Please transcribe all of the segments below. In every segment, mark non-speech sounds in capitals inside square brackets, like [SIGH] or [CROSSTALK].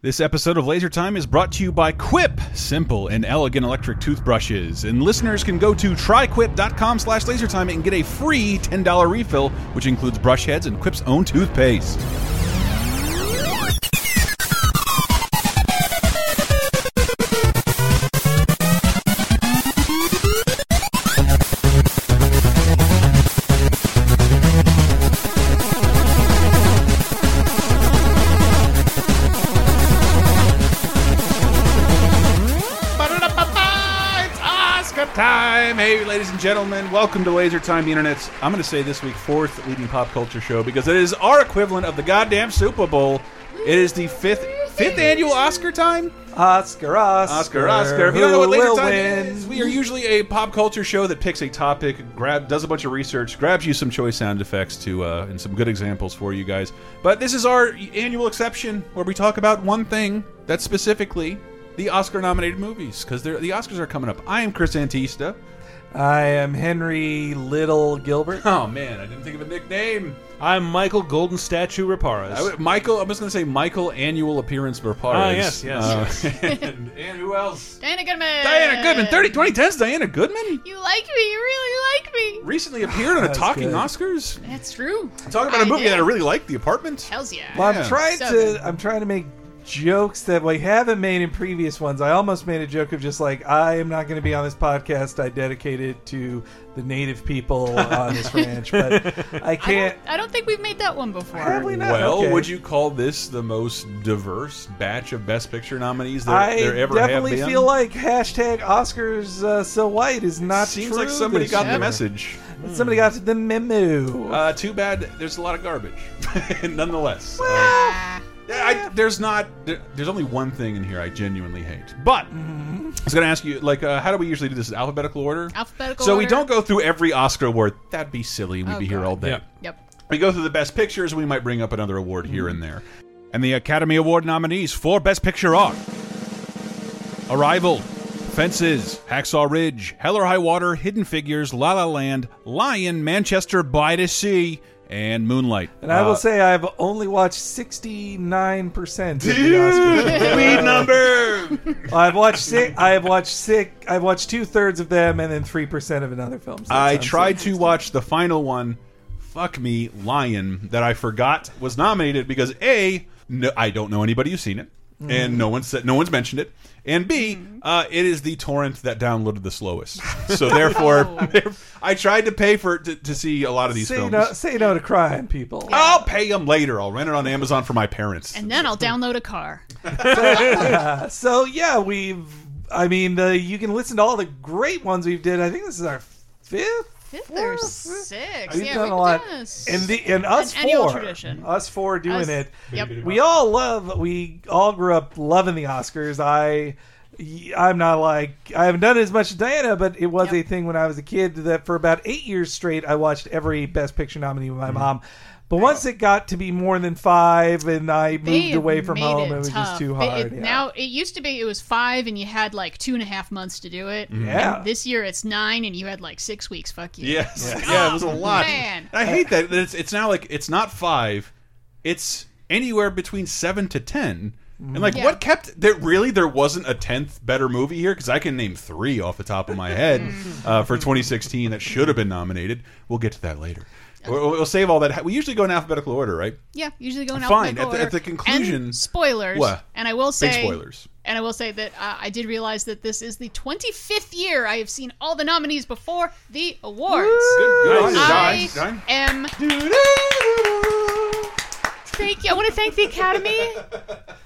This episode of Laser Time is brought to you by Quip, simple and elegant electric toothbrushes. And listeners can go to tryquip.com slash lasertime and get a free $10 refill, which includes brush heads and Quip's own toothpaste. It's Oscar time! Hey, ladies and gentlemen, welcome to Laser Time, the internet's, I'm going to say this week, fourth leading pop culture show because it is our equivalent of the goddamn Super Bowl. It is the fifth fifth annual Oscar time? Oscar, Oscar, Oscar, Oscar. If you don't know what who Laser will Time win? is, we are usually a pop culture show that picks a topic, grab does a bunch of research, grabs you some choice sound effects to uh, and some good examples for you guys. But this is our annual exception where we talk about one thing that's specifically the Oscar-nominated movies because the Oscars are coming up. I am Chris Antista. I am Henry Little Gilbert. [LAUGHS] Oh man, I didn't think of a nickname. I'm Michael Golden Statue Raparas. I would- Michael, I'm just going to say Michael annual appearance Uh, for Paris. Ah, yes, yes, [LAUGHS] and, and who else? Diana Goodman. Diana Goodman. 30, 2010's Diana Goodman. You like me. You really like me. recently appeared on a That's Talking good. Oscars. That's true. Talking about a I movie did. that I really liked, The Apartment. Hells yeah. Well, Yeah. I'm trying So good. to. I'm trying to make jokes that we haven't made in previous ones. I almost made a joke of just like I am not going to be on this podcast. I dedicate it to the native people on [LAUGHS] this ranch, but I I don't, can't. I don't think we've made that one before. Probably not. Well, okay. would you call this the most diverse batch of Best Picture nominees there, I there ever definitely have been? feel like hashtag Oscars uh, so white is not Seems true like somebody this got year. the message. Somebody got the memo. Uh, too bad there's a lot of garbage, [LAUGHS] nonetheless. Uh, Ah, I, there's not. There, there's only one thing in here I genuinely hate. But Mm-hmm. I was going to ask you, like, uh, how do we usually do this? In alphabetical order. Alphabetical So we order. don't go through every Oscar award. That'd be silly. We'd Oh, be here God. all day. Yeah. Yep. We go through the best pictures, we might bring up another award here and there. And the Academy Award nominees for Best Picture are Arrival, Fences, Hacksaw Ridge, Hell or High Water, Hidden Figures, La La Land, Lion, Manchester by the Sea, and Moonlight. And I will Uh, say I've only watched 69% of the [LAUGHS] Oscars. lead number. I've watched six, I've watched six, I've watched two thirds of them and then 3% of another film. So that I sounds tried to watch the final one, fuck me, Lion, that I forgot was nominated because A, no, I don't know anybody who's seen it, and no one said no one's mentioned it, and B, uh, it is the torrent that downloaded the slowest. So therefore, [LAUGHS] I tried to pay for it to, to see a lot of these say films. no, say no to crime, people. I'll pay them later. I'll rent it on Amazon for my parents. And then I'll download a car. [LAUGHS] Uh, so yeah, we've. I mean, the, you can listen to all the great ones we've did. I think this is our fifth. Fifth or fourth? sixth. We've yeah, done we've a lot, done this. and the and us An annual four, tradition. us four doing Us- it. Yep. We all love. We all grew up loving the Oscars. I, I'm not like I haven't done it as much as Diana, but it was Yep. a thing when I was a kid that for about eight years straight I watched every Best Picture nominee with my Mm-hmm. mom. But once it got to be more than five, and I They moved away have from made home, it it was tough. just too They- hard. it- yeah. Now it used to be it was five, and you had like two and a half months to do it. Yeah. And this year it's nine, and you had like six weeks. Fuck you. Yes. Yeah, it was a lot. Oh, man. And I hate that. that It's, it's now like it's not five. It's anywhere between seven to ten. And like, Mm-hmm. Yeah. what kept there? Really, there wasn't a tenth better movie here because I can name three off the top of my head Mm-hmm. uh, for 2016 that should have been nominated. We'll get to that later. We'll, we'll save all that. We usually go in alphabetical order, right? Yeah, usually go in Fine, alphabetical at the- at order. the conclusion- And spoilers. What? And I will say Big spoilers. And I will say that uh, I did realize that this is the 25th year I have seen all the nominees before the awards. Good. I Nice. Nice. am. Thank you. I want to thank the Academy,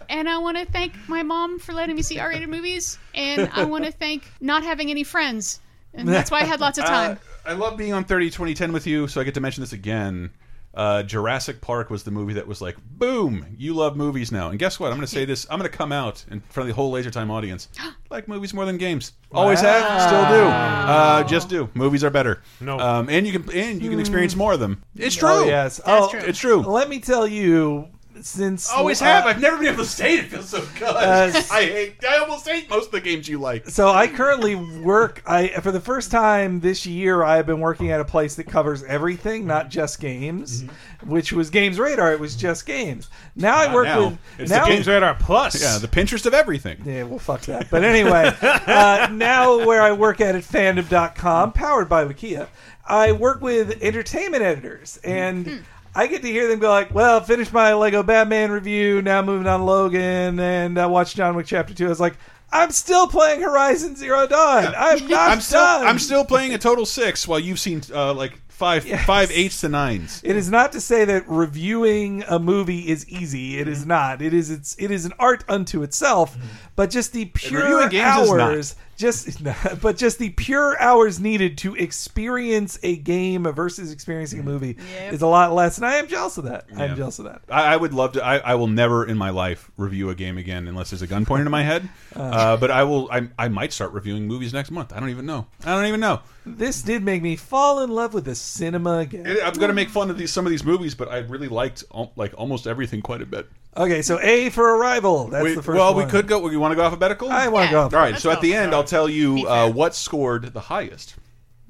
and I want to thank my mom for letting me see R-rated movies, and I want to thank not having any friends, and that's why I had lots of time. [LAUGHS] Uh, I love being on 30 2010 with you, so I get to mention this again. Uh, Jurassic Park was the movie that was like, boom, you love movies now. And guess what? I'm going to say this. I'm going to come out in front of the whole Laser Time [GASPS] audience. like movies more than games. Always have, still do. Uh, just do. Movies are better. No. Um, and you can and you can experience more of them. It's true. Oh yes. That's oh, true. It's true. Let me tell you, since Always uh, have. I've never been able to say it. It feels so good. Uh, [LAUGHS] I hate. I almost hate most of the games you like. so I currently work. I for the first time this year, I have been working at a place that covers everything, not just games, which was Games Radar. It was just games. Now I Not work now. with It's now the Games Radar Plus. Yeah, the Pinterest of everything. Yeah, well, fuck that. But anyway, uh, now where I work at at fandom.com, powered by Wikia, I work with entertainment editors. And I get to hear them go like, well, finished my Lego Batman review, now moving on to Logan, and I watched John Wick Chapter 2. I was like, I'm still playing Horizon Zero Dawn. I'm [LAUGHS] not I'm still. done. I'm still playing a total six, while you've seen uh, like five, Yes. five eights to nines. It is not to say that reviewing a movie is easy. It is Mm-hmm. not. It is it's it is an art unto itself. But just the pure reviewing games is not. hours, just [LAUGHS] but just the pure hours needed to experience a game versus experiencing a Mm-hmm. movie Yep. is a lot less. And I am jealous of that. I Yeah. am jealous of that. I, I would love to. I, I will never in my life review a game again unless there's a gun pointed in my [LAUGHS] head. Uh, but I will. I, I might start reviewing movies next month. I don't even know. I don't even know. This did make me fall in love with the cinema again. It- I'm going to make fun of these some of these movies, but I really liked al- like almost everything quite a bit. Okay, so A for Arrival. That's We- the first well, one. we could go. You want to go alphabetical? I want to Yeah. go. All right. Let's So at go. the end, I'll tell you fair. uh, what scored the highest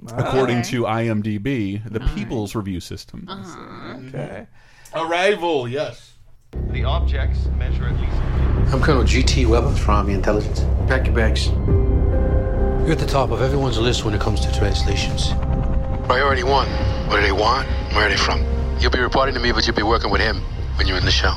Ah. according Okay. to IMDb, the People's Review System. Uh-huh. Okay. Arrival. Yes. The objects measure at least I'm Colonel G.T. Weber from Army Intelligence. Pack your bags. You're at the top of everyone's list when it comes to translations. Priority one. What do they want? Where are they from? You'll be reporting to me, but you'll be working with him when you're in the show.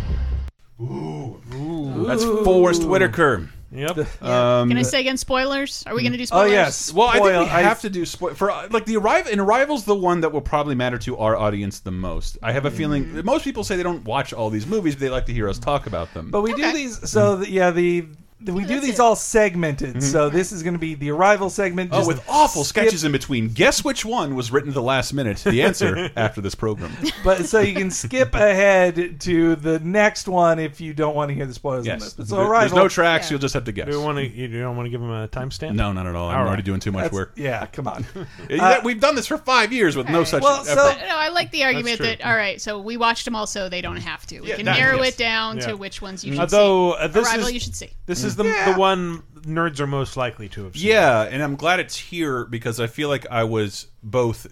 That's Forrest Whitaker. Yep. Can I say again? Spoilers? Are we going to do Oh spoilers? yes. Well, I Spoil- think we have to do spoil for uh, like the arrival. And Arrival's the one that will probably matter to our audience the most. I have a feeling that most people say they don't watch all these movies, but they like to hear us talk about them. But we do Okay. Oh, these so the, yeah the, the- we do that's these it. all segmented. So this is going to be the arrival segment. Mm-hmm. Oh, just with awful skip- sketches in between. Guess which one was written at the last minute? The answer after this program. But so you [LAUGHS] can skip ahead to the next one if you don't want to hear the spoilers. On Yes. this. But so There- There's arrival. no tracks. Yeah. You'll just have to guess. Do you want to? You don't want to give him a timestamp? No, not at all. I'm All right. already doing too much that's- work. Yeah, come on. [LAUGHS] Uh, Yeah, We've done this for five years with no such Well, so- effort. No, I like the argument true. that all right, so we watched them all, so they don't have to. We Yeah, can that- narrow yes. it down Yeah. to which ones you should Although see. uh, this Arrival, is you should see. this is the Yeah. the one nerds are most likely to have seen. Yeah, and I'm glad it's here because I feel like I was both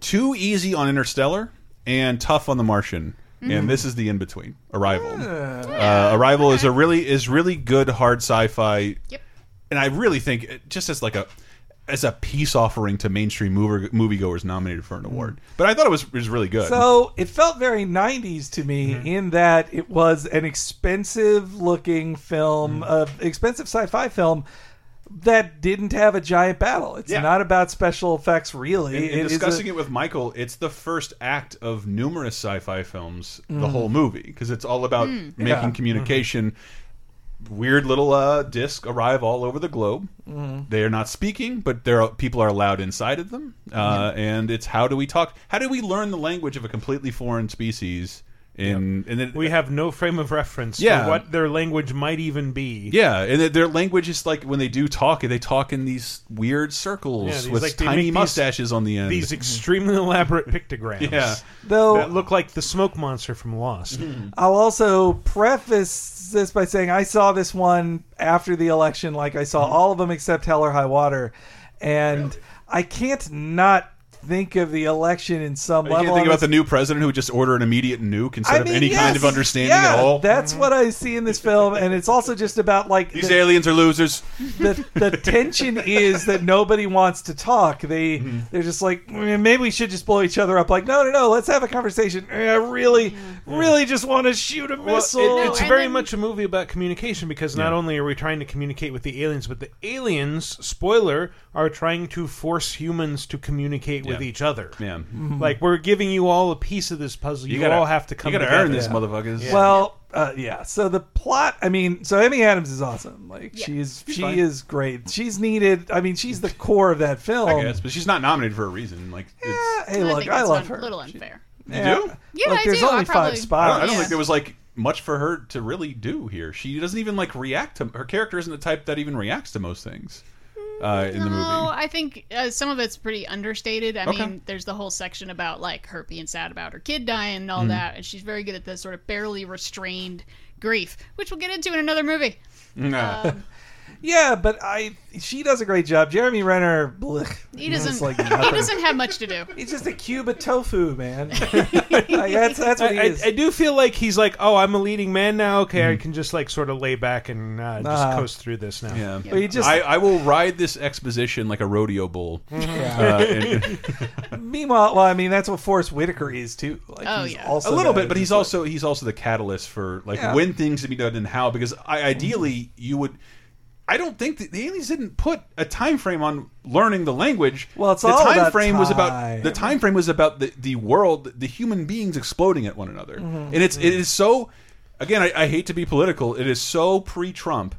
too easy on Interstellar and tough on The Martian. And this is the in between. Arrival. Uh, Arrival is a really is really good hard sci-fi Yep. and I really think it- just as like a as a peace offering to mainstream mover, moviegoers nominated for an award. But I thought it was was really good. So it felt very 90s to me Mm-hmm. in that it was an expensive looking film, Mm. uh, expensive sci fi film that didn't have a giant battle. It's Yeah. not about special effects, really. in, in It is a- discussing it with Michael, it's the first act of numerous sci-fi films. Mm. The whole movie because it's all about making Yeah. communication. Weird little uh, disc arrive all over the globe. Mm. They are not speaking, but there are, people are allowed inside of them. Uh, And it's how do we talk? How do we learn the language of a completely foreign species? In and it, We have no frame of reference Yeah. for what their language might even be. Yeah, and their- their language is like when they do talk, they talk in these weird circles Yeah, these, with like, they make tiny these- mustaches on the end. These extremely elaborate pictograms. yeah, Though That look like the smoke monster from Lost. I'll also preface this by saying I saw this one after the election, like I Mm-hmm. saw all of them except Hell or High Water, and I can't not think of the election in some you level. can't think I'm about just- the new president who would just order an immediate nuke instead I of mean, any kind yes, of understanding yeah, at all. That's what I see in this film, and it's also just about like These the, aliens are losers. the, the tension is that nobody wants to talk. They Mm-hmm. they're just like "Mm, maybe we should just blow each other up. Like no no no, let's have a conversation. Eh, I really Mm-hmm. really just want to shoot a Well, missile. it- No, it's and very then- much a movie about communication because not only are we trying to communicate with the aliens, but the aliens, spoiler, are trying to force humans to communicate with Yeah. each other. Yeah, Like we're giving you all a piece of this puzzle. You, all have to come You gotta together. earn this, motherfuckers. Well, uh, yeah. So the plot. I mean, so Amy Adams is awesome. Like she's she fine. is great. She's needed. I mean, she's the core of that film. I guess, but she's not nominated for a reason. Like, it's, Hey, I look, think I that's love un- her. A little unfair. Yeah. You do? Yeah, look, I there's do. I only probably- five I spots. don't, I don't Yeah. think there was like much for her to really do here. She doesn't even like react to her character. Isn't the type that even reacts to most things. uh, in the Mm, No, movie. I think uh, some of it's pretty understated. I Okay. mean, there's the whole section about like her being sad about her kid dying and all Mm-hmm. that, and she's very good at the sort of barely restrained grief, which we'll get into in another movie. Nah. Yeah, but I she does a great job. Jeremy Renner, blech, He knows, doesn't. like he nothing. doesn't Uh, have much to do. [LAUGHS] He's just a cube of tofu, [LAUGHS] man. like, [LAUGHS] that's that's what he I, is. I do feel like he's like, oh, I'm a leading man now. Okay, Mm-hmm. I can just like sort of lay back and uh, just Ah. coast through this now. Yeah. But he just- I, I will ride this exposition like a rodeo bull. [LAUGHS] Yeah. Uh, and- Meanwhile, well, I mean that's what Forrest Whitaker is too. Like, Oh, he's yeah. also a little that- bit, but he's also he's also the catalyst for like Yeah. when things to be done and how. Because I, ideally, you would. I don't think that the aliens didn't put a time frame on learning the language. Well, it's the all time about frame was about time. the time frame was about the, the world, the human beings exploding at one another, Mm-hmm. and it's it is so. Again, I, I hate to be political. It is so pre-Trump.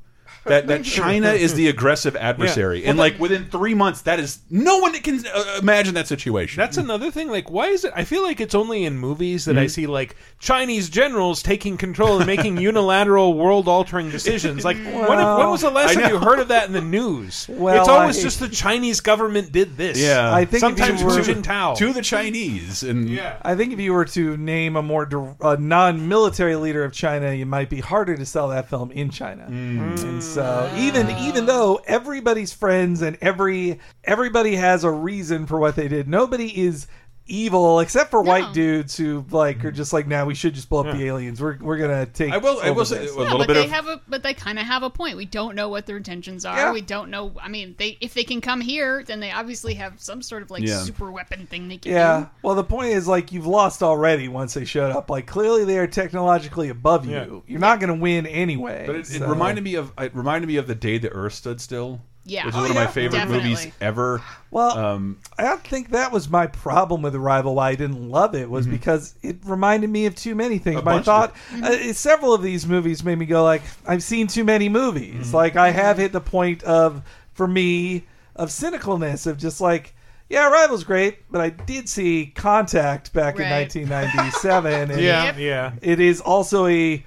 That, [LAUGHS] that China is the aggressive adversary, and like within three months, that is no one can uh, imagine that situation. That's another thing. Like, why is it? I feel like it's only in movies that Mm-hmm. I see like Chinese generals taking control [LAUGHS] and making unilateral, world-altering decisions. Like, when, Well- when was the I last time know. you heard of that in the news? [LAUGHS] Well, it's always I- just the Chinese government did this. Yeah. I think sometimes if you were, Hu Jintao. to the Chinese, and yeah. I think if you were to name a more dir- a non-military leader of China, you might be harder to sell that film in China. Mm. And so, even even though everybody's friends and every everybody has a reason for what they did, nobody is evil except for white dudes who like are just like, now we should just blow up the aliens. We're we're gonna take. I will. I over will say a this." Yeah, little but bit they of. have a. But they kind of have a point. We don't know what their intentions are. Yeah. We don't know. I mean, they if they can come here, then they obviously have some sort of like Yeah. super weapon thing they can Yeah. Well, the point is, like, you've lost already once they showed up. Like, clearly they are technologically above you. You're not going to win anyway. But it, it reminded me of it reminded me of the day the Earth stood still. Yeah. which is Oh, one of yeah. my favorite Definitely. movies ever. Well, Um, I don't think that was my problem with Arrival. Why I didn't love it was because it reminded me of too many things. Mm-hmm. A My bunch of thought, Mm-hmm. uh, it- several of these movies made me go like, I've seen too many movies. Mm-hmm. Like I Mm-hmm. have hit the point of, for me, of cynicalness of just like. Yeah, Arrival's great, but I did see Contact back Right. in [LAUGHS] 1997, and Yeah, Yep. yeah. It is also a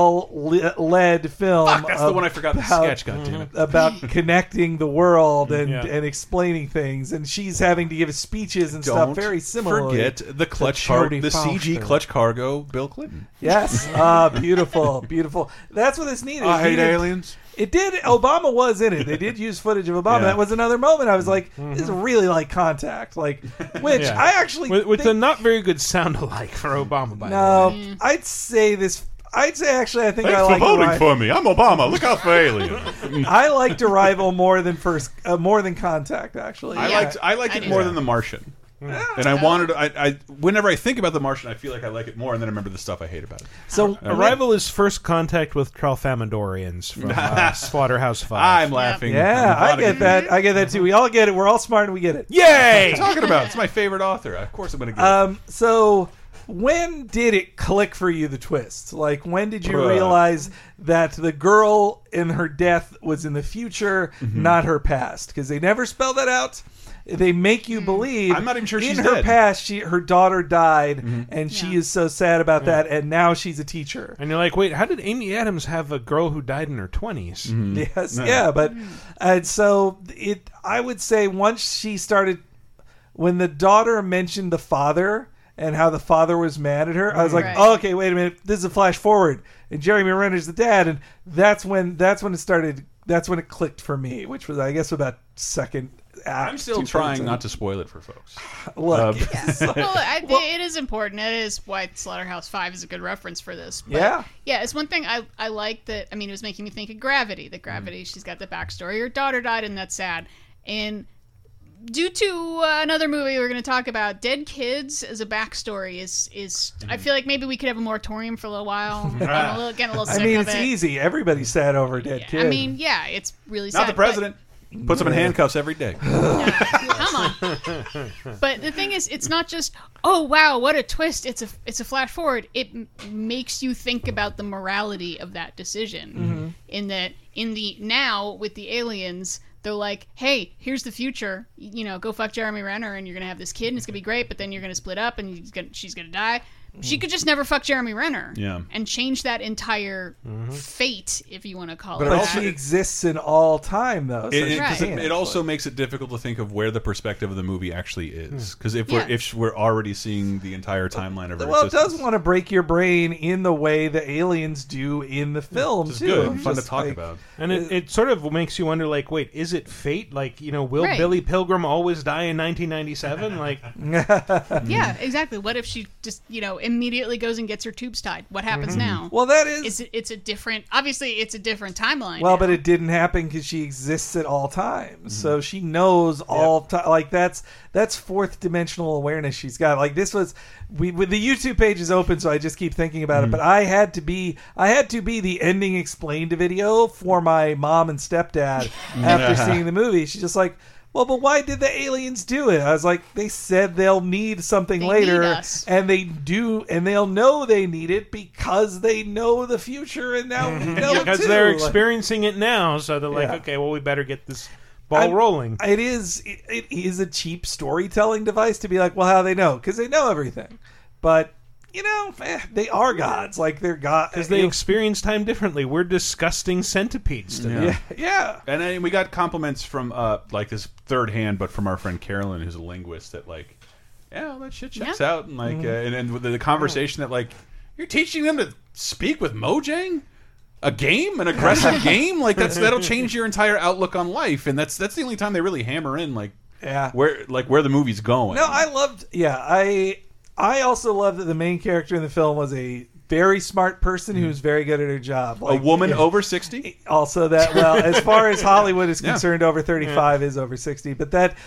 female-led film. fuck, that's the of- one I forgot the about- sketch. God damn it. [LAUGHS] about connecting the world and Yeah. and explaining things, and she's having to give speeches and Don't stuff very similar. forget the clutch car, Jodie the CG Foster. clutch cargo, Bill Clinton. Yes, ah, beautiful, [LAUGHS] beautiful. That's what this needed. It needed- It did. Obama was in it. They did use footage of Obama. Yeah. Mm-hmm. That was another moment. I was like, this is really like [LAUGHS] Contact, like which Yeah. I actually With, with think- a not very good sound alike for Obama, by no. I'd say this. I'd say actually, I think I like Arrival. me. I'm Obama. Look out for [LAUGHS] aliens. I liked Arrival more than first, uh, more than Contact. Actually, I Yeah. liked I liked I it do more that. than The Martian. And I wanted I, I whenever I think about The Martian, I feel like I like it more, and then I remember the stuff I hate about it. [LAUGHS] So the way. Arrival is first contact with Tralfamadorians from uh, Slaughterhouse Five. I'm laughing. Yeah, I'm I glad get that. I get that too. We all get it. We're all smart and we get it. [LAUGHS] Yay! What are you talking about? It's my favorite author. Of course, I'm going to get it. Um, so when did it click for you the twist? Like when did you Bruh. realize that the girl in her death was in the future, Mm-hmm. not her past? Because they never spell that out. They make Mm. you believe. I'm not even sure in she's her dead. Mm-hmm. past. She her daughter died, and she Yeah. is so sad about that. And now she's a teacher. And you're like, wait, how did Amy Adams have a girl who died in her 20s? Mm-hmm. [LAUGHS] Yes, yeah, but and so it. I would say once she started, when the daughter mentioned the father and how the father was mad at her, I was like, Right. oh, okay, wait a minute, this is a flash forward, and Jeremy Renner's the dad, and that's when that's when it started. That's when it clicked for me, which was I guess about second. Act, I'm still two trying thirds not to spoil it for folks. in. [LAUGHS] Look, do. Well, I, it is important. It is why Slaughterhouse Five is a good reference for this. But yeah, Yeah, it's one thing I I like that. I mean, it was making me think of Gravity. That Gravity, she's got the backstory. Her daughter died, and that's sad. And due to uh, another movie we're going to talk about, Dead Kids as a backstory is is. I feel like maybe we could have a moratorium for a little [LAUGHS] while. I'm Ah. a little, getting a little I sick mean of it's it. easy. Everybody's sad over a dead kid. I mean, yeah, it's really sad. Not the but- president. Puts him in handcuffs every day. Come on. But the thing is, it's not just oh wow, what a twist. It's a it's a flash forward. It m- makes you think about the morality of that decision. Mm-hmm. In that, in the now with the aliens, they're like, hey, here's the future. You know, go fuck Jeremy Renner, and you're gonna have this kid, and it's gonna be great. But then you're gonna split up, and he's gonna, she's gonna die. She could just never fuck Jeremy Renner. Mm. Yeah. And change that entire fate, if you want to call But it it But that. also- she exists in all time, though. So It, she it- 'cause it- can't, it also makes it difficult to think of where the perspective of the movie actually is, Hmm. because if we're Yeah. if we're already seeing the entire timeline of her Well, it existence, does want to break your brain in the way the aliens do in the film, which is too. good, I'm fun to just talk like, about. And it, it sort of makes you wonder, like, wait, is it fate? Like, you know, will Right. Billy Pilgrim always die [LAUGHS] in [LAUGHS] 1997? Like, Mm-hmm. yeah, exactly. What if she just, you know, immediately goes and gets her tubes tied? What happens now? Mm-hmm. Well, that is. it's, it's a different, obviously, it's a different timeline. well, now. but it didn't happen because she exists at all times, so she knows all time. Like that's that's fourth dimensional awareness she's got. Like this was, we with the YouTube page is open, so I just keep thinking about it. But I had to be, I had to be the ending explained video for my mom and stepdad after seeing the movie. She's just like. Well, but why did the aliens do it? I was like, they said they'll need something They later, need us. and they do, and they'll know they need it because they know the future, and now we know it because too. Mm-hmm. they're Like- experiencing it now, so they're like, Yeah. okay, well, we better get this ball I'm- rolling. It is it, it is a cheap storytelling device to be like, well, how they know because they know everything, but you know eh, they are gods, like they're eh, god Because they experience time differently. We're disgusting centipedes to them. yeah, yeah. And I, we got compliments from uh like this third hand, but from our friend Carolyn, who's a linguist, that like, yeah, all that shit checks Yeah. out, and like, Mm-hmm. uh, and and the, the conversation that like, you're teaching them to speak with mojang. A game, an [LAUGHS] aggressive game, like that's that'll change your entire outlook on life, and that's that's the only time they really hammer in like Yeah. where like where the movie's going. No, I loved. Yeah, I I also love that the main character in the film was a very smart person who was very good at her job. a Like, eh, woman yeah. over sixty. also [LAUGHS] that well as far as hollywood is concerned over 35 is over 60 but that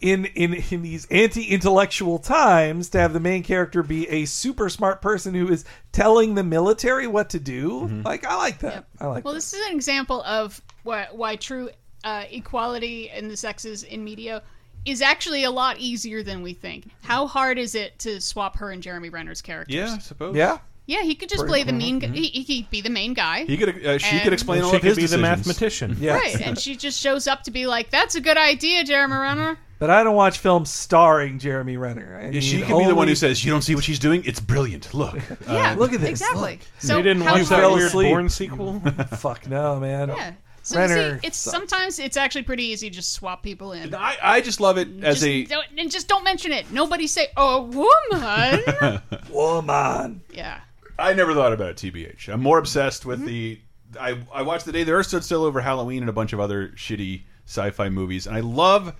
in in in these anti-intellectual times to have the main character be a super smart person who is telling the military what to do like i like that i like well, that. this is an example of why, why true uh, equality in the sexes in media is actually a lot easier than we think. How hard is it to swap her and Jeremy Renner's characters? Yeah, I suppose. yeah Mm-hmm. Yeah, he could just play the mean. He, he could be the main guy. he could. Uh, she could And- explain all She of his could be the decisions. mathematician. yeah [LAUGHS] Right, and she just shows up to be like, "That's a good idea, Jeremy Renner." but i don't watch films starring jeremy renner I Yeah, she mean, can be the one only- who says, "You don't see what she's doing? It's brilliant. [LAUGHS] Look." Yeah, look at this, Exactly. look. So they didn't how watch that fell weird asleep. Bourne sequel. [LAUGHS] fuck no man Yeah. So you see, Renner it's sucks. sometimes it's actually pretty easy to just swap people in. I, I just love it as Just a don't, and just don't mention it. Nobody say [LAUGHS] a woman. woman yeah. I never thought about it, TBH. I'm more obsessed with the. I, I watched The Day the Earth Stood Still over Halloween and a bunch of other shitty sci fi movies. And I love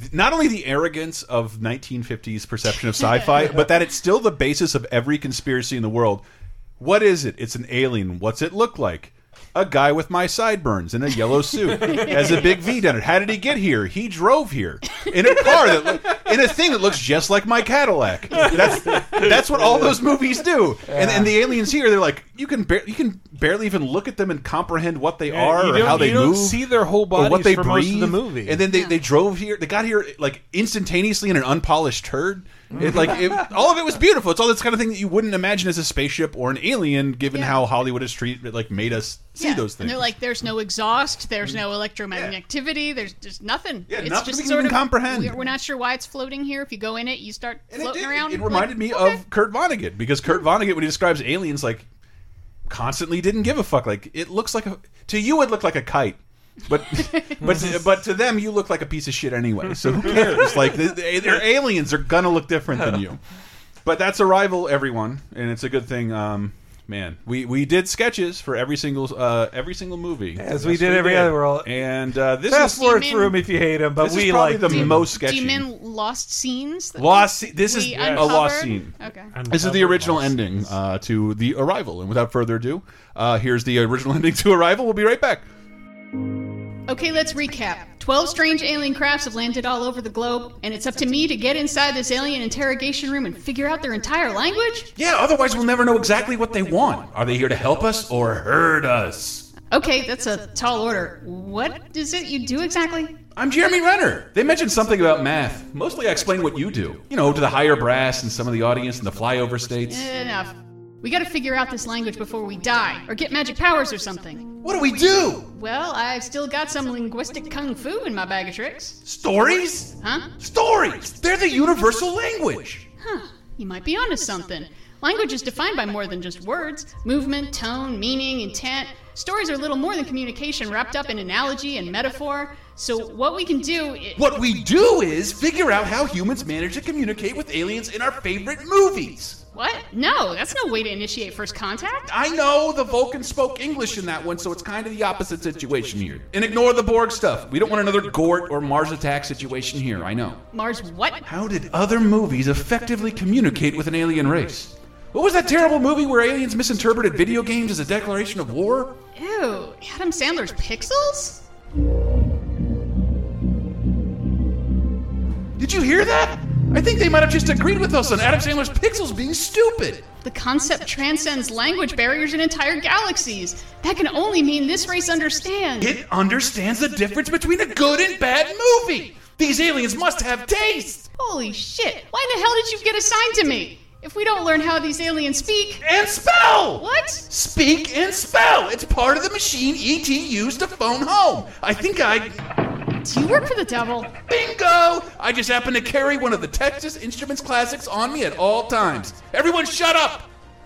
th- not only the arrogance of 1950s perception of sci fi, but that it's still the basis of every conspiracy in the world. What is it? It's an alien. What's it look like? A guy with my sideburns in a yellow suit has a big V down it. How did he get here? He drove here in a car that loo- in a thing that looks just like my Cadillac. That's that's what all those movies do. And and the aliens here, they're like you can bar- you can barely even look at them and comprehend what they Yeah, are you or don't- how they you don't move. see their whole or what bodies they for most breathe. of the movie. And then they, they drove here. They got here like instantaneously in an unpolished turd. It, like it, all of it was beautiful. It's all this kind of thing that you wouldn't imagine as a spaceship or an alien, given Yeah. how Hollywood has treated like made us see Yeah. those things. And they're like, there's no exhaust, there's no electromagnetic activity, there's just nothing. Mm-hmm. Yeah, it's nothing just we can sort even of, comprehend. We're, we're not sure why it's floating here. If you go in it, you start And it, floating did. around. it reminded me of Kurt Vonnegut because Kurt Mm-hmm. Vonnegut, when he describes aliens, like constantly didn't give a fuck. Like it looks like a to you it looked like a kite, but [LAUGHS] but to, but to them you look like a piece of shit anyway. So who [LAUGHS] cares? Like they, they're aliens. They're gonna look different than you. But that's Arrival, everyone, and it's a good thing. Um, man, we we did sketches for every single uh every single movie As we did every other world. and uh, this fast is forward Demon- through 'em if you hate him but this we is probably like the most Do sketchy. you mean lost scenes? that Lost we- scene- this is we a lost uncovered? scene. Okay. This is the original Uncovered lost ending uh, to the arrival, and without further ado, uh, here's the original [LAUGHS] ending to arrival. We'll be right back. Okay, let's recap. Twelve strange alien crafts have landed all over the globe, and it's up to me to get inside this alien interrogation room and figure out their entire language? Yeah, otherwise we'll never know exactly what they want. Are they here to help us or hurt us? Okay, that's a tall order. What is it you do exactly? I'm Jeremy Renner. They mentioned something about math. Mostly I explain what you do. You know, to the higher brass and some of the audience in the flyover states. Enough. We gotta figure out this language before we die, or get magic powers or something. What do we do? Well, I've still got some linguistic kung fu in my bag of tricks. Stories? Huh? Stories! They're the universal language! You might be onto something. Language is defined by more than just words movement, tone, meaning, intent. Stories are little more than communication wrapped up in analogy and metaphor. So, what we can do. i- What we do is figure out how humans manage to communicate with aliens in our favorite movies. What? No, that's no way to initiate first contact. I know the Vulcan spoke English in that one, so it's kind of the opposite situation here. And ignore the Borg stuff. We don't want another Gort or Mars attack situation here, I know. Mars, what? How did other movies effectively communicate with an alien race? What was that terrible movie where aliens misinterpreted video games as a declaration of war? Ew, Adam Sandler's pixels? Did you hear that? I think they might have just agreed with us on Adam Sandler's pixels being stupid. The concept transcends language barriers and entire galaxies. That can only mean this race understands. It understands the difference between a good and bad movie. These aliens must have taste Holy shit, why in the hell did you get assigned to me? If we don't learn how these aliens speak. and spell. What? Speak and spell. It's part of the machine ET used to phone home. I think I. Do you work for the devil? Bingo! I just happen to carry one of the Texas Instruments classics on me at all times. Everyone, shut up!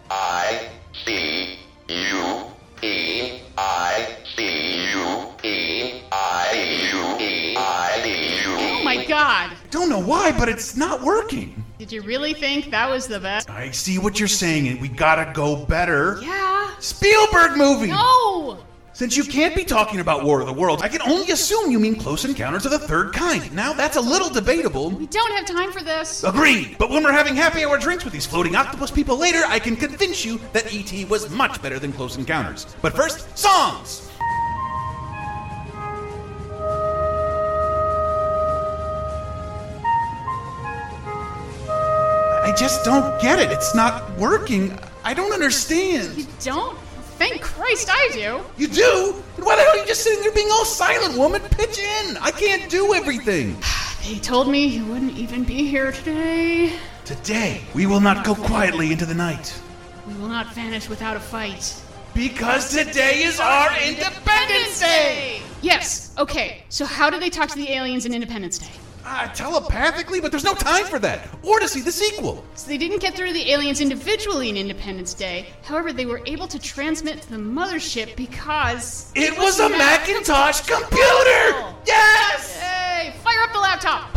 I C U E I C U E I U E I C U E. Oh my god. Don't know why, but it's not working. Did you really think that was the best? I see what you're saying, and we gotta go better. Yeah. Spielberg movie! No! Since you can't be talking about War of the Worlds, I can only assume you mean Close Encounters of the Third Kind. Now, that's a little debatable. We don't have time for this. Agreed! But when we're having happy hour drinks with these floating octopus people later, I can convince you that E.T. was much better than Close Encounters. But first, songs! I just don't get it. It's not working. I don't understand. You don't? Thank Christ I do. You do? Then why the hell are you just sitting there being all silent, woman? Pitch in! I can't do everything! They told me you wouldn't even be here today. Today, we will not go quietly into the night. We will not vanish without a fight. Because today is our Independence Day! Yes, okay. So, how do they talk to the aliens in Independence Day? Ah, telepathically? But there's no time for that! Or to see the sequel! So, they didn't get through to the aliens individually in Independence Day. However, they were able to transmit to the mothership because. It was a Macintosh computer! Yes! Hey, fire up the laptop!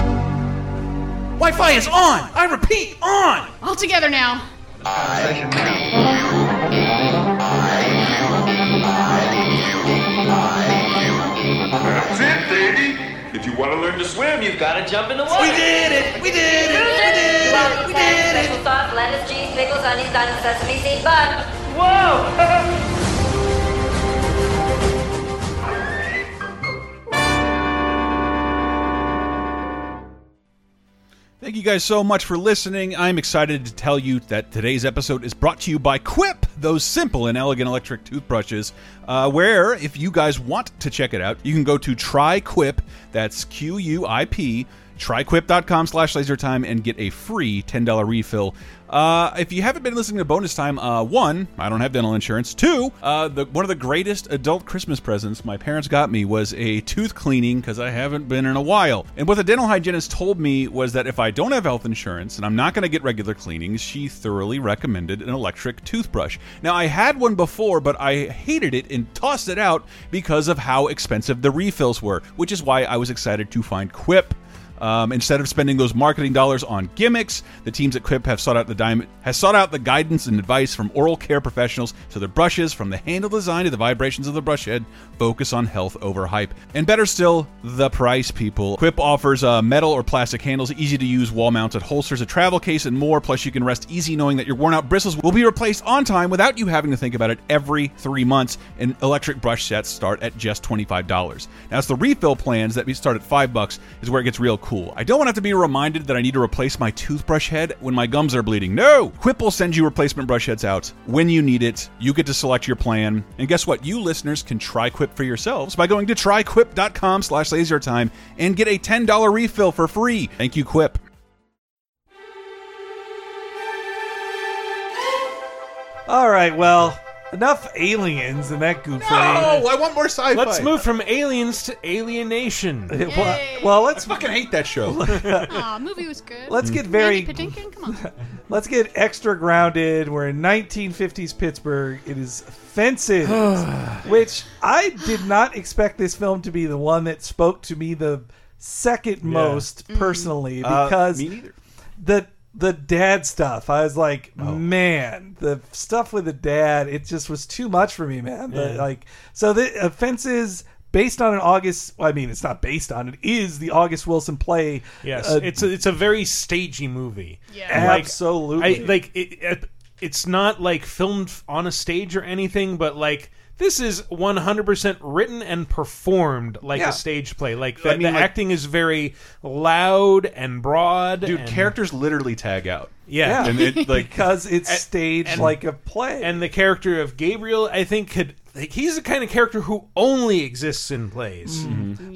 Wi Fi is on! I repeat, on! All together now. That's it, baby. If you want to learn to swim, you Gotta jump in the We water. did it! We did it! We did it! We did it! Special sauce, lettuce, cheese, pickles, onions, on sesame seed bun. Thank you guys so much for listening. I'm excited to tell you that today's episode is brought to you by Quip, those simple and elegant electric toothbrushes. Uh, where, if you guys want to check it out, you can go to try Quip. That's Q U I P. Tryquip.com slash lasertime and get a free $10 refill. Uh, if you haven't been listening to Bonus Time, uh, one, I don't have dental insurance. Two, uh, the, one of the greatest adult Christmas presents my parents got me was a tooth cleaning because I haven't been in a while. And what the dental hygienist told me was that if I don't have health insurance and I'm not going to get regular cleanings, she thoroughly recommended an electric toothbrush. Now, I had one before, but I hated it and tossed it out because of how expensive the refills were, which is why I was excited to find Quip. Um, instead of spending those marketing dollars on gimmicks, the teams at Quip have sought out the diamond has sought out the guidance and advice from oral care professionals, so their brushes, from the handle design to the vibrations of the brush head, focus on health over hype. And better still, the price, people. Quip offers uh, metal or plastic handles, easy to use wall-mounted holsters, a travel case, and more. Plus, you can rest easy knowing that your worn-out bristles will be replaced on time without you having to think about it every three months. And electric brush sets start at just twenty-five dollars. Now, it's the refill plans that we start at five bucks is where it gets real cool. I don't want to have to be reminded that I need to replace my toothbrush head when my gums are bleeding. No! Quip will send you replacement brush heads out when you need it. You get to select your plan. And guess what? You listeners can try Quip for yourselves by going to tryquip.com slash lasertime and get a $10 refill for free. Thank you, Quip. All right, well, Enough aliens and that goofy. No, I [LAUGHS] want more sci-fi. Let's move from aliens to alienation. Well, well, let's fucking hate that show. [LAUGHS] Aw, Uh, movie was good. Mm. Let's get very- Mandy Patinkin, come on. [LAUGHS] Let's get extra grounded. We're in 1950s Pittsburgh. It is [SIGHS] Fences, which I did not expect this film to be the one that spoke to me the second most personally Uh, because me neither. the the dad stuff. I was like, Oh. man, the stuff with the dad. It just was too much for me, man. The- Yeah. like, so the offenses. Based on an August, well, I mean, it's not based on it. Is the August Wilson play? Yes, uh, it's a, it's a very stagey movie. Yeah. Like, Absolutely. I, like it, it- it's not like filmed on a stage or anything, but like this is 100% written and performed like Yeah. a stage play. Like the, I mean, the like- acting is very loud and broad. Dude, and- characters literally tag out. Yeah. And [LAUGHS] it, like, because it's staged and- like a play. and the character of Gabriel, I think could like, he's the kind of character who only exists in plays.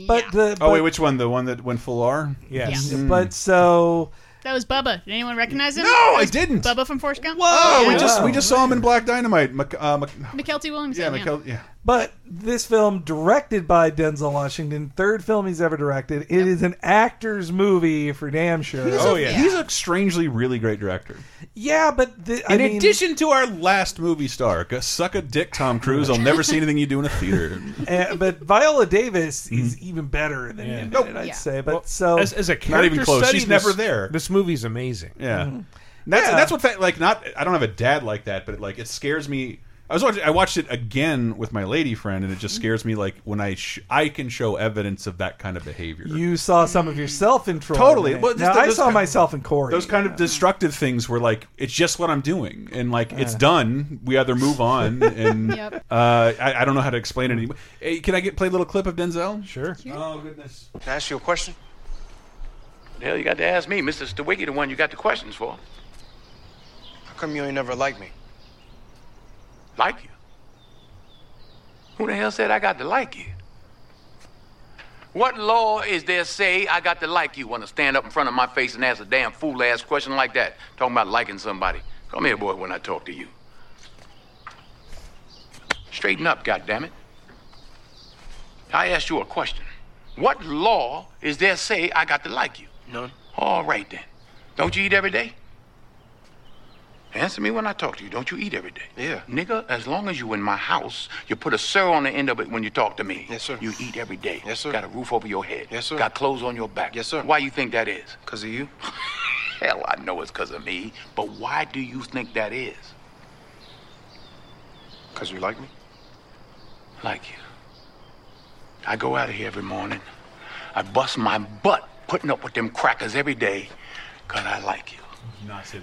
but the oh but, wait, which one? The one that went full R? Yes. but so That was Bubba. Did anyone recognize him? No, I That was didn't. Bubba from Forrest Gump. Oh, yeah. we just we just saw him in Black Dynamite. Mc, uh, Mc, McKelty Williams. yeah, McKel, yeah. but this film directed by Denzel Washington, third film he's ever directed. It is an actor's movie for damn sure. He's Oh, a, yeah. he's a strangely really great director. Yeah, but the, I In mean, addition to our last movie star, go suck a dick, Tom Cruise. I'll never see anything you do in a theater. uh, but Viola Davis is even better than him. in Nope. it, I'd Yeah. say. But so Mm-hmm. as, as a character even close. study, She's never this- there. This movie's amazing. [LAUGHS] Yeah, that's Yeah. that's what fa- like not. I don't have a dad like that, but like it scares me. I was watching, I watched it again with my lady friend, and it just scares me. Like when I sh I can show evidence of that kind of behavior. you saw some of yourself in Troy. Totally. Now, Well, just I those saw kind- myself in Corey. those kind of destructive things were like it's just what I'm doing, and like it's done. We either move on, and Yep. uh, I, I don't know how to explain it anymore. Hey, can I get play a little clip of Denzel? Sure. Oh goodness. Can I ask you a question? The hell you got to ask me, Mr. Stawiggy, the one you got the questions for. How come you ain't never liked me? Like you? Who the hell said I got to like you? What law is there say I got to like you? Want to stand up in front of my face and ask a damn fool ass question like that? Talking about liking somebody. Come here, boy, when I talk to you. Straighten up, goddammit. I asked you a question. What law is there say I got to like you? None. All right then. Don't you eat every day? Answer me when I talk to you. Don't you eat every day? Yeah. Nigga, as long as you in my house, you put a sir on the end of it when you talk to me. Yes, sir. You eat every day. Yes, sir. Got a roof over your head. Yes, sir. Got clothes on your back. Yes, sir. Why you think that is? Because of you? [LAUGHS] Hell, I know it's because of me, but why do you think that is? Because you like me? Like you. I go out of here every morning. I bust my butt putting up with them crackers every day because I like you.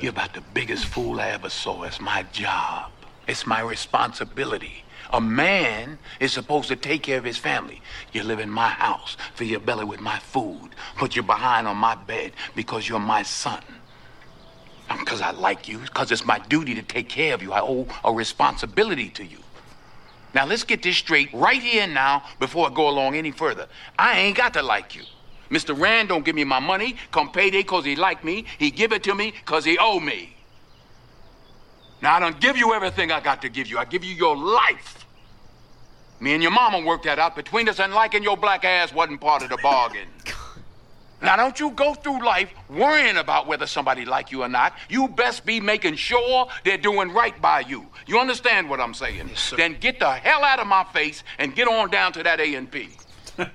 You're about the biggest fool I ever saw. It's my job. It's my responsibility. A man is supposed to take care of his family. You live in my house, fill your belly with my food, put you behind on my bed because you're my son. Because I like you, because it's my duty to take care of you. I owe a responsibility to you. Now let's get this straight right here and now before I go along any further. I ain't got to like you. Mr. Rand don't give me my money come payday cause he like me. He give it to me cause he owe me. Now I don't give you everything I got to give you. I give you your life. Me and your mama worked that out between us, and liking your black ass wasn't part of the bargain. Now, don't you go through life worrying about whether somebody like you or not. You best be making sure they're doing right by you. You understand what I'm saying? Yes, sir. Then get the hell out of my face and get on down to that A and P.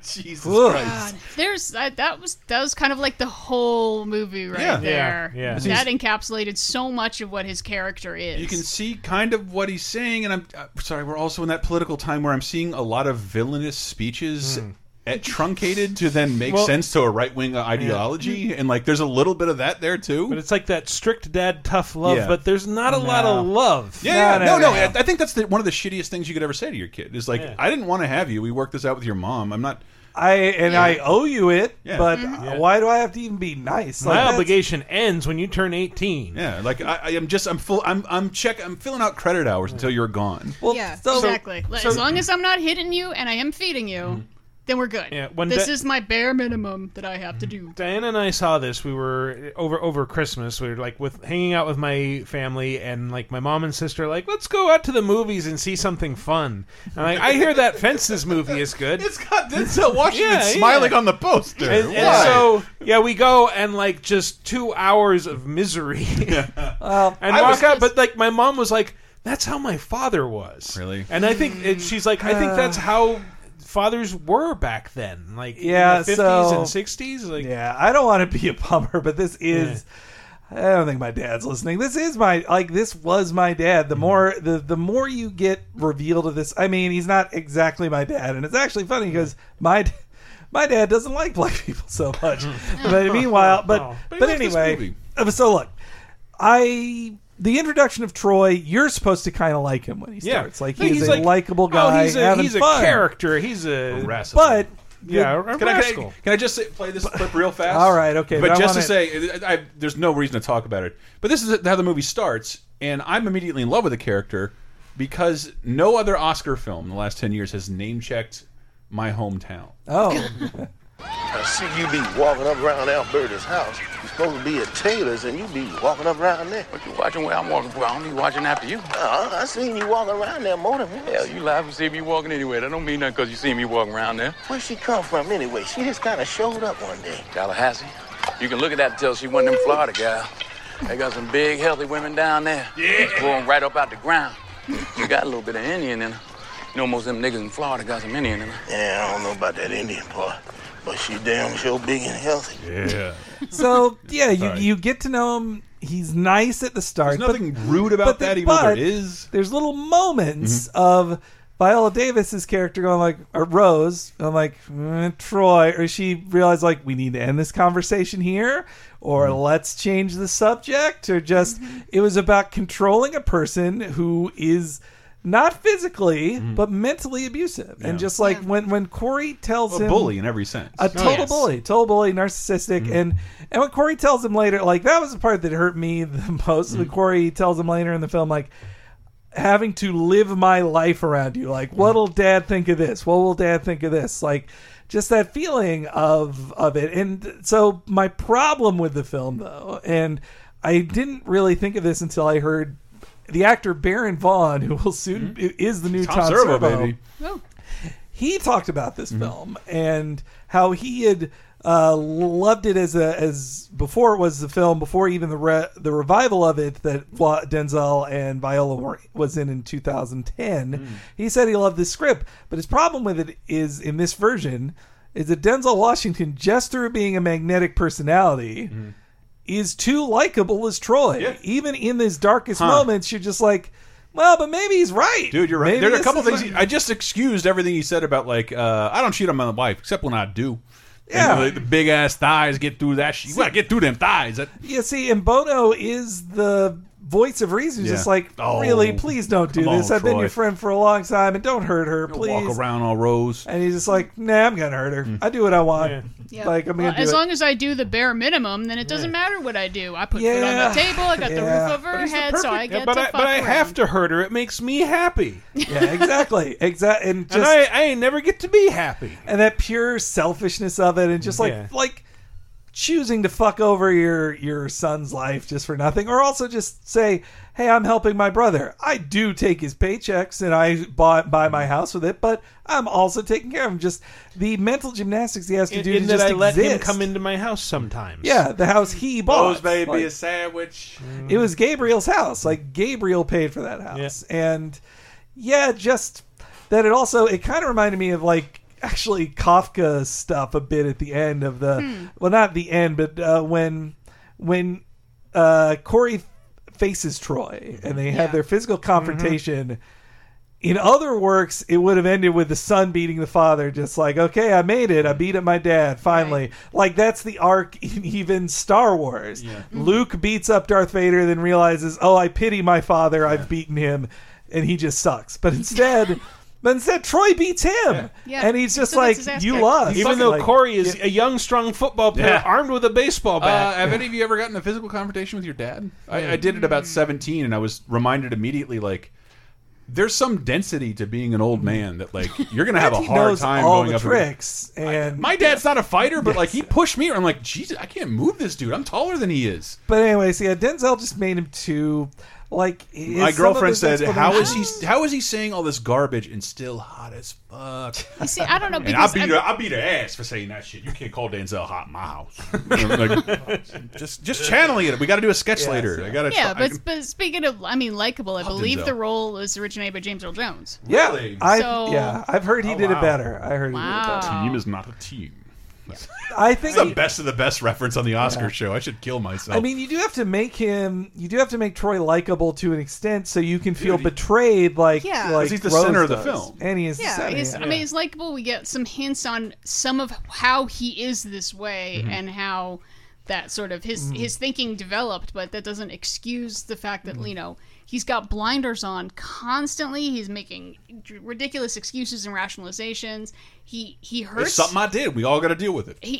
Jesus Ugh. Christ. There's I, that was that was kind of like the whole movie right Yeah. Yeah, there. yeah. That encapsulated so much of what his character is. You can see kind of what he's saying, and I'm uh, sorry. We're also in that political time where I'm seeing a lot of villainous speeches. Hmm. At truncated to then make Well- sense to a right wing ideology, Hmm. and like there's a little bit of that there too. But it's like that strict dad tough love, Yeah. but there's not a lot of love. Yeah, No, yeah, no, no. no, I I think that's the, one of the shittiest things you could ever say to your kid is like, "I didn't want to have you. We worked this out with your mom. I'm not." I and I owe you it, Yeah. but why do I have to even be nice? My Like, that's- obligation ends when you turn 18. Yeah, like I, I am just. I'm full. I'm. I'm check. I'm filling out credit hours until you're gone. Well, yeah, so- exactly. as long as I'm not hitting you and I am feeding you, then we're good. Yeah, when this Di- is my bare minimum that I have to do. Diana and I saw this. We were over over Christmas. We were like with hanging out with my family and like my mom and sister. are Like, let's go out to the movies and see something fun. And like, I hear that Fences movie is good. It's got Denzel Washington smiling on the poster. And, and Why? so yeah, we go and like just two hours [LAUGHS] of misery. and I walk was out. But like my mom was like, "That's how my father was." Really? And I think and she's like, "I think Uh. that's how." Fathers were back then, like yeah, in the fifties so, and sixties. Like, yeah, I don't want to be a bummer, but this is. I don't think my dad's listening. This is my like. This was my dad. The Mm-hmm. more the the more you get revealed of this, I mean, he's not exactly my dad, and it's actually funny because my d- my dad doesn't like black people so [LAUGHS] much. but meanwhile, but Oh. but, anyway, uh, so look, I the introduction of Troy, you're supposed to kind of like him when he Yeah. starts. Like Yeah, he's, he's a like, likable oh, guy, he's a- having he's a fun. character. He's a, but yeah, the- a Can I, can, I, rascal. can I just say, play this clip real fast? All right, okay, But, but I just to wanna- say, I, I- there's no reason to talk about it. But this is how the movie starts, and I'm immediately in love with the character because no other Oscar film in the last 10 years has name checked my hometown. [LAUGHS] Oh. I see you be walking up around Alberta's house. You're supposed to be at Taylor's and you be walking up around there. But you watching where I'm walking around, you watching after you. Uh, I seen you walking around there more than once. Hell, you laugh and see me walking anywhere. That don't mean nothing because you see me walking around there. Where she come from anyway? She just kind of showed up one day. Tallahassee. You can look at that and tell she one of them Florida gal. They got some big, healthy women down there. Yeah. Growing right up out the ground. You got a little bit of Indian in her. You know, most of them niggas in Florida got some Indian in her. Yeah, I don't know about that Indian part, but she damn sure big and healthy. Yeah. So yeah, you Sorry. you get to know him. He's nice at the start. There's nothing but, rude about but that, the- even though there but is. Mm-hmm. There's little moments of Viola Davis's character going like, or Rose, I'm like "Eh, Troy, or she realized like we need to end this conversation here, or Mm-hmm. let's change the subject, or just it was about controlling a person who is. Not physically, Mm-hmm. but mentally abusive, and just like when when Corey tells A him bully in every sense. Oh, Oh, Mm-hmm. a total bully, total bully, narcissistic, and and when Corey tells him later, like that was the part that hurt me the [LAUGHS] most. Mm. When Corey tells him later in the film, like having to live my life around you, like Mm-hmm. what'll Dad think of this? What will Dad think of this? Like just that feeling of of it. And so my problem with the film, though, and I didn't really think of this until I heard the actor Baron Vaughn, who will soon is the new Mm-hmm. Tom Tom, Servo, Servo baby. he talked about this Mm-hmm. film and how he had uh, loved it as a as before it was the film before even the re- the revival of it that Wa- Denzel and Viola were, was in in 2010. Mm. He said he loved this script, but his problem with it is in this version is that Denzel Washington just through being a magnetic personality Mm-hmm. is too likable as Troy. Even in his darkest Huh. moments, you're just like, well, but maybe he's right. Dude, you're right. Maybe there are a this couple is things what- he- I just excused everything he said about like uh, I don't cheat on my wife except when I do. Yeah. and, like, the big ass thighs get through that. shit. You gotta get through them thighs. That, Yeah, see, and Bono is the voice of reason. He's Yeah. Just like, Oh, really, please don't do come on, this. I've been Troy. your friend for a long time, and don't hurt her, Don't please. walk around all rose. Mm. And he's just like, nah, I'm gonna hurt her. I do what I want. Like, I'm Well, gonna do as it. long as I do the bare minimum, then it doesn't matter what I do. I put food on Yeah. the table. I got the Yeah. roof over But her he's the head, so I Yeah, get but to I, fuck but I around. have to hurt her. It makes me happy. yeah, exactly, exactly. And just and I, I ain't never get to be happy. and that pure selfishness of it, and just like Yeah. like choosing to fuck over your your son's life just for nothing, or also just say, "Hey, I'm helping my brother. I do take his paychecks, and I bought buy Mm-hmm. my house with it, but I'm also taking care of him." Just the mental gymnastics he has to In, do in to that just I let him exist. come into my house sometimes. yeah, the house he bought. Like, sandwich. it was Gabriel's house. Like Gabriel paid for that house, and yeah, just that. It also it kind of reminded me of like actually Kafka stuff a bit at the end of the Hmm. well, not the end, but uh, when when uh, Corey faces Troy and they have their physical confrontation. In other works, it would have ended with the son beating the father, just like, okay, I made it. I beat up my dad, finally. Like, that's the arc in even Star Wars. Uh, Mm-hmm. Luke beats up Darth Vader, then realizes, oh, I pity my father. I've beaten him, and he just sucks. [LAUGHS] But instead, but instead, Troy beats him. Yeah. And he's So just that's like, his ass you kicked. lost. Even though Like, Corey is uh, a young, strong football player Yeah. armed with a baseball Uh, bat. have any of you ever gotten a Mm. physical confrontation with your dad? I, I did it about 17, and I was reminded immediately, like, there's some density to being an old man that like you're [LAUGHS] gonna have a He hard knows time all going the up tricks and my dad's not a fighter but like he pushed me i'm like jesus i can't move this dude i'm taller than he is But anyways, yeah, Denzel just made him too. Like his- my some girlfriend of his said how is explanations- he how is he saying all this garbage and still hot as fuck You see, I don't know [LAUGHS] and I because beat I'm- her. I beat her ass for saying that shit. You can't call Denzel hot in my [LAUGHS] house. Like, just, just channeling it. We got to do a sketch later. I got to. yeah, but, but speaking of, I mean, likable, I believe Denzel. the role was originated by James Earl Jones. Yeah, I So- yeah, I've heard he Oh, did wow. it better. I heard he did it better. team is not a team. I think it's the best of the best reference on the Oscar show. I should kill myself. I mean, you do have to make him. You do have to make Troy likable to an extent, so you can feel betrayed. Like, Yeah. like 'Cause he's the Rose center of the does. film. and he is. the Yeah, center, he's, yeah. I mean, it's likable. We get some hints on some of how he is this way Mhm. and how that sort of his Mhm. his thinking developed, but that doesn't excuse the fact that Mm. you know he's got blinders on constantly. He's making ridiculous excuses and rationalizations. He he it's hurts. something I did. We all got to deal with it. he,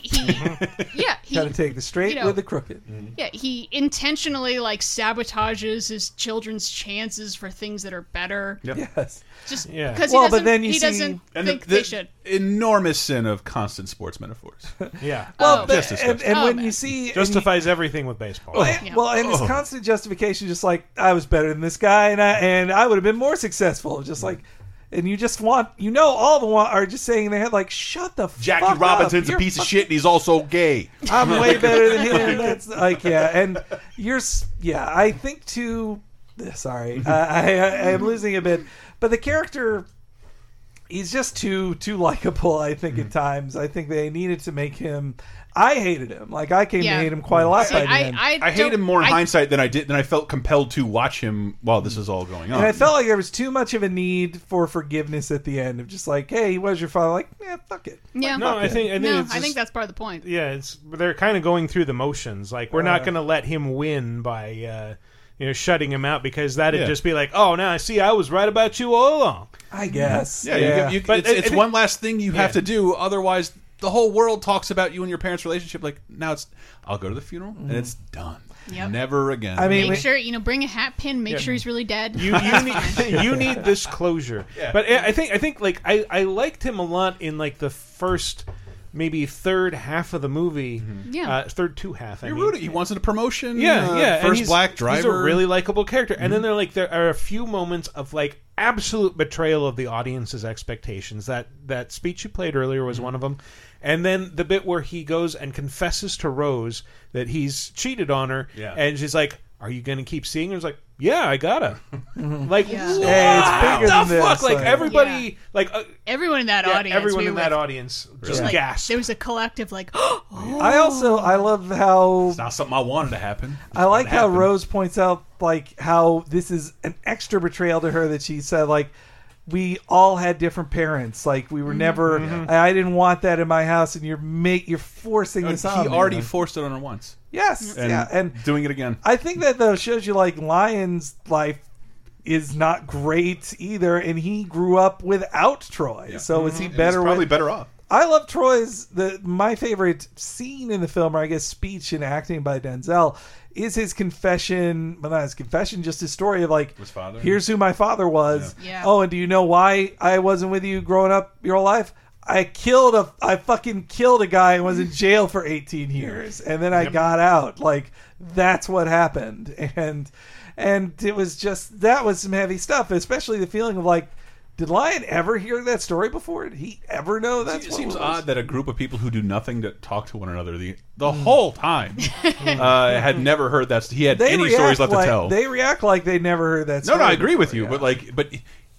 he [LAUGHS] yeah he Gotta take the straight you know- with the crooked. Mm-hmm. yeah, he intentionally like sabotages his children's chances for things that are better. Yes. Just Yeah. because Well, he but doesn't, then you he see- doesn't And think the, they should. enormous sin of constant sports metaphors. [LAUGHS] Uh, Yeah. Well, but- Just Oh, disgusting. and, and when you see and you- Justifies everything with baseball. Well, and- Oh, well, and Oh. his constant justification, just like I was better than this guy, and I and I would have been more successful, just like. And you just want, you know, all the one are just saying in their head, like, shut the Jackie fuck up. Robinson's a You're piece of shit, and he's also gay. [LAUGHS] I'm [LAUGHS] way better than him. That's like yeah, and you're s- yeah. I think too. Sorry, Mm-hmm. I, I I am losing a bit, but the character, he's just too too likable. I think Mm. at times. I think they needed to make him. I hated him. Like I came Yeah. to hate him quite a lot. See, by the I- end. I I hate don't- him more in I- hindsight than I did than I felt compelled to watch him while this is all going on. And I felt like there was too much of a need for forgiveness at the end of just like, hey, he was your father. Like, yeah, fuck it. Yeah. No, I think- I think no, it's I think just- that's part of the point. yeah, it's they're kind of going through the motions. Like we're not Uh, going to let him win by uh, you know shutting him out because that'd Yeah. just be like, oh, now I see I was right about you all along. I guess. Yeah, you get- you- But it's, it- it's it- one last thing you have Yeah. to do. Otherwise, the whole world talks about you and your parents' relationship. Like now, it's I'll go to the funeral and it's done. Yep. Never again. Mm-hmm. I mean, make sure you know, bring a hat pin. Make Yeah. sure he's really dead. You you need [LAUGHS] you need this closure. Yeah. But I I think I think like I I liked him a lot in like the first maybe third half of the movie. Yeah. uh, third two half. I Mm-hmm. you're mean. rude. He wants a promotion. Yeah, uh, yeah. and First he's- black He's driver. a really likable character. And then there like there are a few moments of like absolute betrayal of the audience's expectations. That that speech you played earlier was one of them. And then the bit where he goes and confesses to Rose that he's cheated on her, Yeah. and she's like, "Are you going to keep seeing her?" He's like, "Yeah, I gotta." like, Yeah. what Hey, it's bigger the than this, fuck? Like, like- everybody, Yeah. like uh, Everyone in that yeah, audience. everyone we in were that like- audience just just like, gasped. There was a collective like, [GASPS] oh, I also I love how It's not something I wanted to happen. I like how happened. Rose points out like how this is an extra betrayal to her that she said like we all had different parents. Like we were Mm-hmm. never. I, I didn't want that in my house, and you're make you're forcing He this on. me. already Like, forced it on her once. yes, And yeah, and doing it again. I think that though shows you like Lion's life is not great either, and he grew up without Troy. So is he Mm-hmm. And better? he's probably with- better off. I love Troy's the my favorite scene in the film, or I guess speech and acting by Denzel, is his confession. Well, not his confession, just his story of like, His father. here's who my father was. Yeah. Yeah. Oh, and do you know why I wasn't with you growing up your whole life? I killed a, I fucking killed a guy and was in jail [LAUGHS] for 18 years, and then I got out. Like that's what happened, [LAUGHS] and and it was just that was some heavy stuff, especially the feeling of like. Did Lion ever hear that story before? Did he ever know that? it seems odd that a group of people who do nothing to talk to one another the the whole time [LAUGHS] uh, had never heard that. He had they any react stories left like, to tell. They react like they never heard that. No, Story no, I agree with before, you, yeah. but like, but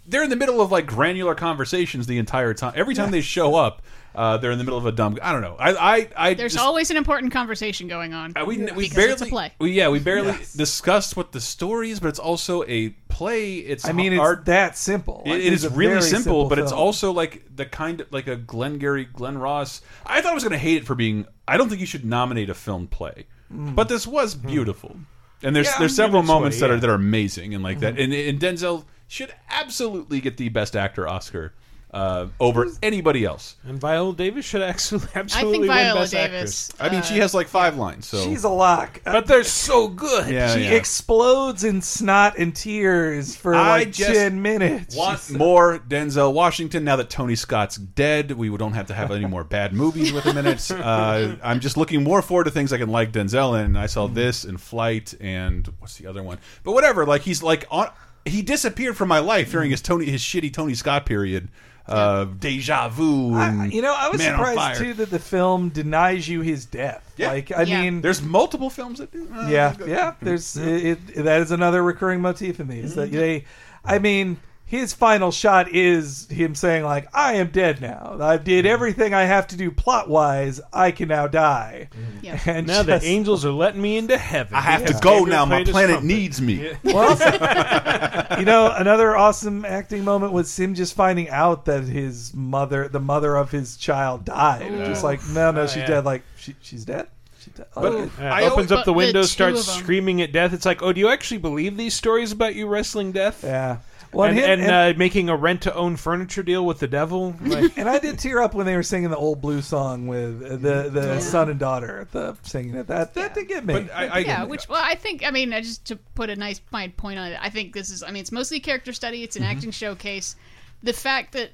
they're in the middle of like granular conversations the entire time. Every time they show up, uh, they're in the middle of a dumb. I don't know. I, I, I there's just, always an important conversation going on. uh, we we because barely it's a play. We, yeah, we barely discussed what the story is, but it's also a play. It's I mean, it's art. that simple. Like, It- it it's is a really very simple, but it's film. also like the kind of like a Glengarry Glen Ross. I thought I was going to hate it for being. I don't think you should nominate a film play, but this was beautiful. And there's Mm. Hmm. Yeah, there's in several its way, moments that yeah. Mm-hmm. are that are amazing and like that. And, and Denzel should absolutely get the Best Actor Oscar uh, over anybody else. And Viola Davis should actually [LAUGHS] absolutely win Viola Best Davis, Actress. I mean, she has like five lines. So She's a lock. Uh, But they're so good. Yeah, she yeah. explodes in snot and tears for I like just 10 minutes. want more Denzel Washington now that Tony Scott's dead. We don't have to have any more bad movies with him in [LAUGHS] it. Uh, I'm just looking more forward to things I can like Denzel in. I saw this and Flight and what's the other one? But whatever. Like he's like on. He disappeared from my life during his Tony his shitty Tony Scott period. Uh, deja vu. And You know, I was Man on surprised Fire. too that the film denies you his death. Like, I Yeah. mean, There's multiple films that do. Uh, yeah, [LAUGHS] yeah. There's it, it, that is another recurring motif in these Mm-hmm. that they, I mean, his final shot is him saying like, "I am dead now. I did Mm-hmm. everything I have to do plot wise. I can now die." Mm-hmm. [LAUGHS] Yeah. And Now the just- angels are letting me into heaven. I have Yeah. to go Gabriel now. My played his planet trumpet. needs me. [LAUGHS] you know, another awesome acting moment was him just finding out that his mother, the mother of his child, died. Ooh. Just like, no, no, Oh, she's yeah. dead. Like, she, she's dead. She's dead. But- Okay. Yeah, I opens always- up the but the window, two starts of 'em. screaming at death. It's like, oh, do you actually believe these stories about you wrestling death? yeah. Well, and and, him- and, and- uh, making a rent to own furniture deal with the [LAUGHS] devil. Like, and I did tear up when they were singing the old blue song with uh, the the son and daughter, the singing it. That that did get me. But I, I, yeah, which well, I think I mean, I just to put a nice fine point on it, I think this is. I mean, it's mostly character study. It's an Mm-hmm. acting showcase. The fact that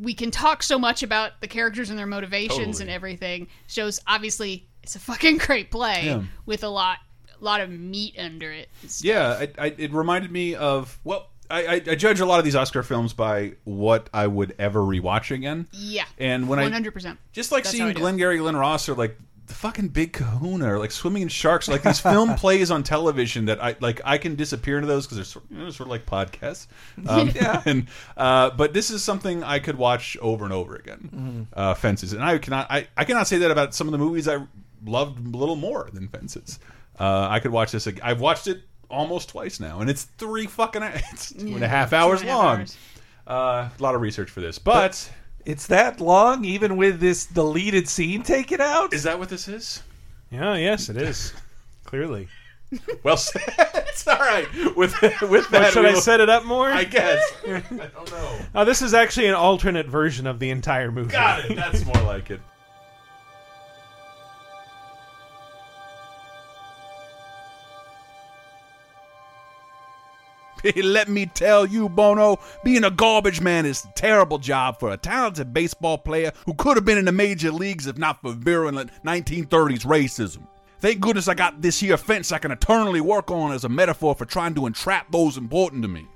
we can talk so much about the characters and their motivations and everything shows obviously it's a fucking great play Yeah. with a lot, lot of meat under it. It's- Yeah, I, I, it reminded me of well, I, I, I judge a lot of these Oscar films by what I would ever rewatch again. yeah, And when I- one hundred percent, Just like That's how I seeing do it. Glengarry Glen Ross or like the fucking Big Kahuna or like Swimming in Sharks, like these [LAUGHS] film plays on television that I like. I can disappear into those because they're sort, you know, sort of like podcasts. Um, [LAUGHS] And uh, but this is something I could watch over and over Mm-hmm. again. Uh, Fences, and I cannot. I, I cannot say that about some of the movies I loved a little more than Fences. Uh, I could watch this. ag- I've watched it almost twice now, and it's three fucking. [LAUGHS] It's two and a half hours and a half long. hours. Uh, a lot of research for this, but it's that long, even with this deleted scene taken out. is that what this is? yeah, yes, it is. [LAUGHS] Clearly. Well [LAUGHS] said. [LAUGHS] it's all right. With [LAUGHS] with Well, that, should we I will- set it up more? I [LAUGHS] guess. I don't know. Oh, this is actually an alternate version of the entire movie. Got it. That's more like [LAUGHS] it. Let me tell you, Bono, being a garbage man is a terrible job for a talented baseball player who could have been in the major leagues if not for virulent 1930s racism. Thank goodness I got this here fence I can eternally work on as a metaphor for trying to entrap those important to me.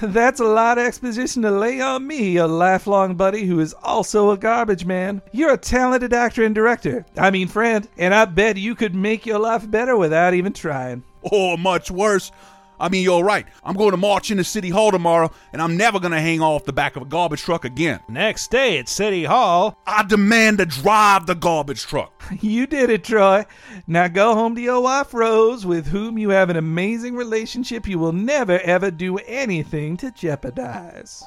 That's a lot of exposition to lay on me, a lifelong buddy who is also a garbage man. You're a talented actor and director. I mean, friend, and I bet you could make your life better without even trying. or much worse. I mean, you're right. I'm going to march into City Hall tomorrow, and I'm never going to hang off the back of a garbage truck again. Next day at City Hall. I demand to drive the garbage truck. [LAUGHS] You did it, Troy. Now go home to your wife, Rose, with whom you have an amazing relationship you will never ever do anything to jeopardize.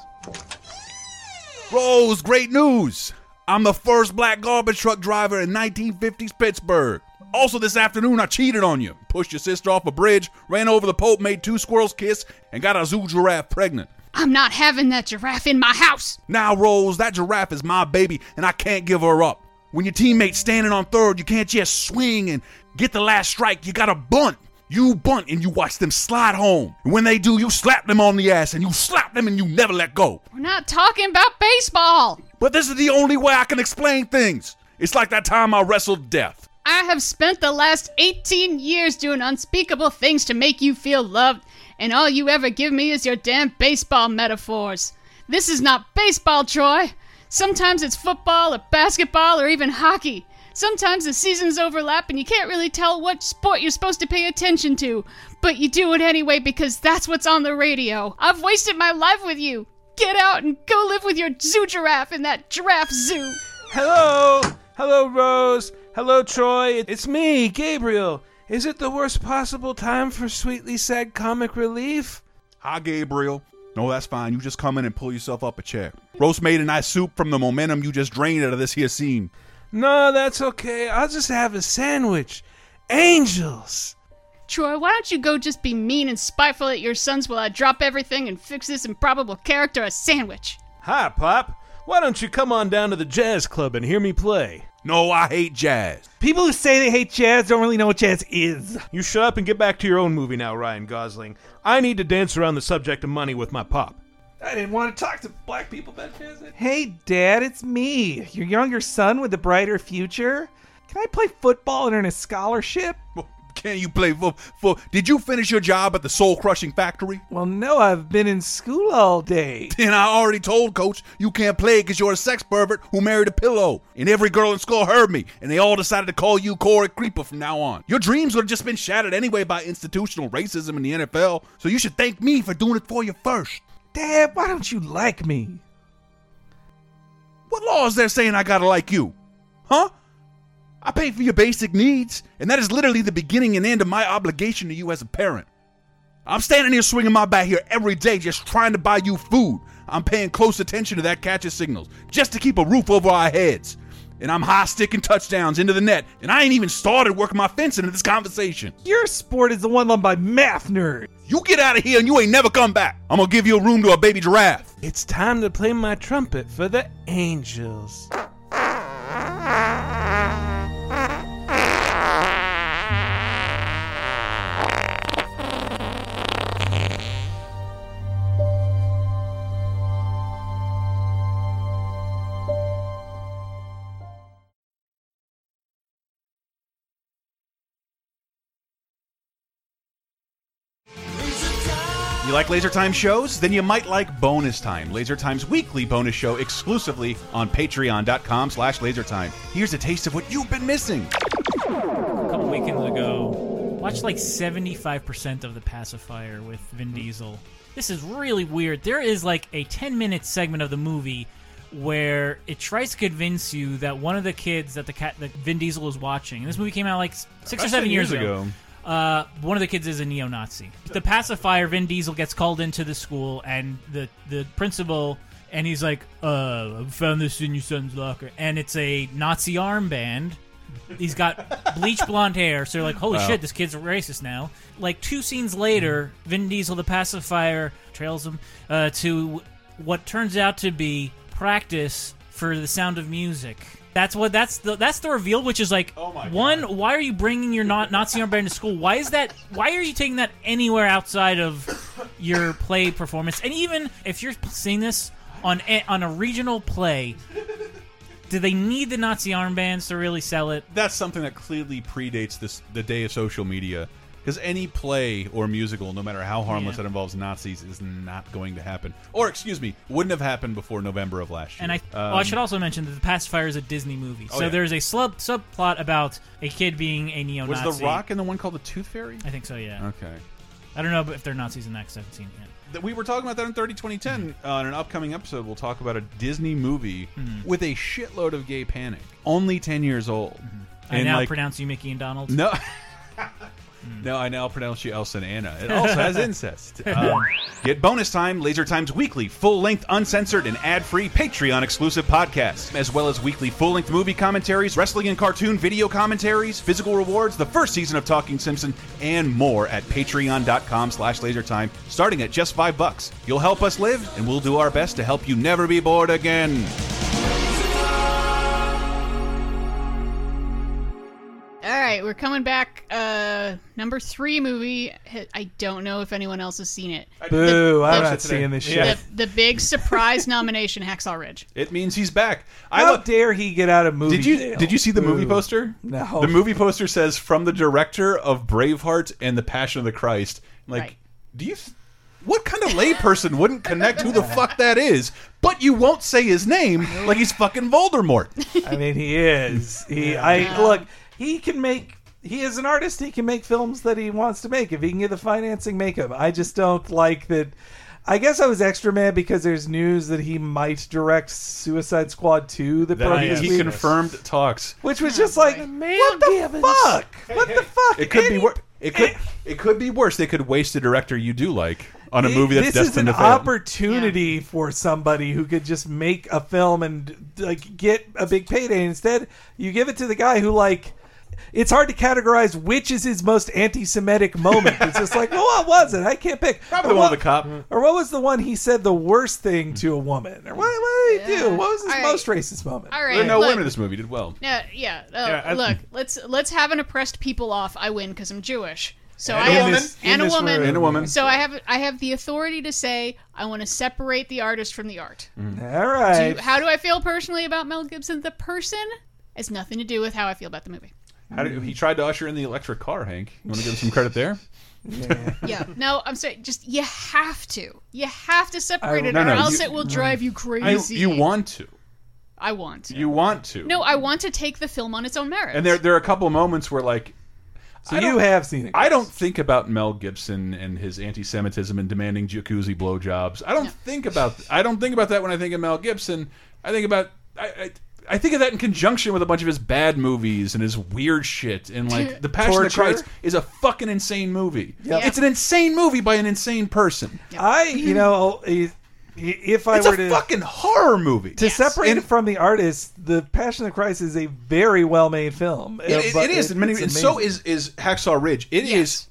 Rose, great news! I'm the first black garbage truck driver in 1950s Pittsburgh. Also, this afternoon, I cheated on you, pushed your sister off a bridge, ran over the Pope, made two squirrels kiss, and got a zoo giraffe pregnant. I'm not having that giraffe in my house. Now, Rose, that giraffe is my baby, and I can't give her up. When your teammate's standing on third, you can't just swing and get the last strike. You gotta bunt. You bunt and you watch them slide home. And when they do, you slap them on the ass and you slap them and you never let go. We're not talking about baseball. But this is the only way I can explain things. It's like that time I wrestled death. I have spent the last 18 years doing unspeakable things to make you feel loved, and all you ever give me is your damn baseball metaphors. This is not baseball, Troy. Sometimes it's football or basketball or even hockey. Sometimes the seasons overlap and you can't really tell what sport you're supposed to pay attention to, but you do it anyway because that's what's on the radio. I've wasted my life with you. Get out and go live with your zoo giraffe in that giraffe zoo. Hello! Hello, Rose! Hello, Troy! It's me, Gabriel! Is it the worst possible time for sweetly sad comic relief? Hi, Gabriel. No, that's fine. You just come in and pull yourself up a chair. Roast made a nice soup from the momentum you just drained out of this here scene. No, that's okay. I'll just have a sandwich. Angels! Troy, why don't you go just be mean and spiteful at your sons while I drop everything and fix this improbable character a sandwich? Hi, Pop. Why don't you come on down to the jazz club and hear me play? No, I hate jazz. People who say they hate jazz don't really know what jazz is. You shut up and get back to your own movie now, Ryan Gosling. I need to dance around the subject of money with my pop. I didn't want to talk to black people about jazz. Hey, Dad, it's me, your younger son with a brighter future. Can I play football and earn a scholarship? Can you play for? for did you finish your job at the soul crushing factory? Well, no, I've been in school all [LAUGHS] day. And I already told Coach you can't play because you're a sex pervert who married a pillow. And every girl in school heard me, and they all decided to call you Corey Creeper from now on. Your dreams would have just been shattered anyway by institutional racism in the NFL, so you should thank me for doing it for you first. Dad, why don't you like me? What law is there saying I gotta like you? Huh? I pay for your basic needs, and that is literally the beginning and end of my obligation to you as a parent. I'm standing here swinging my bat here every day just trying to buy you food. I'm paying close attention to that catcher's signals just to keep a roof over our heads. And I'm high sticking touchdowns into the net, and I ain't even started working my fence into this conversation. Your sport is the one led by math nerds. You get out of here and you ain't never come back. I'm gonna give you a room to a baby giraffe. It's time to play my trumpet for the angels. You like Laser Time shows? Then you might like Bonus Time, Laser Time's weekly bonus show exclusively on patreon.com slash lasertime. Here's a taste of what you've been missing. A couple weekends ago, watched like 75% of The Pacifier with Vin Diesel. This is really weird. There is like a 10 minute segment of the movie where it tries to convince you that one of the kids that the cat that Vin Diesel is watching, and this movie came out like six or About seven 10 years years ago. ago. Uh, one of the kids is a neo-Nazi. The pacifier Vin Diesel gets called into the school, and the the principal and he's like, "Uh, I found this in your son's locker," and it's a Nazi armband. He's got bleach blonde hair, so they're like, "Holy Wow. shit, this kid's a racist now." Like two scenes later, Vin Diesel, the pacifier, trails him uh, to what turns out to be practice for the Sound of Music. That's what that's the that's the reveal, which is like one. Why are you bringing your not Nazi armband to school? Why is that? Why are you taking that anywhere outside of your play performance? And even if you're seeing this on a, on a regional play, do they need the Nazi armbands to really sell it? That's something that clearly predates this the day of social media. Because any play or musical, no matter how harmless Yeah. that involves Nazis, is not going to happen. Or, excuse me, wouldn't have happened before November of last year. Um, And I, well, I should also mention that the pacifier is a Disney movie, Oh, so yeah. there's a sub subplot about a kid being a neo-Nazi. Was The Rock in the one called The Tooth Fairy? I think so. Yeah. Okay. I don't know if they're Nazis in that 'cause I haven't seen it yet. That We were talking about that in 30 2010. Mm-hmm. Uh, in an upcoming episode, we'll talk about a Disney movie Hmm. with a shitload of gay panic. Only 10 years old. Mm-hmm. I And, now like, pronounce Mm-hmm. you Mickey and Donald. [LAUGHS] No. [LAUGHS] No, I now pronounce you Elsa and Anna. It also [LAUGHS] has incest. Um, get bonus time, Laser Time's weekly, full length, uncensored, and ad free Patreon exclusive podcast, as well as weekly full length movie commentaries, wrestling and cartoon video commentaries, physical rewards, the first season of Talking Simpson, and more at patreon.com slash lasertime, starting at just five bucks. You'll help us live, and we'll do our best to help you never be bored again. All right, we're coming back. Uh, number three movie. I don't know if anyone else has seen it. Boo, I'm the- not seeing this shit. Yeah. The big surprise nomination, Hacksaw Ridge. It means he's back. I How dare he get out of movie Did you jail? did you see the movie Boo. poster? No. The movie poster says from the director of Braveheart and The Passion of the Christ. Like, Right. do you? What kind of layperson wouldn't connect who [LAUGHS] the fuck that is? But you won't say his name like he's fucking Voldemort. I mean, [LAUGHS] he is. He, I look. He can make. He is an artist. He can make films that he wants to make. If he can get the financing, make them. I just don't like that. I guess I was extra mad because there's news that he might direct Suicide Squad 2 that, broke That this he, he week, confirmed talks. which was just like, what the fuck? What the fuck? It could be wor- it could it could be worse. They could waste a director you do like on a movie that's this destined to is an fail. opportunity for somebody who could just make a film and like get a big payday. Instead, you give it to the guy who like it's hard to categorize which is his most anti-Semitic [LAUGHS] moment. It's just like, well, what was it? I can't pick. Probably Or the one what- with the cop. Or what was the one he said the worst thing to a woman? Or what, what did he do? What was his All right. most racist moment? All right, There are no look. women in this movie. Did well. No, yeah. Oh, Yeah, I- look, let's let's have an oppressed people off. I win because I'm Jewish. So And I a have, woman. In this- and a in this woman, room. And a woman. So I have I have the authority to say I want to separate the artist from the art. All right. Do, how do I feel personally about Mel Gibson? The person has nothing to do with how I feel about the movie. How did, he tried to usher in the electric car, Hank. You want to give him some credit there? [LAUGHS] Yeah. No, I'm sorry. Just you have to. You have to separate I- it, no, or no, else you- it will drive you crazy. You, you want to. I want. You want to. No, I want to take the film on its own merit. And there, there are a couple of moments where, like, So you have seen it. I don't think about Mel Gibson and his anti-Semitism and demanding jacuzzi blowjobs. I don't think about. I don't think about that when I think of Mel Gibson. I think about. I, I, I think of that in conjunction with a bunch of his bad movies and his weird shit and like the Passion of the Torture. Christ is a fucking insane movie. Yep. It's an insane movie by an insane person. I, you know, i- if I It's were a to fucking horror movie to separate it from the artist, the Passion of the Christ is a very well-made film. Um, Uh, It- it- it is in many. And so is is Hacksaw Ridge. It is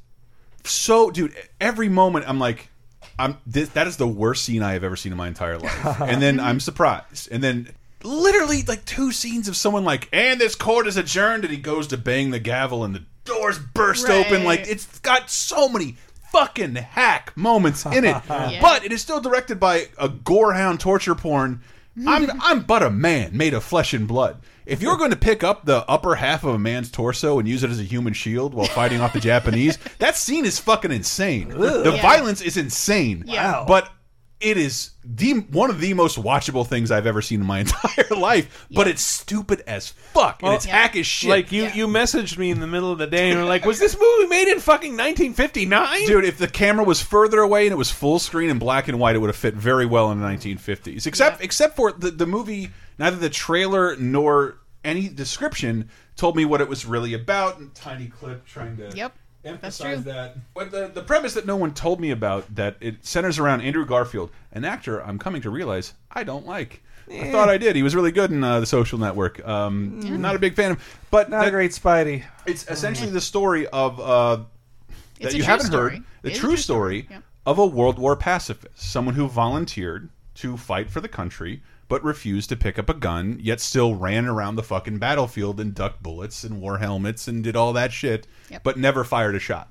so, dude. Every moment, I'm like, I'm this, that is the worst scene I have ever seen in my entire life. and then I'm surprised. And then literally like two scenes of someone like, and this court is adjourned, and he goes to bang the gavel, and the doors burst open. Like Right. it's got so many fucking hack moments in [LAUGHS] it, Yeah. but it is still directed by a gorehound torture porn. I'm I'm but a man made of flesh and blood. If you're going to pick up the upper half of a man's torso and use it as a human shield while fighting [LAUGHS] off the Japanese, that scene is fucking insane. The Yeah. violence is insane. Yeah. Wow. But it is the one of the most watchable things I've ever seen in my [LAUGHS] entire life. But it's stupid as fuck and it's hack as shit. Like you, you messaged me in the middle of the day and were like, "Was this movie made in fucking 1959?" Dude, if the camera was further away and it was full screen and black and white, it would have fit very well in the 1950s. Except except for the, the movie, neither the trailer nor any description told me what it was really about. And tiny clip trying to Yep. emphasize that. But the, the premise that no one told me about that it centers around Andrew Garfield, an actor I'm coming to realize I don't like. I Eh. thought I did. He was really good in uh, the Social Network. Um, Mm. Not a big fan of, but Not a great Spidey. It's essentially the story of uh, It's that a you true haven't story. heard the It is a true, true story, of a World War pacifist, someone who volunteered to fight for the country but refused to pick up a gun, yet still ran around the fucking battlefield and ducked bullets and wore helmets and did all that shit, Yep. but never fired a shot,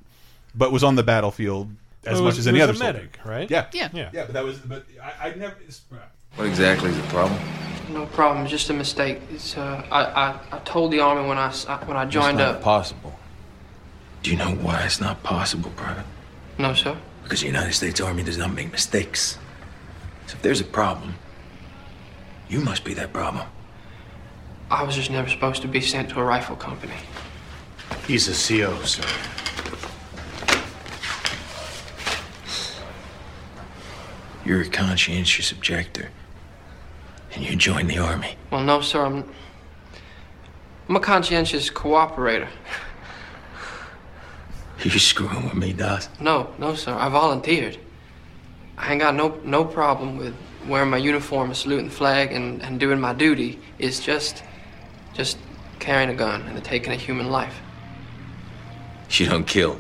but was on the battlefield as It much was- as Oh, it any was other a soldier. medic, right? Yeah. Yeah. yeah, But that was, but I, I never. It's, uh, What exactly is the problem? No problem. Just a mistake. It's uh, I, I I told the army when I s- I- when I joined it's not up. possible. Do you know why it's not possible, Private? No, sir. Because the United States Army does not make mistakes. So if there's a problem, you must be that problem. I was just never supposed to be sent to a rifle company. He's a CO, sir. You're a conscientious objector, and you joined the army. [LAUGHS] Well, no, sir. I'm I'm a conscientious cooperator. You screwing with me, Doc? No, no, sir. I volunteered. I ain't got no no problem with wearing my uniform and saluting the flag and, and doing my duty. It's just just carrying a gun and taking a human life. She don't kill.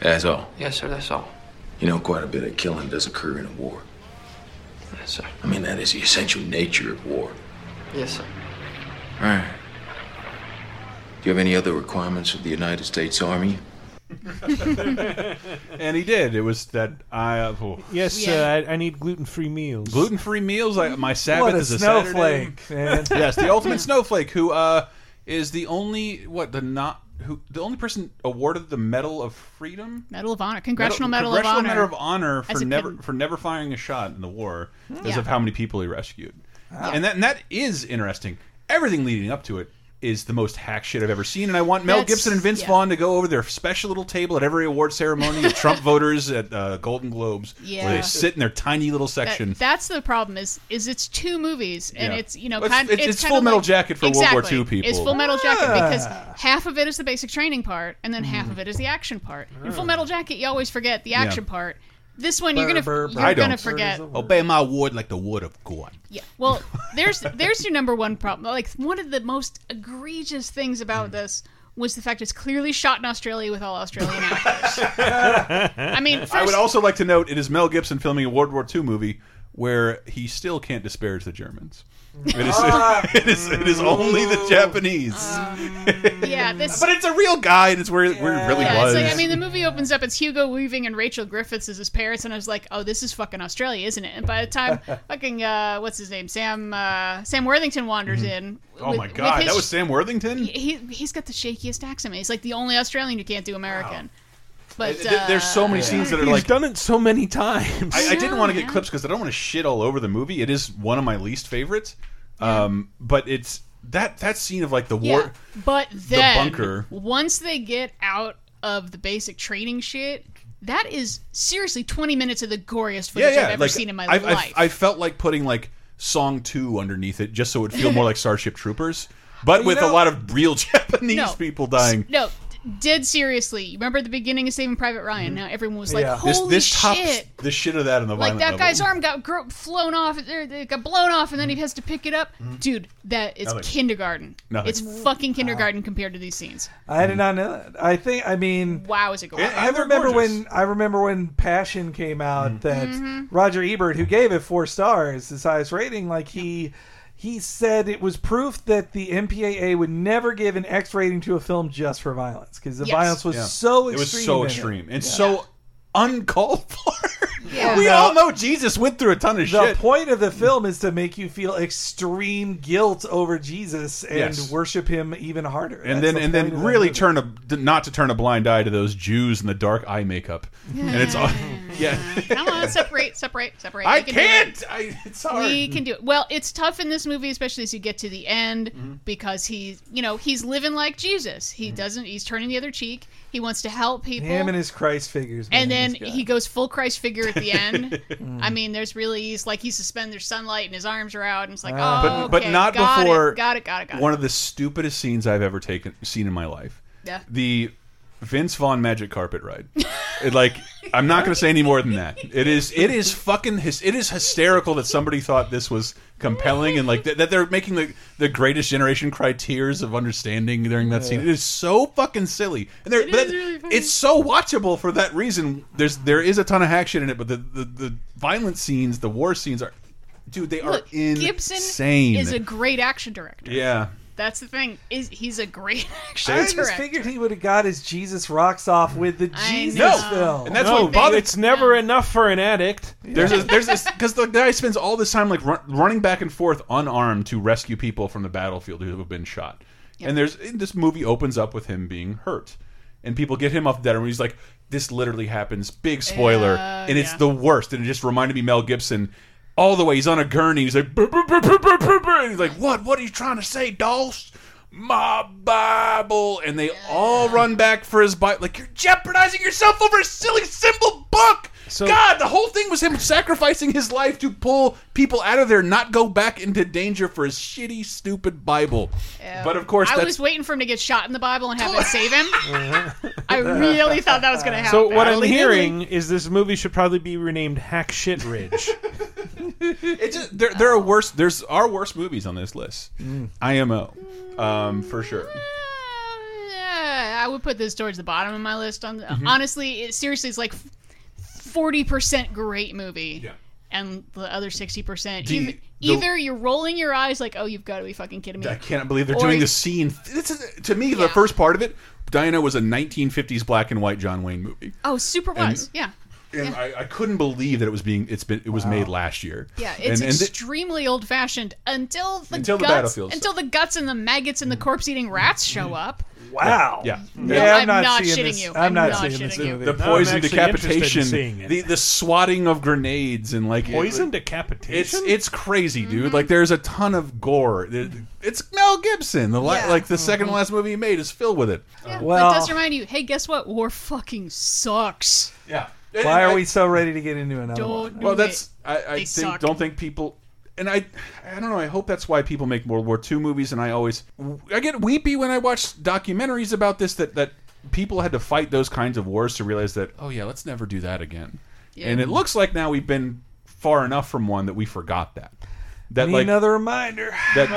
That's all. Yes, sir. That's all. You know, quite a bit of killing does occur in a war. Yes, sir. I mean, that is the essential nature of war. Yes, sir. All right. Do you have any other requirements for the United States Army? and he did. It was that I. oh. Yes, uh, I, I need gluten-free meals. Gluten-free meals. I, my Sabbath a is a snowflake, Saturday. man. [LAUGHS] yes, the ultimate snowflake, who uh, is the only what the not who the only person awarded the Medal of Freedom, Medal of Honor, Congressional Medal, Congressional of Honor, Medal of Honor as for a never pin- for never firing a shot in the war because Yeah. of how many people he rescued, Wow. and that and that is interesting. Everything leading up to it. Is the most hack shit I've ever seen, and I want Mel That's- Gibson and Vince yeah. Vaughn to go over their special little table at every award ceremony of [LAUGHS] Trump voters at uh, Golden Globes, where Yeah. they sit in their tiny little That- section. that's the problem. Is is it's two movies and Yeah. it's you know Well, it's- kind it's- it's kind Full of Metal like- Jacket for World War Exactly. II people. It's Full Metal Jacket Ah. because half of it is the basic training part and then half of it is the action part. In Ah. Full Metal Jacket, you always forget the Yeah. action part. This one you're gonna you're I gonna don't. forget. Obey my word like the word of God. Yeah. [LAUGHS] Well, there's there's your number one problem. Like one of the most egregious things about this was the fact it's clearly shot in Australia with all [LAUGHS] Australian actors. I mean, first, I would also like to note it is Mel Gibson filming a World War II movie where he still can't disparage the Germans. It is, [LAUGHS] it is, it is only the Japanese. yeah, this. Um, but it's a real guy, and it's where, it- where it really Uh, yeah, was. it's like I mean, the movie opens up. It's Hugo Weaving and Rachel Griffiths as his parents, and I was like, "Oh, this is fucking Australia, isn't it?" And by [LAUGHS] the time fucking uh, what's his name, Sam uh, Sam Worthington wanders in. oh with- my with god, his- that was Sam Worthington. He he's got the shakiest accent. He's like the only Australian who can't do American. But Th- th- uh, There's so many scenes that are He's like done it so many times. I, I didn't want to get clips because I don't want to shit all over the movie. It is one of my least favorites. Um, but it's that that scene of like the war. yeah. But then bunker. once they get out of the basic training shit, that is seriously 20 minutes of the goriest Yeah, footage yeah. I've ever like, seen in my I, I- life. I felt like putting like song two underneath it just so it would feel more like Starship Troopers, but You with a know- lot of real [LAUGHS] Japanese No. people dying. No, d- dead seriously. You remember at the beginning of Saving Private Ryan? Mm-hmm. Now everyone was like, this "Holy this tops shit!" the shit of that on the Like violent that level. guy's arm got gro- flown off, er, it got blown off, and then Mm-hmm. he has to pick it up. Dude, that it's Nothing. kindergarten. Nothing. It's fucking kindergarten compared to these scenes. I did not know that. I think. I mean, Wow, is it I, gorgeous? I remember when I remember when Passion came out Mm-hmm. that Mhm. Roger Ebert, who gave it four stars, his highest rating, like he he said it was proof that the MPAA would never give an X rating to a film just for violence because the Yes. violence was Yeah. so It extreme. was so in extreme. it. It's so uncalled for. Yeah. [LAUGHS] we No. all know Jesus went through a ton of the shit. Mm. point of the film is to make you feel extreme guilt over Jesus and Yes. worship him even harder. and then That's the and point of then that really turn a d- not to turn a blind eye to those Jews and the dark eye makeup. And it's all yeah. [LAUGHS] Come [LAUGHS] on, separate, separate, separate. I We can do it. can't. I, it's hard. We can do it. Well, it's tough in this movie, especially as you get to the end, Mm-hmm. because he's, you know, he's living like Jesus. He doesn't. He's turning the other cheek. He wants to help people. Him and his Christ figures. and man, then this guy. he goes full Christ figure at the [LAUGHS] [LAUGHS] end. Hmm. I mean, there's really he's like he's suspended there's sunlight and his arms are out, and it's like, Ah. oh, But- but okay, not got before It, got it, got it, got One it. of the stupidest scenes I've ever taken seen in my life. Yeah. The Vince Vaughn magic carpet ride. It, like I'm not going to say any more than that. It is it is fucking hys it is hysterical that somebody thought this was compelling and like that, that they're making the the greatest generation cry tears of understanding during that scene. It is so fucking silly. And there, but that- it's so watchable for that reason. There's there is a ton of action in it, but the the, the violent scenes, the war scenes are dude, they Look, are insane. Gibson is a great action director. yeah. That's the thing. Is he's a great [LAUGHS] action I director. just figured he would have got his Jesus rocks off with the Jesus film. and that's what bothers. It's never enough for an addict. There's a, there's this because the guy spends all this time like run, running back and forth unarmed to rescue people from the battlefield who have been shot, and there's this movie opens up with him being hurt, and people get him off the dead, and he's like, "This literally happens." Big spoiler, Uh, and it's yeah. the worst. And it just reminded me Mel Gibson. All the way, he's on a gurney. He's like, "Brr, brr, brr, brr, brr, brr, brr," and he's like, "What? What are you trying to say, Dolls? My Bible?" And they all run back for his Bible. Like you're jeopardizing yourself over a silly simple book. God, the whole thing was him sacrificing his life to pull people out of there, not go back into danger for his shitty, stupid Bible. But of course, I that's was waiting for him to get shot in the Bible and have it [LAUGHS] save him. I really thought that was going to happen. So what I'm hearing is this movie should probably be renamed Hack Shit Ridge. [LAUGHS] it just, there, there are worse. There's are worse movies on this list. IMO, um, for sure. Yeah, Eh, I would put this towards the bottom of my list. On Mm-hmm. Mhm. honestly, it, seriously, it's like forty percent great movie, and the other sixty percent. The- Either, the- either you're rolling your eyes like, "Oh, you've got to be fucking kidding me!" I cannot believe they're Or doing you- the scene. This is, to me, the first part of it. Diana was a 1950s black and white John Wayne movie. Oh, super And- was. Yeah, And Yeah. I, I couldn't believe that it was being it's been it was made last year. yeah. It's and, and thi- extremely old fashioned until the Until the guts, battlefield Mm-hmm. stuff. until the guts and the maggots and the corpse eating rats show up. Wow. Yeah. Hmm. No, Yeah, I'm I'm not not seeing shitting this- you. I'm I'm not not seeing this shitting you. movie. The Now poison I'm actually interested in decapitation, seeing it. the the swatting of grenades and like Poison it- decapitation. It's it's crazy, dude. Mm-hmm. Like there's a ton of gore. There- It's Mel Gibson. The la- like the second to last movie he made is filled with it. Mm-hmm. but it does remind you, hey, guess what? War fucking sucks. Yeah. Why are we so ready to get into another Don't one? do Well, that's I, I They think, suck. don't think people, and I, I don't know. I hope that's why people make World War II movies. And I always, I get weepy when I watch documentaries about this that that people had to fight those kinds of wars to realize that oh yeah, let's never do that again. Yeah. And it looks like now we've been far enough from one that we forgot that. That, Need like- another reminder. That-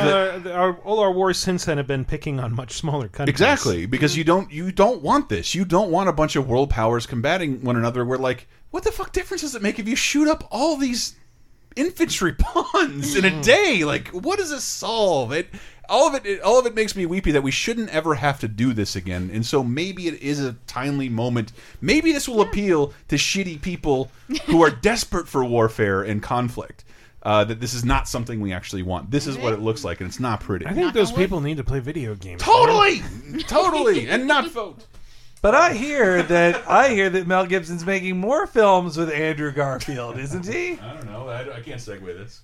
Uh, our, all our wars since then have been picking on much smaller countries. Exactly, because you don't you don't want this. You don't want a bunch of world powers combating one another. Where like, what the fuck difference does it make if you shoot up all these infantry [LAUGHS] pawns in a day? Like, what does this solve? It all of it, it all of it makes me weepy that we shouldn't ever have to do this again. And so maybe it is a timely moment. Maybe this will appeal to shitty people who [LAUGHS] are desperate for warfare and conflict. Uh, that this is not something we actually want. This is what it looks like, and it's not pretty. I think those people need to play video games. Totally, totally, and [LAUGHS] not vote. But I hear that I hear that Mel Gibson's making more films with Andrew Garfield, isn't he? I don't know. I, I can't segue this.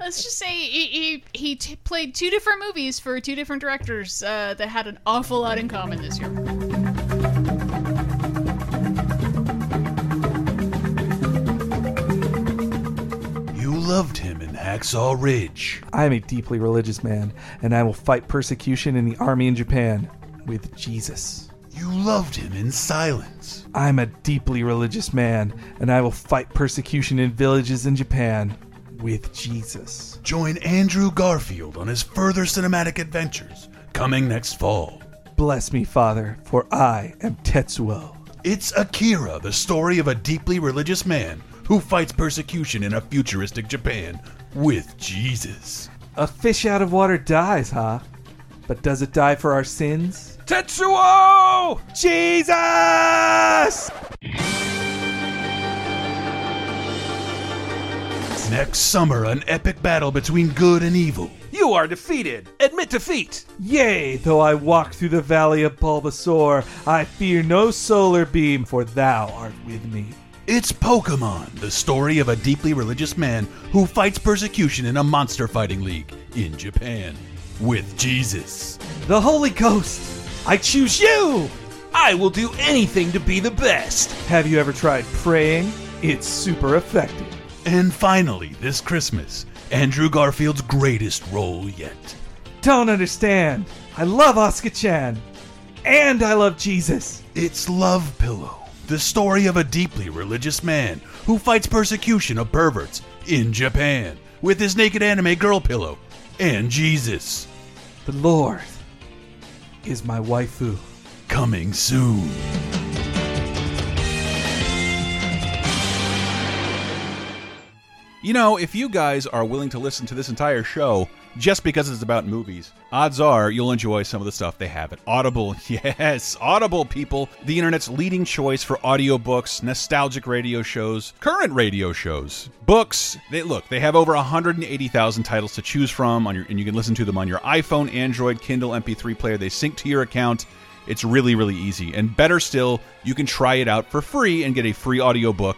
Let's just say he he, he t- played two different movies for two different directors uh, that had an awful lot in common this year. You loved him in Hacksaw Ridge. I am a deeply religious man, and I will fight persecution in the army in Japan with Jesus. You loved him in silence. I'm a deeply religious man, and I will fight persecution in villages in Japan with Jesus. Join Andrew Garfield on his further cinematic adventures coming next fall. Bless me, Father, for I am Tetsuo. It's Akira, the story of a deeply religious man who fights persecution in a futuristic Japan with Jesus. A fish out of water dies, huh? But does it die for our sins? Tetsuo! Jesus! Next summer, an epic battle between good and evil. You are defeated. Admit defeat. Yea, though I walk through the valley of Bulbasaur, I fear no solar beam, for thou art with me. It's Pokemon, the story of a deeply religious man who fights persecution in a monster fighting league in Japan with Jesus. The Holy Ghost! I choose you! I will do anything to be the best. Have you ever tried praying? It's super effective. And finally, this Christmas, Andrew Garfield's greatest role yet. Don't understand. I love Oscar Chan. And I love Jesus. It's Love Pillow, the story of a deeply religious man who fights persecution of perverts in Japan with his naked anime girl pillow and Jesus. The Lord is my waifu. Coming soon. You know, if you guys are willing to listen to this entire show just because it's about movies, odds are you'll enjoy some of the stuff they have at Audible. [LAUGHS] Yes, Audible, people. The internet's leading choice for audiobooks, nostalgic radio shows, current radio shows, books. They look, they have over 180,000 titles to choose from on your and you can listen to them on your iPhone, Android, Kindle, MP3 player. They sync to your account. It's really, really easy. And better still, you can try it out for free and get a free audiobook.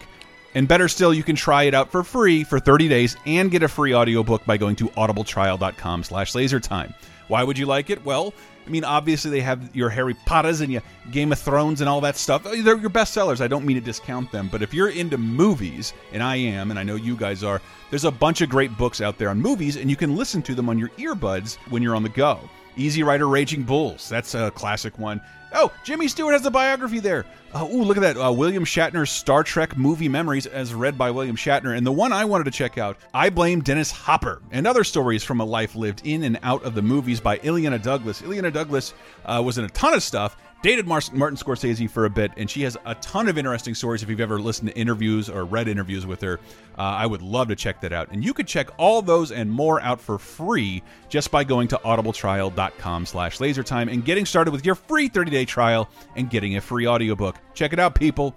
And better still, you can try it out for free for 30 days and get a free audiobook by going to audibletrial.com slash lasertime. Why would you like it? Well, I mean, obviously they have your Harry Potters and your Game of Thrones and all that stuff. Oh, They're your bestsellers. I don't mean to discount them, but if you're into movies, and I am, and I know you guys are, there's a bunch of great books out there on movies, and you can listen to them on your earbuds when you're on the go. Easy Rider Raging Bulls, that's a classic one. Oh, Jimmy Stewart has a biography there. Uh, ooh, look at that. Uh, William Shatner's Star Trek movie memories as read by William Shatner. And the one I wanted to check out, I Blame Dennis Hopper, and other stories from a life lived in and out of the movies by Ileana Douglas. Ileana Douglas uh, was in a ton of stuff, dated Mar- Martin Scorsese for a bit, and she has a ton of interesting stories. If you've ever listened to interviews or read interviews with her, uh, I would love to check that out. And you could check all those and more out for free just by going to audibletrial.com/lasertime and getting started with your free 30-day trial and getting a free audiobook. Check it out, people.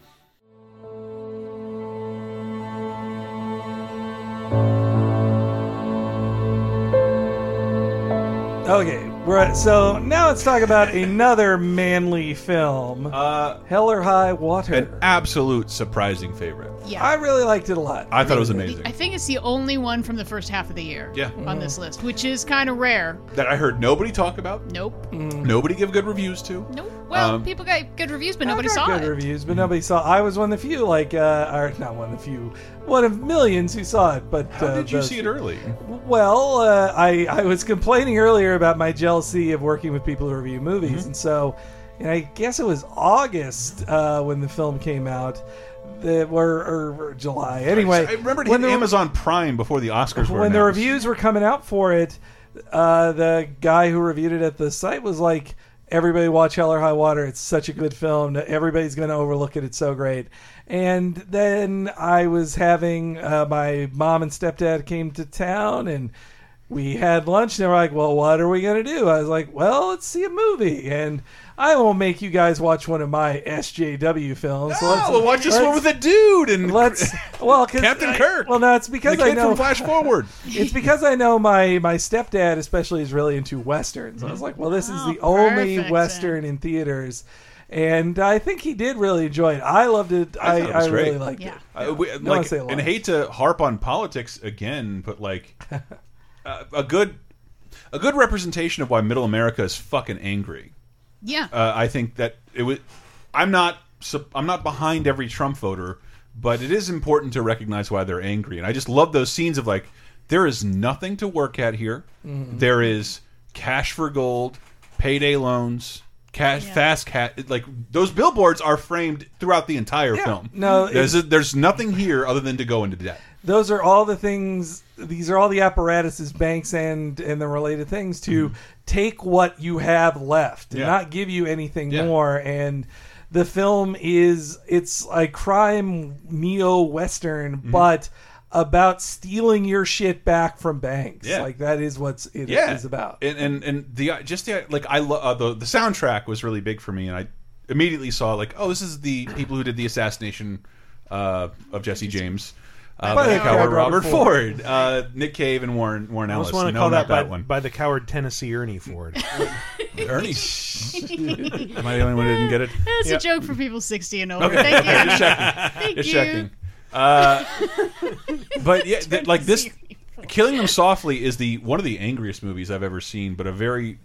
Okay, we're at, so now let's talk about another manly film uh, Hell or High Water. An absolute surprising favorite. Yeah. I really liked it a lot. I thought it was amazing. I think it's the only one from the first half of the year Yeah. on this list, which is kind of rare. That I heard nobody talk about, Nope. Mm. nobody give good reviews to. Nope. Well, Um, people got good reviews, but I nobody got saw good it. reviews, but nobody saw. I was one of the few, like, uh, or not one of the few, one of millions who saw it. But How uh, did you those- see it early? Well, uh, I I was complaining earlier about my jealousy of working with people who review Mm-hmm. movies, and so, and I guess it was August uh, when the film came out. that were or, or July. Anyway, I remember it when hit the- Amazon Prime before the Oscars were when the announced. reviews were coming out for it, uh, the guy who reviewed it at the site was like, "Everybody watch Hell or High Water. It's such a good film. Everybody's going to overlook it. It's so great." And then I was having uh, my mom and stepdad came to town and. We had lunch and they were like, Well, what are we going to do? I was like, Well, let's see a movie. And I won't make you guys watch one of my SJW films. so let's, we'll watch this let's- one with a dude and [LAUGHS] let's well 'cause Captain I- Kirk. Well, no, it's because The I kid know from Flash Forward. it's because I know my my stepdad especially is really into westerns. I was like, well, this is the only western in theaters, and I think he did really enjoy it. I loved it. I, thought it I, was really great. liked it. Uh, we- No, I like, say a lot. and hate to harp on politics again, but [LAUGHS] like uh, a good a good representation of why middle America is fucking angry. Yeah. Uh, [LAUGHS] I think that it was. I'm not. sup- I'm not behind every Trump voter, but it is important to recognize why they're angry. And I just love those scenes of like, there is nothing to work at here. Mhm. There is cash for gold, payday loans, cash fast cash. Like those billboards are framed throughout the entire film. No, there's a, there's nothing here other than to go into debt. Those are all the things. These are all the apparatuses, banks, and and the related things Mm-hmm. to take what you have left and Yeah. not give you anything more. And the film is it's a crime neo western, Mm-hmm. but about stealing your shit back from banks. Yeah. Like that is what's it is yeah. about. And and and the uh, just the like I lo- uh, the the soundtrack was really big for me, and I immediately saw like, oh, this is the people who did the assassination uh, of Jesse James. Uh, By by the the coward coward Robert Robert Ford. Ford, uh, Nick Cave, and Warren Warren I Ellis. almost want to no, call not that, that by, one. by the coward Tennessee Ernie [LAUGHS] Ford. Ernie. Am I the only one who didn't get it? That's Yeah. a joke for people 60 and over. Okay. [LAUGHS] Thank you. Just checking. Thank Just you. [LAUGHS] checking. Uh, but yeah, th- like this, killing them softly is the one of the angriest movies I've ever seen, but a very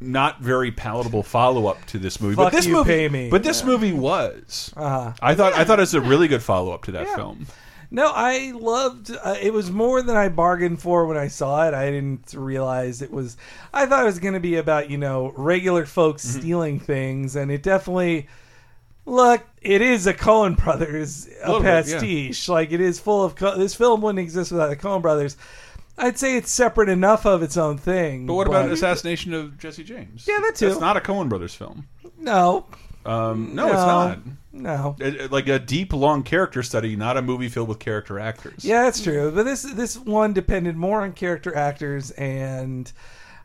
not very palatable follow up to this movie. Fuck but this you, movie, pay me. but this movie was. Uh-huh. I thought I thought it was a really good follow up to that Yeah. film. No, I loved. Uh, it was more than I bargained for when I saw it. I didn't realize it was. I thought it was going to be about you know regular folks Mm-hmm. stealing things, and it definitely. Look, it is a Coen Brothers A a little bit, yeah. pastiche. Like it is full of Co- this film wouldn't exist without the Coen Brothers. I'd say it's separate enough of its own thing. But what about an assassination of Jesse James? Yeah, that too. That's not a Coen Brothers film. No, Um, no, No. it's not. No. It- it- like a deep, long character study, not a movie filled with character actors. Yeah, that's true. But this this one depended more on character actors and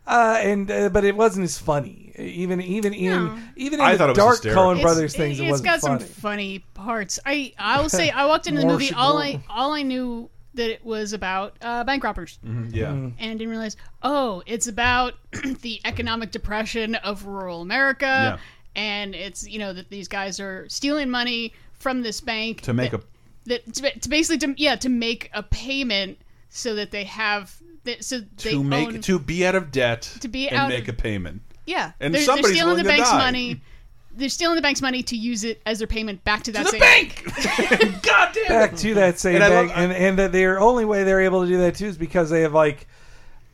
uh, and uh, but it wasn't as funny. Even even in even in I thought the it was dark hysterical. Coen It's- Brothers It's- things, it, it's wasn't got funny. some funny parts. I I will say I walked into the More movie should all go. I all I knew that it was about uh, bank robbers. Mhm, yeah. Mm-hmm. Mhm. and didn't realize oh it's about [CLEARS THROAT] the economic depression of rural America, Yeah. and it's you know that these guys are stealing money from this bank To make a that to, ba- to basically to, yeah to make a payment so that they have that so they to make own, to be out of debt To be and out make of- a payment. yeah and they're, somebody's they're stealing willing the to bank's die. money. They're stealing the bank's money to use it as their payment back to that the same bank. Back to [LAUGHS] that same And I thing, love- and and that their only way they're able to do that too is because they have like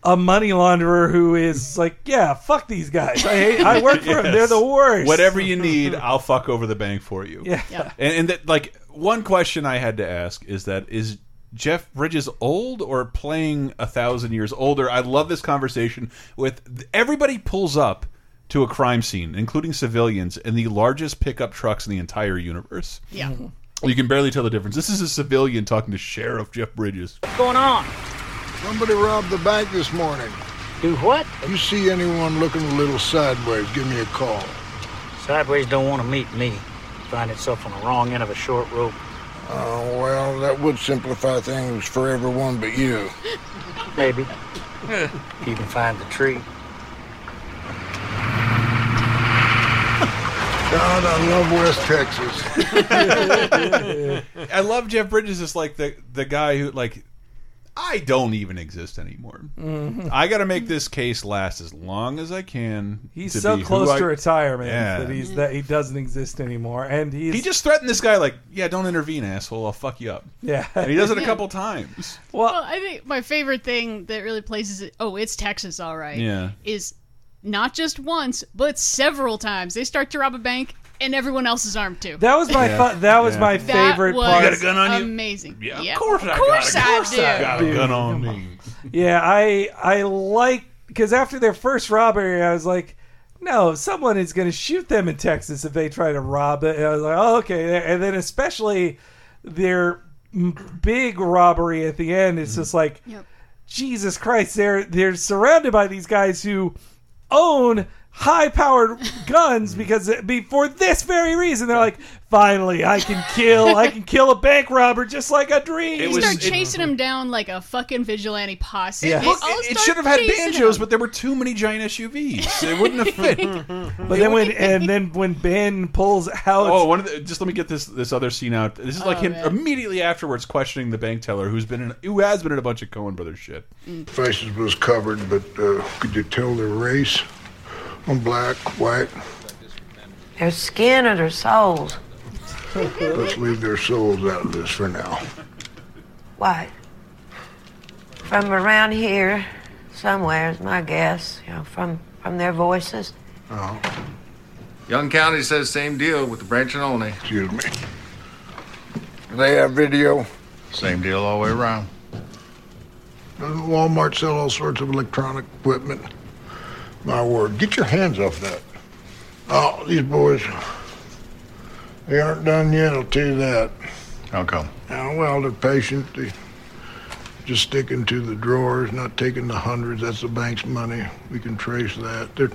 a money launderer [LAUGHS] who is like, yeah, fuck these guys. I hate, I work for them. They're Yes. the worst. Whatever you need, I'll fuck over the bank for you. Yeah. Yeah. And, and that, like, one question I had to ask is that is Jeff Bridges old or playing a thousand years older? I love this conversation with everybody pulls up to a crime scene, including civilians, in the largest pickup trucks in the entire universe. Yeah. You can barely tell the difference. This is a civilian talking to Sheriff Jeff Bridges. What's going on? Somebody robbed the bank this morning. Do what? If you see anyone looking a little sideways, give me a call. Sideways don't want to meet me. Find itself on the wrong end of a short rope. Oh, well, that would simplify things for everyone but you. [LAUGHS] Maybe. mm-hmm. if you can find the tree. God, I love West Texas. [LAUGHS] I love Jeff Bridges as like the the guy who like I don't even exist anymore. Mhm. I got to make this case last as long as I can. He's to so be who close I- to retirement Yeah. that he's that he doesn't exist anymore, and he's he just threatened this guy like, "Yeah, don't intervene, asshole. I'll fuck you up." Yeah. and he does it a couple times. Well, I think my favorite thing that really places it. Oh, it's Texas, all right. Yeah. Is not just once, but several times they start to rob a bank and everyone else is armed too. That was my fu- that was my favorite was part. Amazing. Yeah, of course, of course I, do. got a gun on me. Yeah, I I like because after their first robbery, I was like, no, someone is going to shoot them in Texas if they try to rob it. And I was like, oh, okay. And then especially their m- big robbery at the end, it's just like, Jesus Christ, they're they're surrounded by these guys who own high powered guns because it- be- for this very reason they're like finally I can kill I can kill a bank robber just like I dreamed. You start chasing them down like a fucking vigilante posse. It, They look, all it- it start should have had chasing banjos, him. but there were too many giant SUVs. It wouldn't [LAUGHS] have fit. Hmm. But then when and then when Ben pulls out Oh, one of the, just let me get this this other scene out. This is like Oh, him man. immediately afterwards questioning the bank teller who's been in who has been in a bunch of Cohen brothers shit. Mm. Faces was covered, but uh, could you tell their race? I'm black, white. Their skin or their souls? [LAUGHS] Let's leave their souls out of this for now. Why? From around here, somewhere is my guess. You know, from from their voices. Uh-huh. Young County says same deal with the branch and only. Excuse me. They have video. Same deal all the way around. Doesn't Walmart sell all sorts of electronic equipment? My word, get your hands off that. Oh, these boys, they aren't done yet, I'll tell you that. How come? Now, well, they're patient. They just sticking to the drawers, not taking the hundreds. That's the bank's money. We can trace that. They're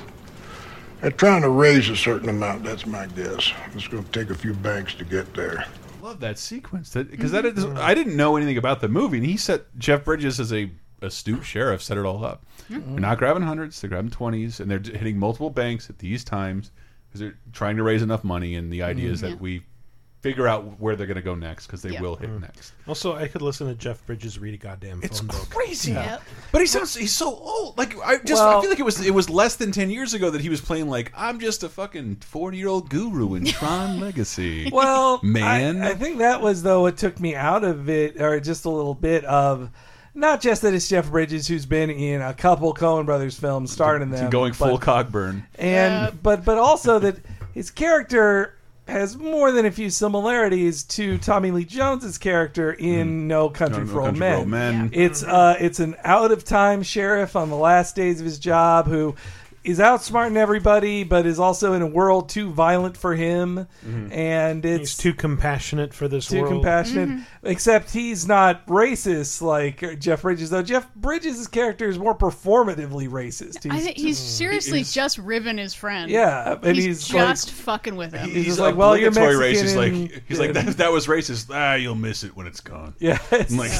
they're trying to raise a certain amount. That's my guess. It's going to take a few banks to get there. Love that sequence because that is, Mm-hmm. I didn't know anything about the movie, and he set Jeff Bridges as a astute sheriff set it all up. Hmm. Mhm. They're not grabbing hundreds; they're grabbing twenties, and they're hitting multiple banks at these times because they're trying to raise enough money. And the idea is Mhm. Mm-hmm. that Yeah. we figure out where they're going to go next because they will Mm-hmm. hit next. Also, I could listen to Jeff Bridges read a goddamn phone book. Crazy, Yeah. but he sounds he's so old. Like I just I Well- feel like it was it was less than ten years ago that he was playing like I'm just a fucking forty year old guru [LAUGHS] in Tron [LAUGHS] Legacy. Well, man, I, I think that was though what took me out of it, or just a little bit of. Not just that it's Jeff Bridges who's been in a couple Coen Brothers films, starring them, going but- full Cogburn. and but but also that his character has more than a few similarities to Tommy Lee Jones's character in No Country Mm-hmm. No- No for Country for Old Men. Old Men. Yeah. It's uh it's an out of time sheriff on the last days of his job who is outsmarting everybody but is also in a world too violent for him Mm-hmm. Mhm. and it's too compassionate for this too world. compassionate Mhm. Mm-hmm. except [LAUGHS] he's not racist like Jeff Bridges though Jeff Bridges' character is more performatively racist I think he's Mm. seriously just ribbing his friend. Yeah, and he's, he's like- just fucking with him. He's just like, well, you're obligatory Mexican racist. and- Like he's like that, that was racist. Ah, you'll miss it when it's [LAUGHS] gone. Yeah, I'm like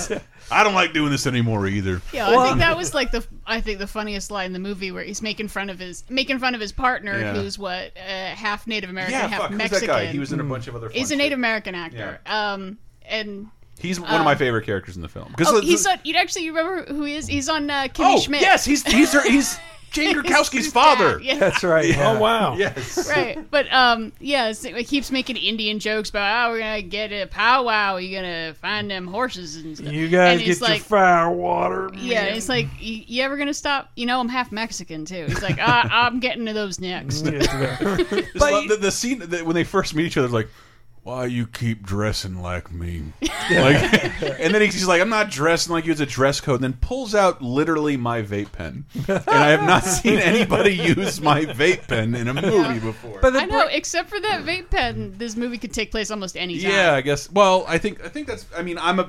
I don't like doing this anymore either. Yeah, I [LAUGHS] think that was like the I think the funniest line in the movie where he's making fun of his making fun of his partner Yeah. who's what uh, half Native American, Yeah, half fuck, who's that Mexican. guy? He was in a bunch of other He's a fun Native American actor. Um, and um, He's one of my favorite characters in the film. Oh, the- he's on. You actually you remember who he is? He's on uh, Kimmy Oh, Schmidt. yes, he's- [LAUGHS] he's her- he's Jane Krakowski's father. [LAUGHS] yeah. That's right. Yeah. yeah. Yes. right. But um, yes, it keeps making Indian jokes about oh, we're gonna get a powwow. You're gonna find them horses and stuff. You guys and get it's your like, fire water. Oh, Yeah, it's like you, you ever gonna stop? You know, I'm half Mexican too. He's [LAUGHS] like, uh, I'm getting to those Just next. [LAUGHS] love the, the scene that when they first meet each other, like, why you keep dressing like me? like, and then he's like, I'm not dressing like you. It's a dress code. And then pulls out literally my vape pen, and I have not seen anybody use my vape pen in a movie before. I know, except for that vape pen, this movie could take place almost any time. Yeah, I guess. Well, I think I think that's. I mean, I'm a.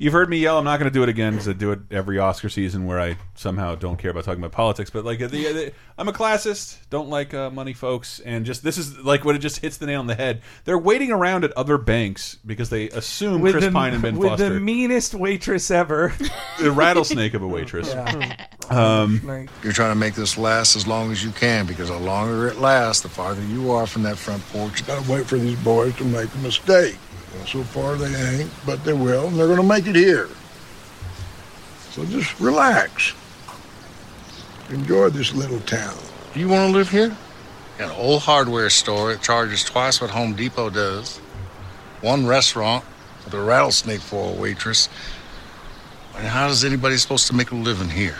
You've heard me yell. I'm not going to do it again because I do it every Oscar season where I somehow don't care about talking about politics. But like, the, the, I'm a classist. Don't like uh, money, folks. And just this is like what it just hits the nail on the head. They're waiting around at other banks because they assume Chris the, Pine and Ben [LAUGHS] with Foster, the meanest waitress [LAUGHS] ever. [LAUGHS] the rattlesnake of a [LAUGHS] waitress. Yeah. Um, You're trying to make this last as long as you can because the longer it lasts, the farther you are from that front porch. Gotta wait for these boys to make a mistake. So far they ain't, but they will, and they're going to make it here. So just relax. Enjoy this little town. Do you want to live here? An old hardware store that charges twice what Home Depot does. One restaurant with a rattlesnake for a waitress. And how is anybody supposed to make a living here?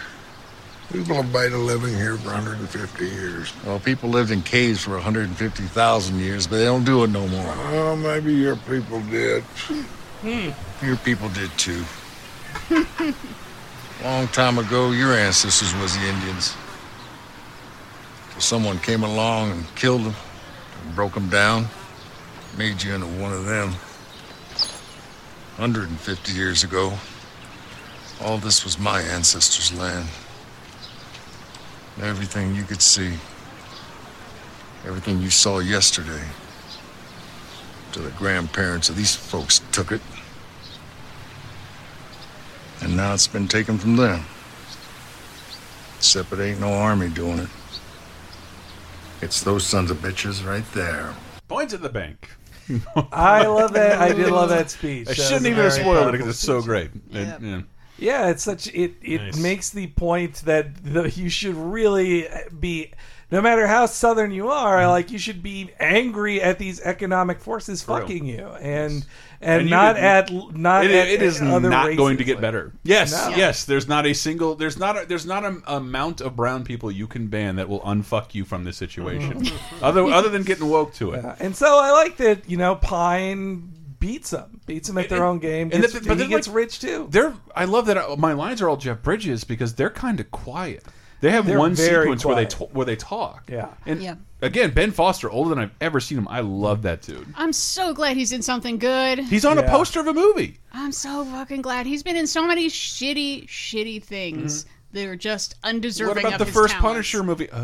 People have made a living here for 150 years. Well, people lived in caves for 150,000 years, but they don't do it no more. Well, maybe your people did. Hmm. [LAUGHS] Your people did too. Long time ago, your ancestors was the Indians. Till someone came along and killed them, and broke them down, made you into one of them. 150 years ago, all this was my ancestors' land. Everything you could see, everything you saw yesterday, till the grandparents of these folks took it. And now it's been taken from them. Except it ain't no army doing it. It's those sons of bitches right there. Points at the bank. I love that. I did [LAUGHS] love that speech. I That shouldn't was a even have very spoiled it powerful because it's so speech. great. Yep. It- yeah. Yeah, it's such it it makes the point that the, you should really be no matter how southern you are, Mm-hmm. like you should be angry at these economic forces For real. fucking you and and, And you not didn't- at not it, at it is other not races. going to get better. Yes, No. yes. There's not a single. There's not. A, there's not an amount of brown people you can ban that will unfuck you from this situation. other other than getting woke to it. Mm-hmm. Yeah, And so I like that, you know, Pine beats them. Beats them at their own game. And gets- that- but and he they're gets like- rich too. They're. I love that uh, my lines are all Jeff Bridges because they're kind of quiet. They have They're one very sequence where they quiet. t- where they talk. Yeah. And Yeah. again, Ben Foster, older than I've ever seen him. I love that dude. I'm so glad he's in something good. He's on a poster of a movie. I'm so fucking glad he's been in so many shitty, shitty things that are just Mm-hmm. undeserving. what about of the his first talent. Punisher movie? Oh,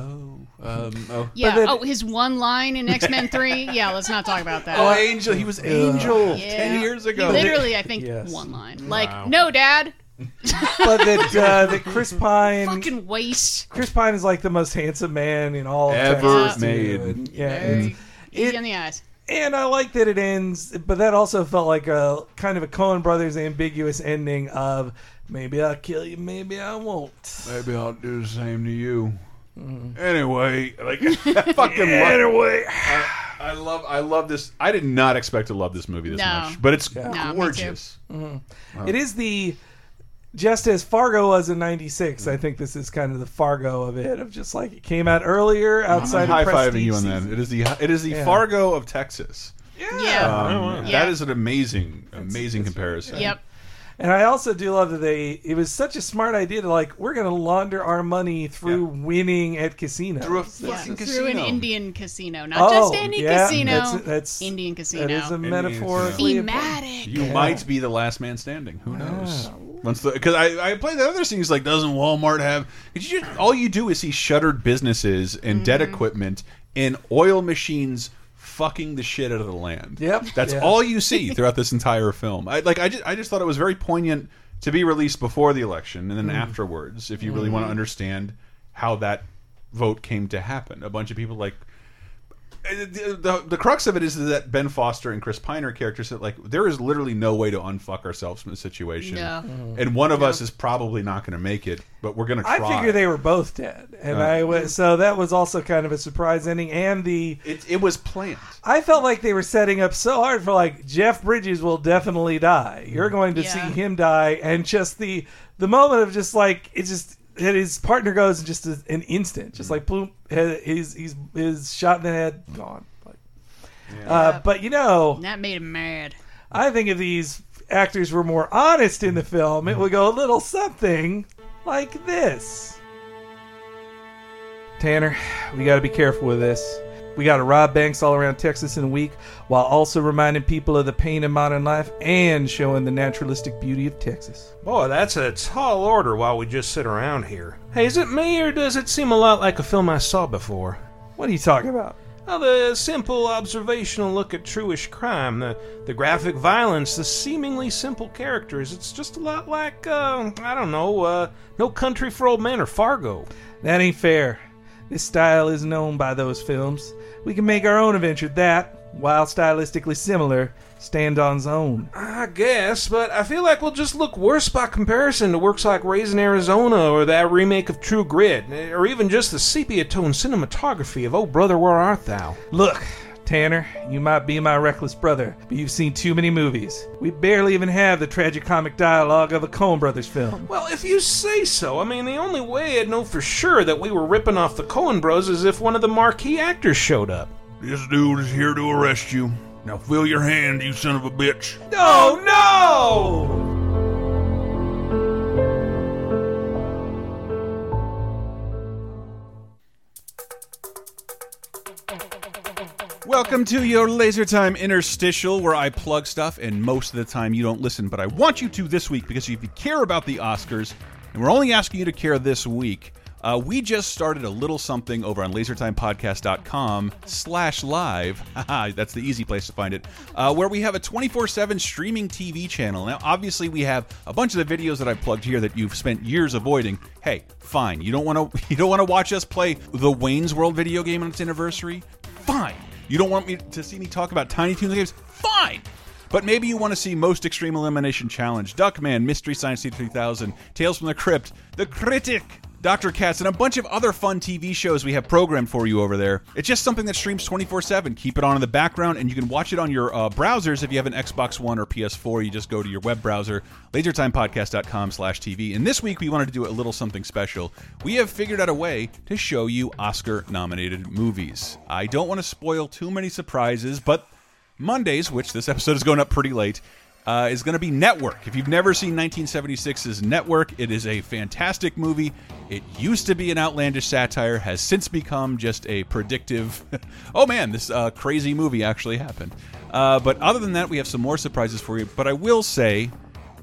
um, oh. Yeah. oh, his one line in X [LAUGHS] Men Three. Yeah, let's not talk about that. Oh, Angel. He was Angel Yeah. ten years ago. He literally, I think Yes. one line. Like, Wow. no, Dad. but [LAUGHS] that uh, that Chris Pine fucking waste. Chris Pine is like the most handsome man in all of Ever Texas, made. dude. And, yeah, Very and- Easy on the eyes. and I like that it ends, but that also felt like a kind of a Coen Brothers ambiguous ending of maybe I'll kill you, maybe I won't. Maybe I'll do the same to you. Anyway, like [LAUGHS] fucking Yeah, anyway. I, I love I love this. I did not expect to love this movie this No. much, but it's Yeah. No, me too. gorgeous. Mhm. Wow. It is the just as Fargo was in '96. Mm-hmm. I think this is kind of the Fargo of it, of just like it came out earlier outside. high of fiving prestige you on season. that. It is the it is the Yeah. Fargo of Texas. Yeah. Um, Oh, wow. that Yeah. is an amazing amazing comparison. And I also do love that they. It was such a smart idea to like we're going to launder our money through winning at casinos. Through a Yeah, Through an Indian casino, not Oh, just any yeah, casino. that's- that's- Indian casino. that is a Indian metaphor. casino. Thematic. You Yeah. might be the last man standing. Who knows? Once the because I I played the other thing. He's like, doesn't Walmart have? 'cause you just- all you do is see shuttered businesses and dead equipment and oil machines fucking the shit out of the land. Yep. That's Yeah. all you see throughout this entire film. I like I just I just thought it was very poignant to be released before the election and then Mm-hmm. Mm. afterwards if you really want to Mhm. understand how that vote came to happen. A bunch of people like the, the, the crux of it is that Ben Foster and Chris Pine are characters that like there is literally no way to unfuck ourselves from the situation, No. Mhm. and one of us is probably not going to make it, but we're going to try. I figure they were both dead, and Uh, I was so that was also kind of a surprise ending. And the it, it was planned. I felt like they were setting up so hard for like Jeff Bridges will definitely die. You're going to Yeah. see him die, and just the the moment of just like it just that his partner goes in just an instant, just like boom, he's he's he's shot in the head, gone. Like, uh, but you know, that made him mad. I think if these actors were more honest in the film, it would go a little something like this. Tanner, we got to be careful with this. We got to rob banks all around Texas in a week while also reminding people of the pain of modern life and showing the naturalistic beauty of Texas. Boy, that's a tall order while we just sit around here. Hey, is it me or does it seem a lot like a film I saw before? What are you talking about? Well, the simple observational look at truish crime, the, the graphic violence, the seemingly simple characters. It's just a lot like, uh, I don't know, uh, No Country for Old Men or Fargo. That ain't fair. This style is known by those films. We can make our own adventure that, while stylistically similar, stand on its own. I guess, but I feel like we'll just look worse by comparison to works like Raising Arizona or that remake of True Grit, or even just the sepia tone cinematography of Oh Brother, Where Art Thou? Look, Tanner, you might be my reckless brother, but you've seen too many movies. We barely even have the tragicomic dialogue of a Coen Brothers film. Well, if you say so, I mean, the only way I'd know for sure that we were ripping off the Coen Bros is if one of the marquee actors showed up. This dude is here to arrest you. Now feel your hand, you son of a bitch. No, no! Welcome to your Laser Time interstitial, where I plug stuff, and most of the time you don't listen, but I want you to this week because if you care about the Oscars, and we're only asking you to care this week, uh, we just started a little something over on lasertimepodcast.com slash live. [LAUGHS] Haha, That's the easy place to find it, uh, where we have a 24 7 streaming TV channel. Now, obviously, we have a bunch of the videos that I plugged here that you've spent years avoiding. Hey, fine. You don't want to [LAUGHS] you don't want to watch us play the Wayne's World video game on its anniversary? Fine. You don't want me to see me talk about Tiny Toons games? Fine. But maybe you want to see Most Extreme Elimination Challenge, Duckman, Mystery Science Theater 3000, Tales from the Crypt, The Critic, Dr. Katz, and a bunch of other fun TV shows we have programmed for you over there. It's just something that streams 24 7. Keep it on in the background, and you can watch it on your uh, browsers if you have an Xbox One or PS4. You just go to your web browser, lasertimepodcast.com slash TV. And this week, we wanted to do a little something special. We have figured out a way to show you Oscar nominated movies. I don't want to spoil too many surprises, but Mondays, which this episode is going up pretty late, uh, is going to be Network. If you've never seen 1976's Network, it is a fantastic movie. It used to be an outlandish satire, has since become just a predictive. [LAUGHS] oh man, this uh, crazy movie actually happened. Uh, but other than that, we have some more surprises for you. But I will say,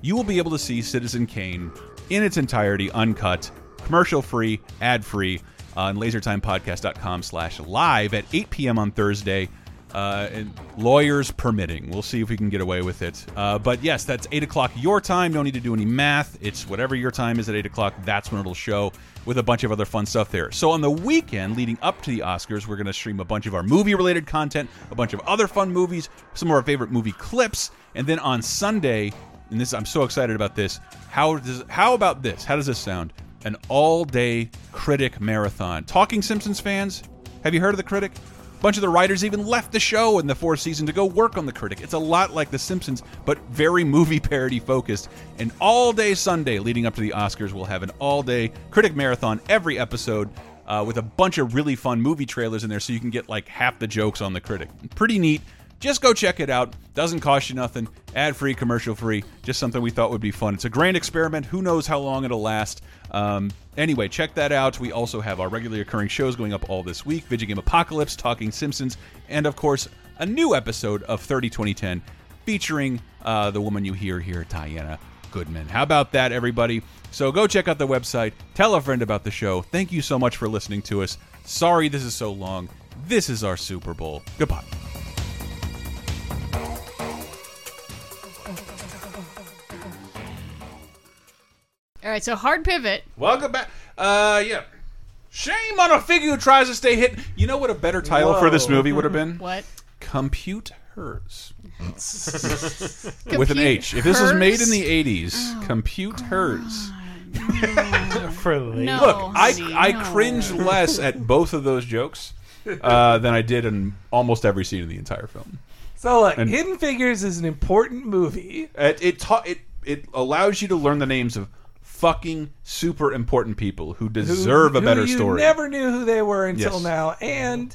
you will be able to see Citizen Kane in its entirety, uncut, commercial free, ad free, on lasertimepodcast.com slash live at 8 p.m. on Thursday. Uh, and lawyers permitting. We'll see if we can get away with it. Uh, but yes, that's 8 o'clock your time. No need to do any math. It's whatever your time is at 8 o'clock. That's when it'll show with a bunch of other fun stuff there. So on the weekend leading up to the Oscars, we're going to stream a bunch of our movie related content, a bunch of other fun movies, some of our favorite movie clips. And then on Sunday, and this I'm so excited about this. How does how about this? How does this sound? An all-day critic marathon. Talking Simpsons fans, have you heard of the critic? A bunch of the writers even left the show in the fourth season to go work on the critic. It's a lot like The Simpsons, but very movie parody focused. And all day Sunday leading up to the Oscars, we'll have an all-day critic marathon every episode. Uh, with a bunch of really fun movie trailers in there, so you can get like half the jokes on the critic. Pretty neat. Just go check it out. Doesn't cost you nothing. Ad free, commercial free. Just something we thought would be fun. It's a grand experiment. Who knows how long it'll last? Um, anyway, check that out. We also have our regularly occurring shows going up all this week Video Game Apocalypse, Talking Simpsons, and of course, a new episode of 30 2010 featuring uh, the woman you hear here, Diana Goodman. How about that, everybody? So go check out the website. Tell a friend about the show. Thank you so much for listening to us. Sorry this is so long. This is our Super Bowl. Goodbye. All right, so hard pivot. Welcome back. Uh, yeah. Shame on a figure who tries to stay hidden. You know what a better title for this movie would have [LAUGHS] [LAUGHS] been? What? Compute Hers. With an H. If this was made in the 80s, Compute Hers. [LAUGHS] For later. Look, I, I cringe less at both of those jokes uh, than I did in almost every scene in the entire film. So look, And- Hidden Figures is an important movie. It it, ta- it it allows you to learn the names of fucking super important people who who- deserve a who better you story. Never knew who they were until Yes. now, and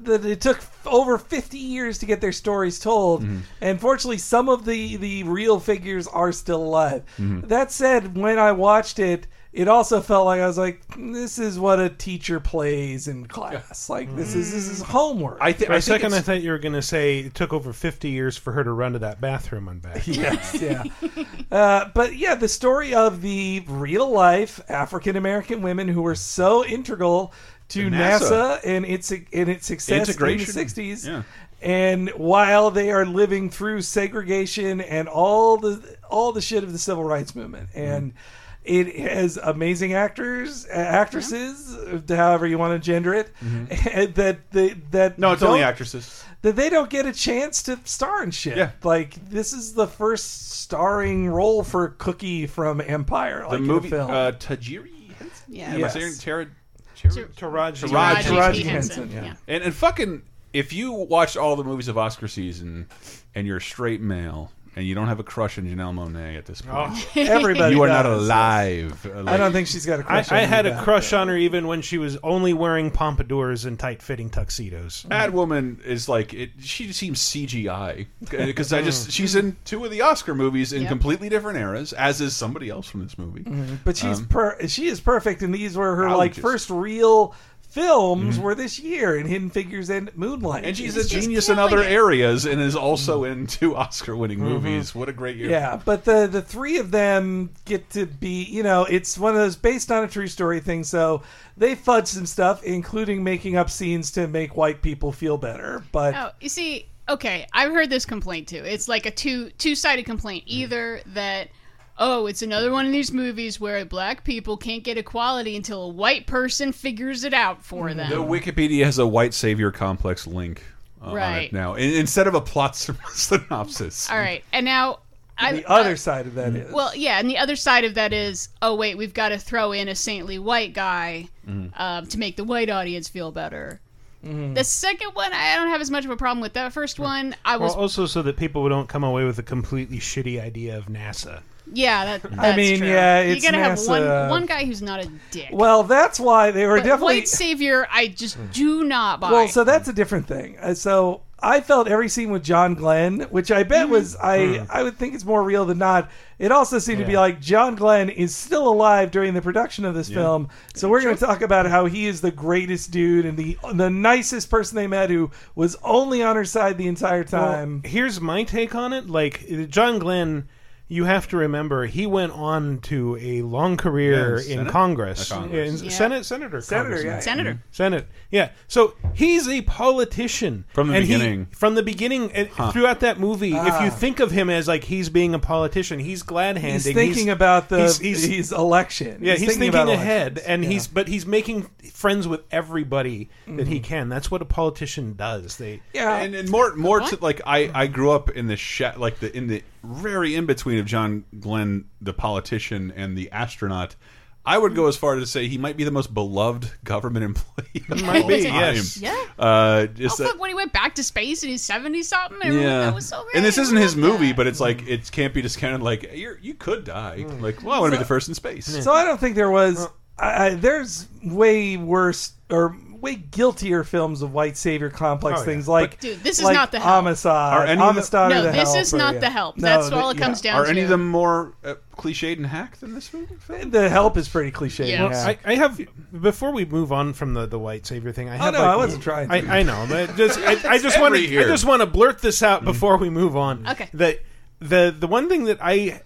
that it took f- over 50 years to get their stories told. Mhm. And fortunately, some of the the real figures are still alive. Mm-hmm. Mhm. That said, when I watched it. It also felt like I was like, this is what a teacher plays in class. Like this is this is homework. Mm. I, For a second, I thought you were going to say it took over 50 years for her to run to that bathroom on [LAUGHS] back. [LAUGHS] Yes, yeah. Uh, but yeah, the story of the real life African American women who were so integral to To NASA. NASA. and its and its success in the Integration. sixties. Yeah. And while they are living through segregation and all the all the shit of the civil rights movement, and it has amazing actors, uh, actresses, however you want to gender it, [LAUGHS] that they, that no, it's only don't- actresses. that they don't get a chance to star in shit. Yeah. Like this is the first starring role for Cookie from Empire, like the movie in a film. Uh, Tajiri. Yeah. Am I saying Tara? Taraji. Taraji Henson, yeah. And, and fucking if you watch all the movies of Oscar season and you're a straight male and you don't have a crush on Janelle Monet at this point, Oh, [LAUGHS] everybody you are not does. alive. Like- I, I had a crush on her even when she was only wearing pompadours and tight-fitting tuxedos. That woman is like it, she seems [LAUGHS] CGI because I just she's in two of the Oscar movies in Yep. completely different eras, as is somebody else from this movie. Mm-hmm. Mhm. But she's Um, per- she is perfect, and these were her like Outrageous. first real films were this year in Hidden Figures and Moonlight. Mm-hmm. and she's a genius in other areas and is also in two Oscar-winning movies. What a great year! Mm-hmm. Yeah, but the the three of them get to be, you know, it's one of those based on a true story thing. So they fudge some stuff, including making up scenes to make white people feel better. But Oh, you see, okay, I've heard this complaint too. It's like a two two sided complaint. Hmm. Either that oh, it's another one of these movies where black people can't get equality until a white person figures it out for Hmm. them. The Wikipedia has a white savior complex link uh, on Right. it now, in, instead of a plot [LAUGHS] synopsis. Mm-hmm. All right, and now I the other side of that is well, yeah, and the other side of that is oh wait, we've got to throw in a saintly white guy Mm. Mhm. um, to make the white audience feel better. Mm-hmm. Mm. The second one, I don't have as much of a problem with. That first one, I was Well, also so that people don't come away with a completely shitty idea of NASA. yeah. That, that's I mean, true. yeah, you it's uh, gotta have one NASA. one guy who's not a dick. well, that's why they were But definitely white savior, I just Mm. do not buy. [LAUGHS] Well, so that's a different thing. Uh, So I felt every scene with John Glenn, which I Mm-hmm. bet was I Mm. I would think it's more real than not. It also seemed to be like John Glenn is still alive during the production of this film. So we're going to talk about how he is the greatest dude and the the nicest person they met who was only on her side the entire time. Well, here's my take on it. Like John Glenn, you have to remember he went on to a long career Yeah, in Senate- Congress, uh, Congress. In Yeah. Senate, senator, Senator, Congressman. yeah. Senator. Mhm. senate. Yeah. So he's a politician From the And he- beginning. from the beginning, and Huh. throughout that movie, if Ah. you think of him as like he's being a politician, he's glad handing. He's thinking about the he's- he's, he's- election. Yeah, he's, thinking, about ahead, elections. and Yeah. he's but he's making friends with everybody that he Mhm. can. That's what a politician does. They Yeah. and, and more more to like I I grew up in the sh like the in the very in between of John Glenn the politician and the astronaut. I would go as far as to say he might be the most beloved government [LAUGHS] employee. Of Might all be, time. yes. Yeah. Uh, just oh, that- fuck, when he went back to space in his 70 something, everyone- yeah. that was so great. and this isn't his movie, but it's like it can't be discounted. Like you're, you could die. Mm. Like well, I want to be the first in space. So I don't think there was. I, I- there's way worse or way guiltier films of white savior complex Oh, yeah. things like But- Dude, this is like not The Help. Amistad, Are any of the- Amistad No, or the this help is or- not yeah. The Help. No, That's all the- it comes down Are to. any of them more uh, cliched and hacked [LAUGHS] than this movie? The help is pretty cliche. Well, I, I have before we move on from the, the white savior thing. I Oh, have no, like- I wasn't trying to. I, I know, but just I, I It's just want every to I year. Mm-hmm. just want to blurt this out before we move on. Okay. That the the one thing that I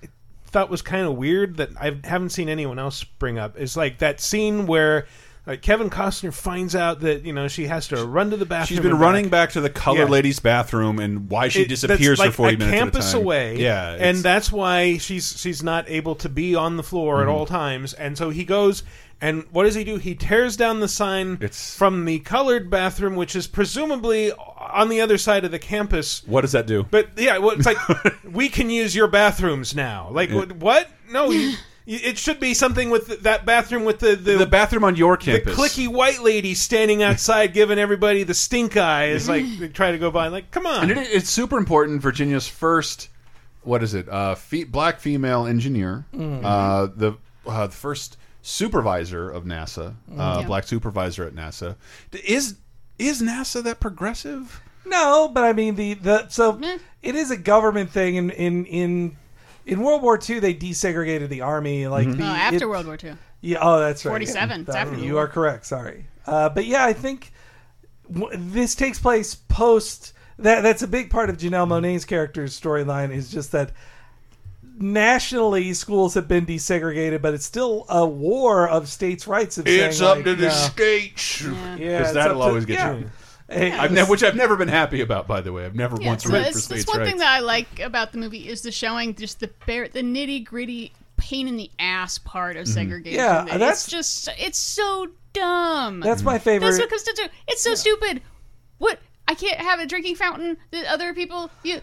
thought was kind of weird that I haven't seen anyone else bring up is like that scene where. Like Kevin Costner finds out that you know she has to run to the bathroom. She's been and running back to the color Yeah. lady's bathroom and why she It- that's disappears like for forty a minutes. Campus at a time. away, yeah, and that's why she's she's not able to be on the floor at Mhm. all times. And so he goes, and what does he do? He tears down the sign from the colored bathroom, which is presumably on the other side of the campus. What does that do? But yeah, well, it's like [LAUGHS] we can use your bathrooms now. Like Yeah. what? what? No, you, you- it should be something with th- that bathroom with the the, the bathroom on your the campus. clicky white lady standing outside giving everybody the stink [LAUGHS] eye is like they try to go by and like come on and it, it's super important. Virginia's first, what is it? Uh, fe black female engineer, Mm. Mhm. uh, the uh, the first supervisor of NASA, Mm, uh, Mhm. black supervisor at NASA. Is is NASA that progressive? No, but I mean the the so it is a government thing. In in in in World War II, they desegregated the army. Like Oh, Mm-hmm. the, after it- World War II. Yeah. Oh, that's right. 47, it's That- after the you war. are correct. Sorry. Uh, but yeah, I think w- this takes place post. That that's a big part of Mm-hmm. Janelle Monet's character's storyline is just that nationally schools have been desegregated, but it's still a war of states' rights. Of It's saying, up like, to the no. states. Yeah, because it's up that'll to- always get yeah. you. Hey, I've ne- which I've never been happy about, by the way. I've never Yeah, once so rooted for that's, states' that's one rights. thing that I like about the movie is the showing just the bare, the nitty gritty pain in the ass part of Mm-hmm. Mhm. segregation. Yeah, That that's- it's just it's so dumb. That's my favorite- That's what comes to do. It's so stupid. What I can't have a drinking fountain that other people you.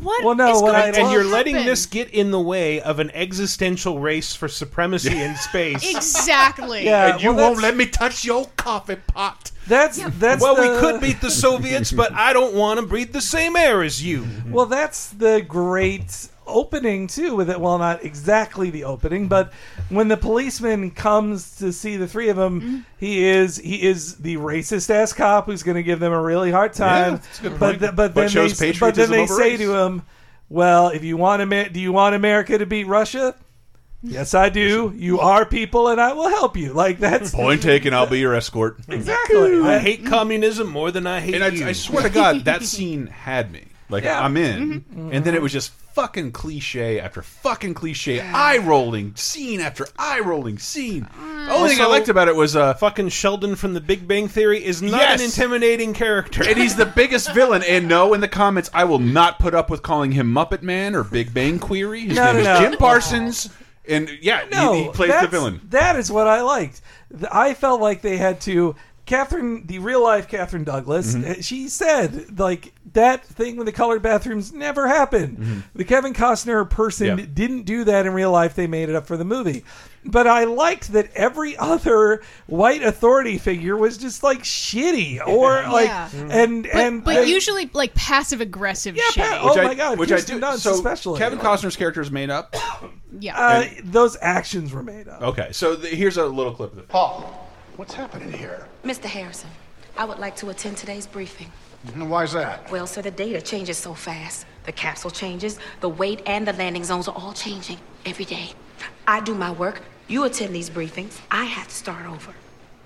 What? Well, no, is what going I- to and you're happen? letting this get in the way of an existential race for supremacy [LAUGHS] in space. Exactly. Yeah, well, that's- let me touch your coffee pot. That's that's well, the- we could beat the Soviets, but I don't want to breathe the same air as you. Mm-hmm. Well, that's the great opening too with it. Well, not exactly the opening, but when the policeman comes to see the three of them, he is he is the racist ass cop who's going to give them a really hard time. Yeah, that's a good But point. th- But but, then shows they, but then patriotism they over say race. to him, "Well, if you want Amer- do you want America to beat Russia?" Yes, I do. You are people, and I will help you. Like that's Point taken. I'll be your escort. Exactly. [LAUGHS] I hate communism more than I hate And you. I, I swear to [LAUGHS] God, that scene had me. Like Yeah. I'm in, Mm-hmm. Mhm. and then it was just fucking cliche after fucking cliche, eye rolling scene after eye rolling scene. Mm. The only thing I Also, liked about it was uh, fucking Sheldon from The Big Bang Theory is not Yes. an intimidating character. and he's the biggest villain. And no, in the comments, I will not put up with calling him Muppet Man or Big Bang Query. His No, name no, is no. Jim Parsons, and yeah, he- no, he, plays the that's- villain. That is what I liked. Th- I felt like they had to. Catherine, the real life Catherine Douglas, Mm-hmm. Mhm. uh, she said like that thing with the colored bathrooms never Mm-hmm. happened. The Kevin Costner person Yeah. didn't do that in real life. They made it up for the movie. But I liked that every other white authority figure was just like [LAUGHS] shitty or like Yeah. Mm-hmm. and But, and but they- usually like passive aggressive shit. oh my god, which Kirsten I do. Dunst so especially. Kevin Costner's character is made [COUGHS] up. yeah. uh, those actions were made up. Okay, so the, here's a little clip of it. Paul, what's happening here? Mr. Harrison, I would like to attend today's briefing. And why's that? Well, sir, the data changes so fast. The capsule changes, the weight and the landing zones are all changing every day. I do my work, you attend these briefings, I have to start over.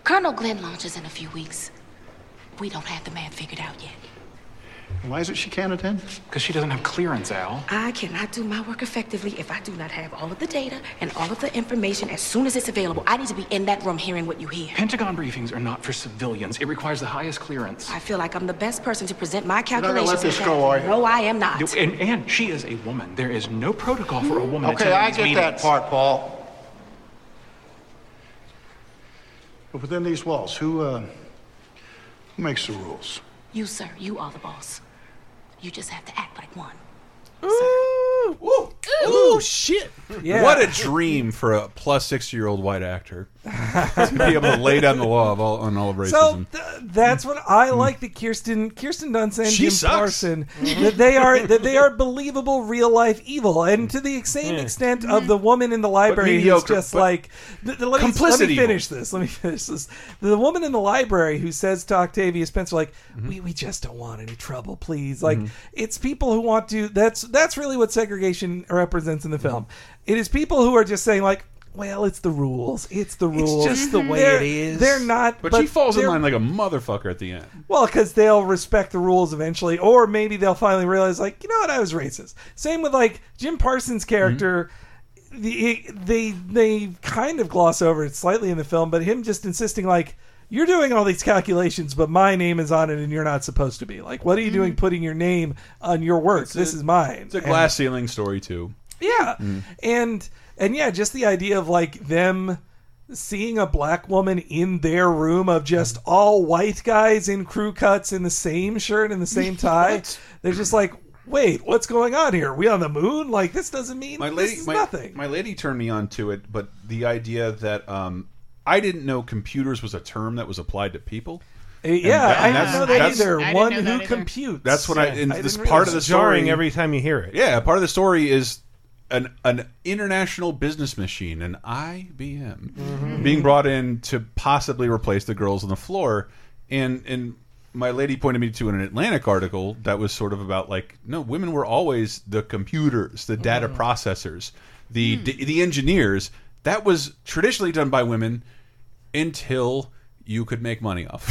Colonel Glenn launches in a few weeks. We don't have the man figured out yet. Why is it she can't attend? Because she doesn't have clearance, Al. I cannot do my work effectively if I do not have all of the data and all of the information as soon as it's available. I need to be in that room hearing what you hear. Pentagon briefings are not for civilians. It requires the highest clearance. I feel like I'm the best person to present my not gonna let calculations. this at go, that. are you? No, I am not. And, and she is a woman. There is no protocol for a woman Okay, attending I these get that meetings. part, Paul. But within these walls, who, uh, who makes the rules? You, sir, you are the boss. You just have to act like one. Ooh, shit! Yeah. What a dream for a plus six year old white actor to be able to lay down the law of all, on all of So racism. th- that's what Mm. I like. The Kirsten Kirsten Dunst and She Jim sucks. Parsons that they are that they are believable real life evil, and to the ex- same Yeah. extent of the woman in the library who's mediocre, just but- like th- th- let, me, let Complicity me evil. finish this. Let me finish this. The woman in the library who says to Octavia Spencer like Mm-hmm. we we just don't want any trouble, please. Like Mhm. it's people who want to. That's that's really what segregation represents in the film. It is people who are just saying like. Well, it's the rules. It's the rules. just the way They're- it is. They're not. Mm-hmm. but, she falls in they're- line like a motherfucker at the end. well, because they'll respect the rules eventually, or maybe they'll finally realize, like, you know what, I was racist. Same with like Jim Parsons' character. Mm-hmm. The, they they kind of gloss over it slightly in the film, but him just insisting like. You're doing all these calculations, but my name is on it, and you're not supposed to be. Like, what are you doing putting your name on your work? this is mine. Mm-hmm. It's a And- glass ceiling story too. yeah. Mm. And and yeah, just the idea of like them seeing a black woman in their room of just all white guys in crew cuts in the same shirt and the same tie. They're just like, "Wait, what's going on here? Are we on the moon? Like this doesn't mean My lady, this is my, nothing." my lady turned me on to it, but the idea that um, I didn't know computers was a term that was applied to people. Eh, And yeah, I didn't that's- know that that's- either. One who computes. That's what I. And this part of the jarring story, every time you hear it. Yeah, part of the story is an an international business machine, an IBM, Mm-hmm. being brought in to possibly replace the girls on the floor, and and my lady pointed me to an Atlantic article that was sort of about like no women were always the computers, the data Mm. processors, the Hmm. the engineers. That was traditionally done by women until you could make money off.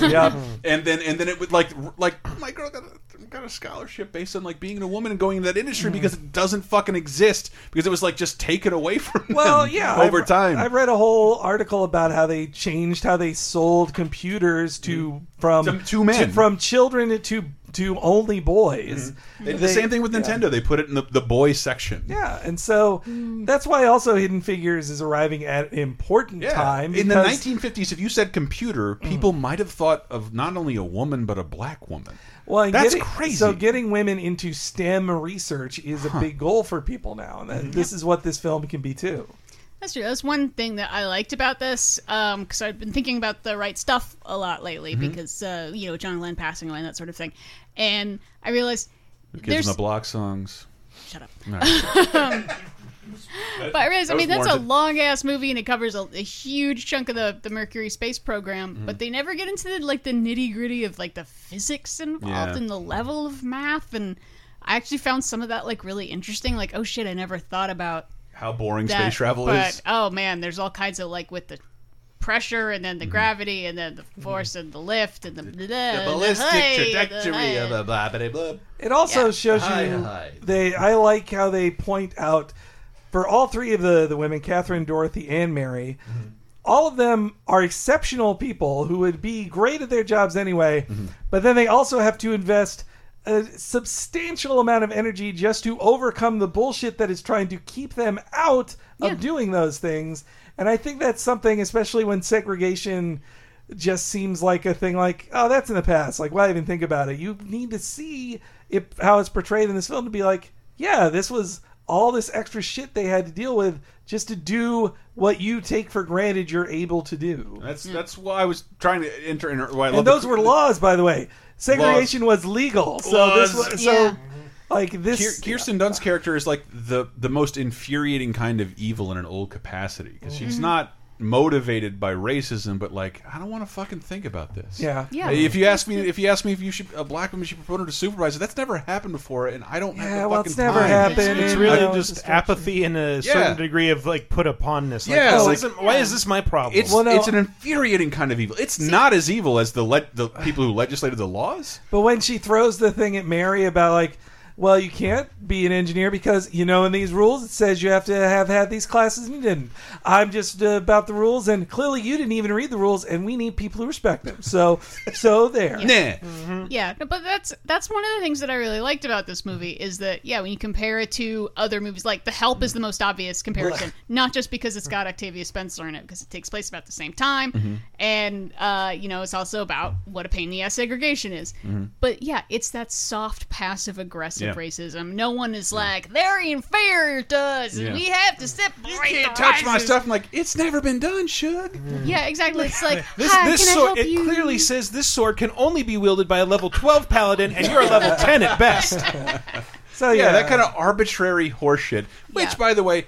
Yeah. [LAUGHS] and then and then it would like like my girl got a, got a scholarship based on like being a woman and going into that Hmm. industry because it doesn't fucking exist because it was like just taken away from Well, them yeah. over I, time. I read a whole article about how they changed how they sold computers to from To- to men. from children to to only boys. They did the same thing with yeah. Nintendo. They put it in the, the boy section. Yeah, and so that's why also Hidden Figures is arriving at an important time in the because- Mm. 1950s, if you said computer, people might have thought of not only a woman but a black woman. Well, and that's getting- crazy. So getting women into STEM research is a big goal for people now, and that- Mm-hmm. this is what this film can be too. That's true. That's one thing that I liked about this, because I've been thinking about the right stuff a lot lately, Mhm. because uh, you know John Lennon passing away and that sort of thing, and I realized Kids there's [LAUGHS] in the block songs. Shut up. No. [LAUGHS] but I realized, I That mean, was that's a warranted. long ass movie and it covers a, a huge chunk of the, the Mercury space program, Mm-hmm. but they never get into the, like the nitty gritty of like the physics involved Yeah. and the level of math. And I actually found some of that like really interesting. Like, oh shit, I never thought about How boring that, space travel but, is. Oh man, there's all kinds of like with the pressure and then the gravity and then the force and the lift and the, blah, The and ballistic hey, and the trajectory hey. of a blah blah blah. It also shows Hi, you hi. they. I like how they point out for all three of the the women, Catherine, Dorothy, and Mary. Mm-hmm. All of them are exceptional people who would be great at their jobs anyway, Mm-hmm. but then they also have to invest a substantial amount of energy just to overcome the bullshit that is trying to keep them out of doing those things. And I think that's something, especially when segregation just seems like a thing like oh that's in the past like why even think about it you need to see it how it's portrayed in this film to be like yeah this was all this extra shit they had to deal with just to do what you take for granted you're able to do That's Mm. that's why I was trying to enter. In, why I love and those the, were laws by the way segregation was legal so this Laws. was so Yeah. like this Kier- Kirsten Dunst's character is like the the most infuriating kind of evil in an old capacity because she's Mm-hmm. Mhm. not motivated by racism, but like I don't want to fucking think about this. Yeah. Yeah. If you ask me, if you ask me if you should a black woman should be promoted to supervisor, that's never happened before, and I don't. have Yeah, the well, fucking it's never time. happened, It's I really can just apathy and a Yeah. certain degree of like put uponness. Like, Yeah, oh, like- isn't- why is this my problem? It's it's an infuriating kind of evil. It's not as evil as the le the people who legislated the laws. But when she throws the thing at Mary about like, well, you can't be an engineer because you know in these rules it says you have to have had these classes and you didn't. I'm just uh, about the rules, and clearly you didn't even read the rules, and we need people who respect them. So, so there. Mm-hmm. Yeah, no, but that's that's one of the things that I really liked about this movie is that yeah, when you compare it to other movies, like The Help is the most obvious comparison, Blech. not just because it's got Octavia Spencer in it, because it takes place about the same time, Mm-hmm. Mm-hmm. Mhm. and uh, you know it's also about what a pain in the ass segregation is. Mm-hmm. But yeah, it's that soft, passive aggressive Yeah. racism. No one is like they're inferior to us, and Yeah. we have to separate. You Can't touch my stuff. I'm like, it's never been done, Shug. Yeah, exactly. It's like this. "Hi, this can I help sword. It clearly says this sword can only be wielded by a level twelve paladin, and you're a level ten at [LAUGHS] best. So yeah, yeah. that kind of arbitrary horseshit. Which, by the way,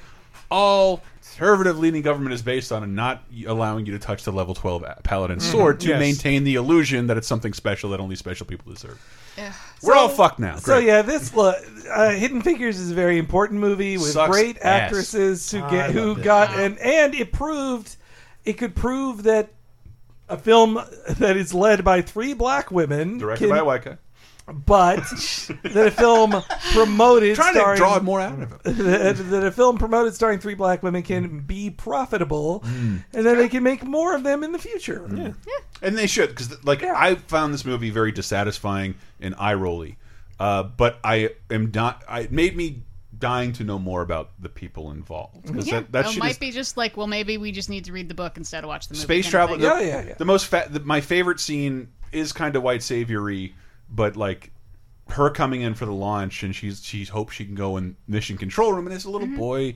all conservative leaning government is based on, and not allowing you to touch the level twelve paladin Mhm. sword to Yes. maintain the illusion that it's something special that only special people deserve. We're all fucked now. So Great. yeah, this look, uh, Hidden Figures is a very important movie with Sucks great ass. actresses who I get who loved it. got and and it proved it could prove that a film that is led by three black women Directed can- by a white guy. but that a film promoted Trying to starring, draw [LAUGHS] more out of it. Mm. that, [LAUGHS] that a film promoted starring three black women can be profitable and that they can make more of them in the future Mm. And they should, because like I found this movie very dissatisfying and eye rolly. Uh, but I am not. I, it made me dying to know more about the people involved because Mm-hmm. Yeah, that, that it shit might is be just like, well, maybe we just need to read the book instead of watch the movie. space kind of travel. thing. The, The most fa- the, my favorite scene is kind of white saviory, but like her coming in for the launch and she's she hopes she can go in mission control room and there's a Mm-hmm. little boy.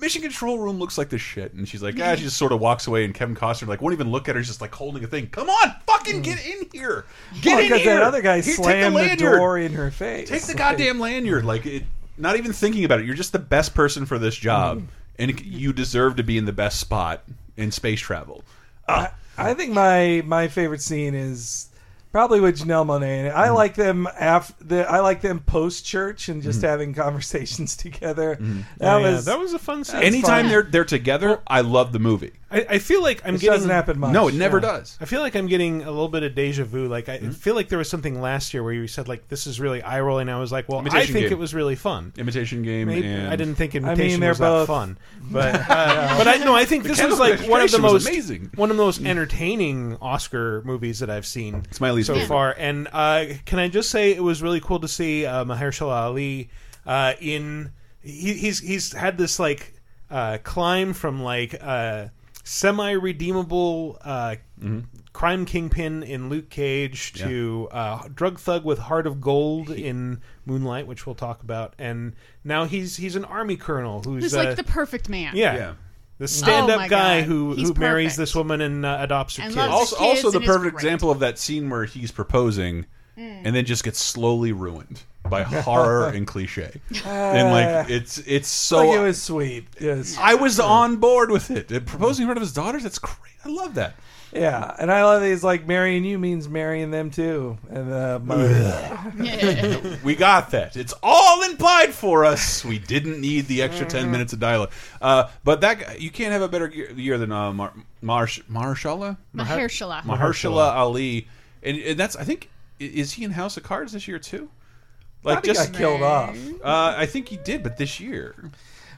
Mission control room looks like this shit, and she's like, ah, she just sort of walks away, and Kevin Costner like won't even look at her. He's just like holding a thing. Come on, fucking get in here, get Well, in 'cause here. that other guy Here, take slammed the, lanyard. door in her face Take the goddamn lanyard. Like, it, not even thinking about it. You're just the best person for this job, Mm-hmm. and you deserve to be in the best spot in space travel. I, I think my my favorite scene is probably with Janelle Monet in it. Mm. I like them af the I like them post church and just Mhm. having [LAUGHS] conversations together. Mhm. That Oh, yeah, was that was a fun scene. Anytime fun. they're they're together, I love the movie. I, I feel like I'm This getting doesn't happen much. No, it never does. Hmm? I feel like I'm getting a little bit of deja vu. Like I feel like there was something last year where you said like this is really eye rolling. I was like, well, I Imitation think Game. it was really fun. Imitation Game. Maybe- and- I didn't think I mean, imitation they're was both- that [LAUGHS] [LAUGHS] fun, but uh, but I no, I think The this was Chemical like one of the Castration was most amazing. one of the most entertaining Oscar movies that I've seen. It's my least Please so do. far. And uh, can I just say it was really cool to see uh, Mahershala Ali uh, in he, he's he's had this like uh, climb from like uh, semi redeemable uh, Mhm. crime kingpin in Luke Cage to uh, drug thug with heart of gold in Moonlight, which we'll talk about, and now he's he's an army colonel who's, Who's uh, like the perfect man. yeah. The stand-up Oh my guy God. who, He's who marries this woman and uh, adopts her And kids. loves Also, also the and is perfect example of that scene where he's proposing Mm. and then just gets slowly ruined [LAUGHS] by horror and cliche. and like it's it's so Uh, Like, it was sweet. Yes. I was on board with it. Uh, Proposing in front of his daughters, that's great. I love that. Yeah, and I love that he's like marrying you means marrying them too. And uh, [LAUGHS] my- we got that. It's all implied for us. We didn't need the extra ten minutes of dialogue. Uh, but that guy, you can't have a better year- year than uh, Mar- Marsh Mahershala Mahershala. Mahershala Ali, and, and that's I think i- is he in House of Cards this year too? Thought he got killed off. Uh, I think he did, but this year.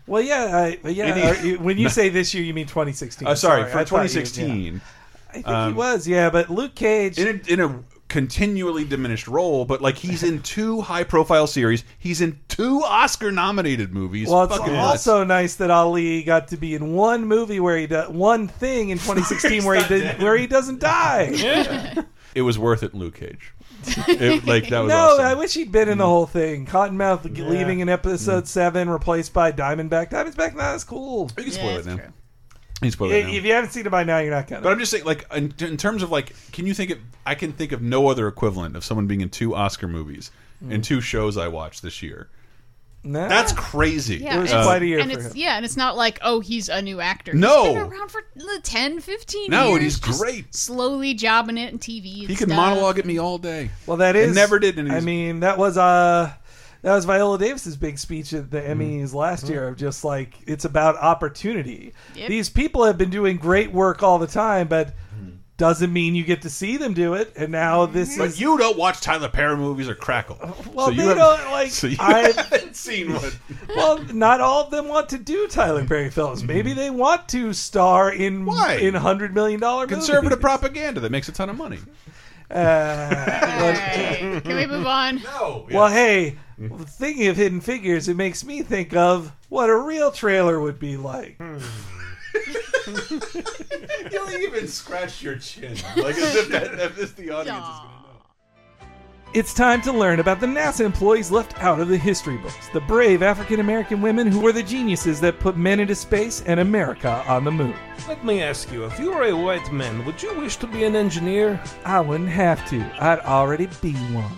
well, yeah, I, but yeah. And he- are you- when you No. say this year, you mean 2016. Uh, sorry, I for thought you- yeah. 2016. I think he was, yeah, but Luke Cage in a, in a continually diminished role, but like he's in two [LAUGHS] high-profile series, he's in two Oscar-nominated movies. Well, it's Fucking nuts. also nice that Ali got to be in one movie where he does one thing in [LAUGHS] 2016 where he not did, dead. where he doesn't die. it was worth it, Luke [LAUGHS] Cage. [LAUGHS] It- like that was no, awesome. Mm. I wish he'd been in the whole thing. Cottonmouth leaving in episode seven, replaced by Diamondback. Diamondback, nah, that's cool. You can spoil it now. You can spoil it now. If you haven't seen it by now, you're not gonna. But I'm just saying, like in, in terms of like, can you think of? I can think of no other equivalent of someone being in two Oscar movies Hmm. and two shows I watched this year. No. That's crazy. Yeah, and- and it's, Yeah, and it's not like, oh, he's a new actor. No. He's been around for the 10, 15 No, and years, he's just great. Slowly jobbing it in TV. and He can stuff. monologue at me all day. Well, that It is never did in I his- mean, that was uh, that was Viola Davis's big speech at the Emmys last year of just like it's about opportunity. Yep. These people have been doing great work all the time, but doesn't mean you get to see them do it. And now this But is Uh, you don't watch Tyler Perry movies or Crackle. well, so you they have- don't like. so you I [LAUGHS] haven't seen [LAUGHS] one. well, not all of them want to do Tyler Perry films. Maybe they want to star in in hundred million dollar Uh, conservative propaganda that makes a ton of money. [LAUGHS] Can we move on? [LAUGHS] No. Well, hey, thinking of Hidden Figures, it makes me think of what a real trailer would be like. You'll even scratch your chin, like as if, that, as if the audience is going to know. It's time to learn about the NASA employees left out of the history books, the brave African American women who were the geniuses that put men into space and America on the moon. Let me ask you, if you were a white man, would you wish to be an engineer? I wouldn't have to, I'd already be one.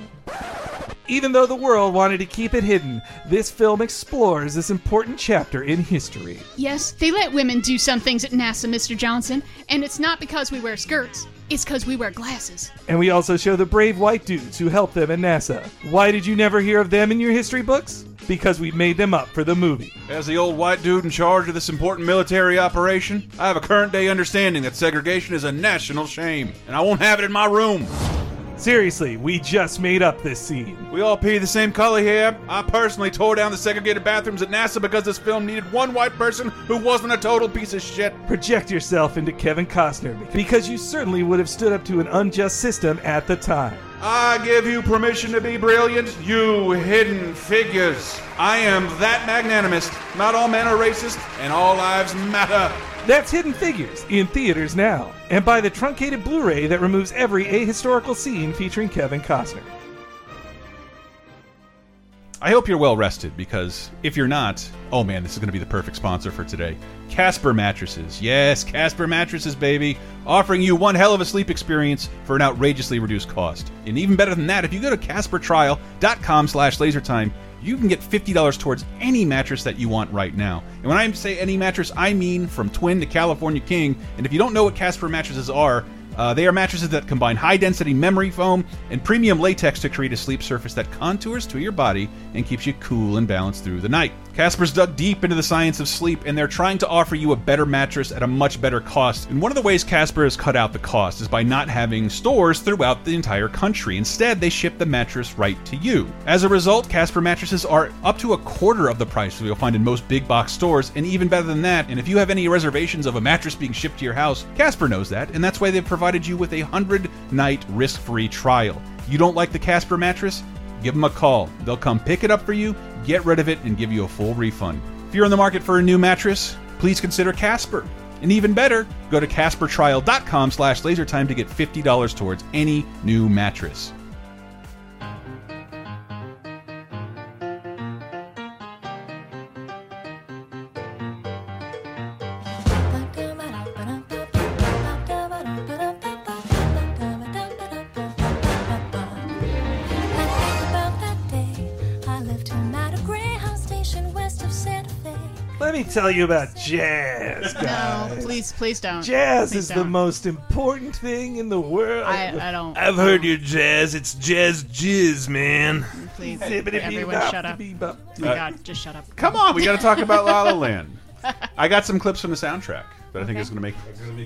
Even though the world wanted to keep it hidden, this film explores this important chapter in history. Yes, they let women do some things at NASA, Mr. Johnson, and it's not because we wear skirts, it's because we wear glasses. And we also show the brave white dudes who helped them at NASA. Why did you never hear of them in your history books? Because we made them up for the movie. As the old white dude in charge of this important military operation, I have a current day understanding that segregation is a national shame, and I won't have it in my room. Seriously, we just made up this scene. We all pee the same color here. I personally tore down the segregated bathrooms at NASA because this film needed one white person who wasn't a total piece of shit. Project yourself into Kevin Costner because you certainly would have stood up to an unjust system at the time. I give you permission to be brilliant, you hidden figures. I am that magnanimous. Not all men are racist, and all lives matter. That's Hidden Figures in theaters now, and by the truncated Blu ray that removes every ahistorical scene featuring Kevin Costner. I hope you're well rested because if you're not, oh man, this is going to be the perfect sponsor for today. Casper Mattresses. Yes, Casper Mattresses, baby. Offering you one hell of a sleep experience for an outrageously reduced cost. And even better than that, if you go to caspertrial.com slash lasertime, you can get $50 towards any mattress that you want right now. And when I say any mattress, I mean from twin to California king. And if you don't know what Casper mattresses are, uh, they are mattresses that combine high density memory foam and premium latex to create a sleep surface that contours to your body and keeps you cool and balanced through the night. Casper's dug deep into the science of sleep and they're trying to offer you a better mattress at a much better cost. And one of the ways Casper has cut out the cost is by not having stores throughout the entire country. Instead, they ship the mattress right to you. As a result, Casper mattresses are up to a quarter of the price that you'll find in most big box stores, and even better than that. And if you have any reservations of a mattress being shipped to your house, Casper knows that, and that's why they've provided provided you with a 100 night risk free trial. You don't like the Casper mattress? Give them a call. They'll come pick it up for you, get rid of it, and give you a full refund. If you're in the market for a new mattress, please consider Casper. And even better, go to CasperTrial.com slash lasertime to get $50 towards any new mattress. About that day, I left home at a Greyhound station west of Santa Fe. Let me tell you about jazz, [LAUGHS] guys. No, please, please don't. Jazz Please is the don't. most important thing in the world. I, I don't. I've heard your jazz. It's jazz jizz, man. Please, Zippity everyone, bebop, shut up. bebop. Oh my Uh, God, just shut up. Come on, we got to talk about La La Land. I got some clips from the soundtrack that I think is going to make.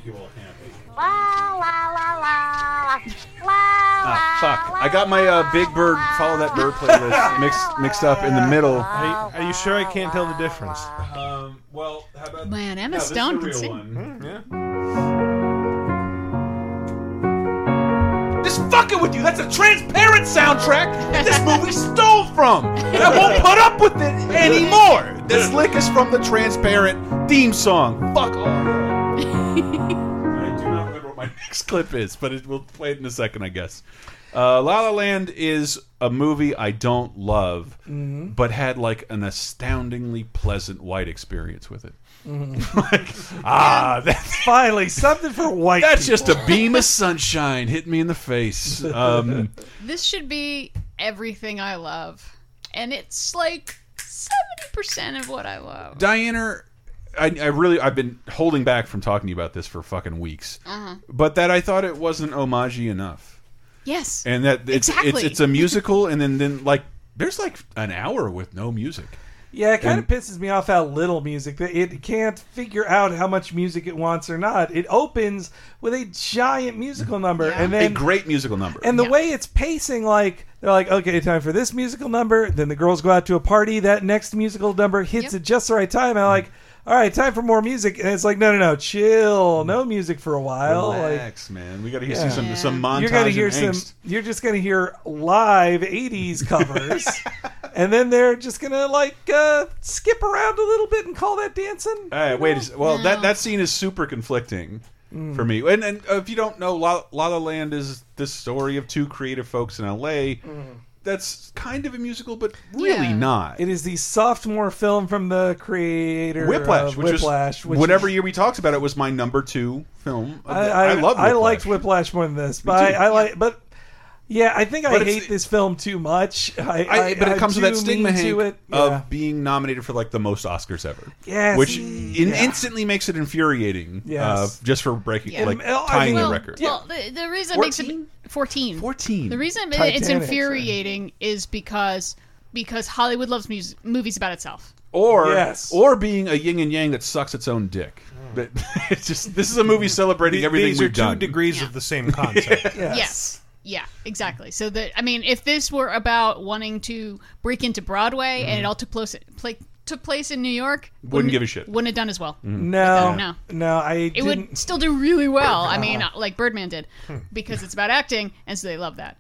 you all happy. Ah, fuck. I got my uh, Big Bird Follow That Bird [LAUGHS] playlist mixed mixed up in the middle. Are you, are you sure I can't tell the difference? Um, well, how about [LAUGHS] Man, Emma No, this is Stone the can real sing. one. Just fucking with you. That's a transparent soundtrack that this movie stole from. And I won't put up with it anymore. This lick is from the Transparent theme song. Fuck off. next clip is, but it, we'll play it in a second, I guess. Uh, La La Land is a movie I don't love, Mhm. but had like an astoundingly pleasant white experience with it. [LAUGHS] Mhm. Ah, that's [LAUGHS] finally something for white. That's people. just a beam [LAUGHS] of sunshine hitting me in the face. Um, This should be everything I love, and it's like seventy percent of what I love. Diana, I, I really I've been holding back from talking to you about this for fucking weeks, Uh-huh. but that I thought it wasn't homage enough. Yes. and that it's it's, Exactly. it's a musical, and then then like there's like an hour with no music. Yeah, it And- kind of pisses me off how little music. that- It can't figure out how much music it wants or not. It opens with a giant musical number, and a then great musical number. and the way it's pacing, like they're like, okay, time for this musical number. Then the girls go out to a party. That next musical number hits at just the right time. And I'm like, all right, time for more music. And it's like, no, no, no, chill, no music for a while. Like, Mm. Relax, man. We got to hear see some some montage. You're gonna and hear angst. some. You're just gonna hear live '80s [LAUGHS] covers, and then they're just gonna like uh, skip around a little bit and call that dancing. All right, Uh, wait. a s- Well, that that scene is super conflicting Mm. for me. And and uh, if you don't know, La, La La Land is the story of two creative folks in L.A. That's kind of a musical, but really not. It is the sophomore film from the creator Whiplash, of which uh, Whiplash, is which whatever year we talked about it was my number two film. I, I, love. Whiplash. I liked Whiplash more than this, but I, too. I like but. Yeah, I think But I it's hate this film too much. I, I, but it I'm comes with that too stigma mean Hank, to it. of being nominated for like the most Oscars ever, Yes. which Mm. in, Yeah. instantly makes it infuriating. Uh, Yes. just for breaking Yeah. like And, uh, I tying mean- the record. oh, Well, the, the reason it makes it 14. 14. The reason Titanic, it's sorry. infuriating is because because Hollywood loves mus movies about itself. Or Yes. or being a yin and yang that sucks its own dick. That [LAUGHS] it's just this is a movie celebrating Th- everything Hmm. these we've are two done. degrees of the same [LAUGHS] concept. Yes. Yeah, exactly. So that I mean, if this were about wanting to break into Broadway and it all took place like took place in New York, Mm-hmm. Wouldn't give a shit. Mm-hmm. Wouldn't have done as well. No, No. no, I It didn't. would still do really well. I Uh-huh. mean, like Birdman did, Hmm. because it's about acting, and so they love that.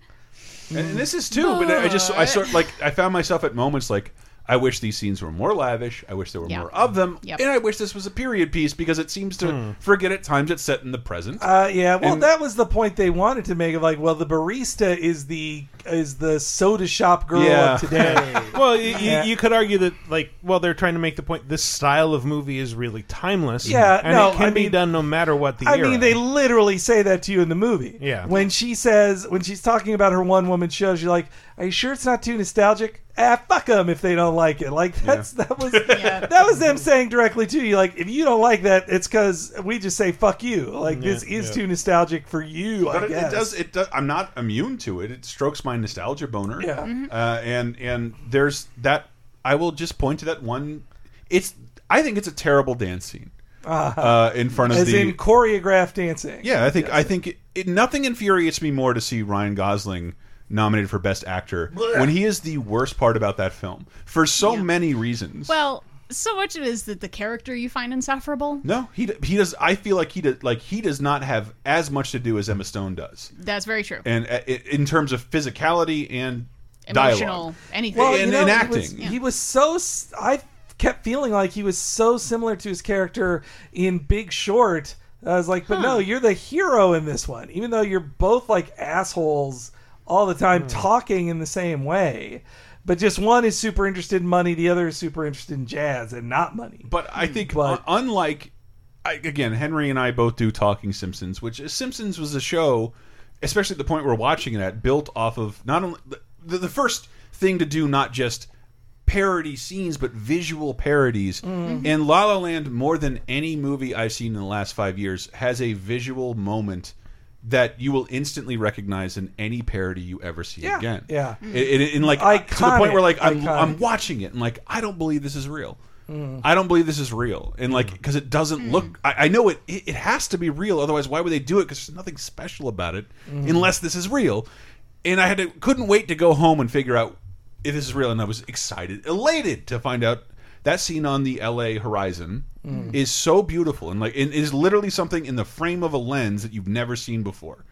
And, and this is too, but I just I sort like I found myself at moments like I wish these scenes were more lavish. I wish there were Yeah. more of them. Yep. And I wish this was a period piece because it seems to Hmm. forget at times it's set in the present. Uh, yeah, well, And- that was the point they wanted to make of like, well, the barista is the is the soda shop girl Yeah. of today. [LAUGHS] [LAUGHS] well, you, Yeah. you, you could argue that, like, well, they're trying to make the point this style of movie is really timeless. Yeah, and no, it can I be mean- done no matter what [LAUGHS] the I era. mean, they literally say that to you in the movie. Yeah. When she says, when she's talking about her one woman shows, you're like, are you sure it's not too nostalgic? Ah, fuck them if they don't like it. Like that's [LAUGHS] that was that was them saying directly to you, like if you don't like that, it's because we just say fuck you. Like this Yeah, is yeah. too nostalgic for you. But it, I it guess. does. It does. I'm not immune to it. It strokes my nostalgia boner. Yeah. Mhm. Uh, and and there's that. I will just point to that one. It's. I think it's a terrible dance scene. Ah. uh, in front of as the in choreographed dancing. yeah. I think I think it, it, nothing infuriates me more to see Ryan Gosling nominated for best actor Blech. when he is the worst part about that film for so many reasons. Well, so much of it is that the character you find insufferable. No, he d- he does. I feel like he did like he does not have as much to do as Emma Stone does, That's very true. and uh, i- in terms of physicality and Emotional, dialogue, anything. well, and, and he was- acting. He was so. s- I kept feeling like he was so similar to his character in Big Short. I was like, but no, you're the hero in this one, even though you're both like assholes all the time, talking in the same way. But just one is super interested in money, the other is super interested in jazz and not money. But I think un- unlike I, again, Henry and I both do Talking Simpsons, which is- Simpsons was a show, especially at the point we're watching it at, built off of not only the, the first thing to do, not just parody scenes, but visual parodies. Mhm. And La La Land, more than any movie I've seen in the last five years, has a visual moment that you will instantly recognize in any parody you ever see Yeah. again. Yeah. And- and- and like to the point Iconic. where like I'm, Iconic. I'm watching it and like I don't believe this is real. Mm. I don't believe this is real, and like because it doesn't Mm. look. I, I know it, it. It has to be real, otherwise why would they do it? Because there's nothing special about it, Mm. unless this is real. And I had to couldn't wait to go home and figure out if this is real, and I was excited, elated to find out that scene on the L.A. horizon Mm. is so beautiful, and like it is literally something in the frame of a lens that you've never seen before,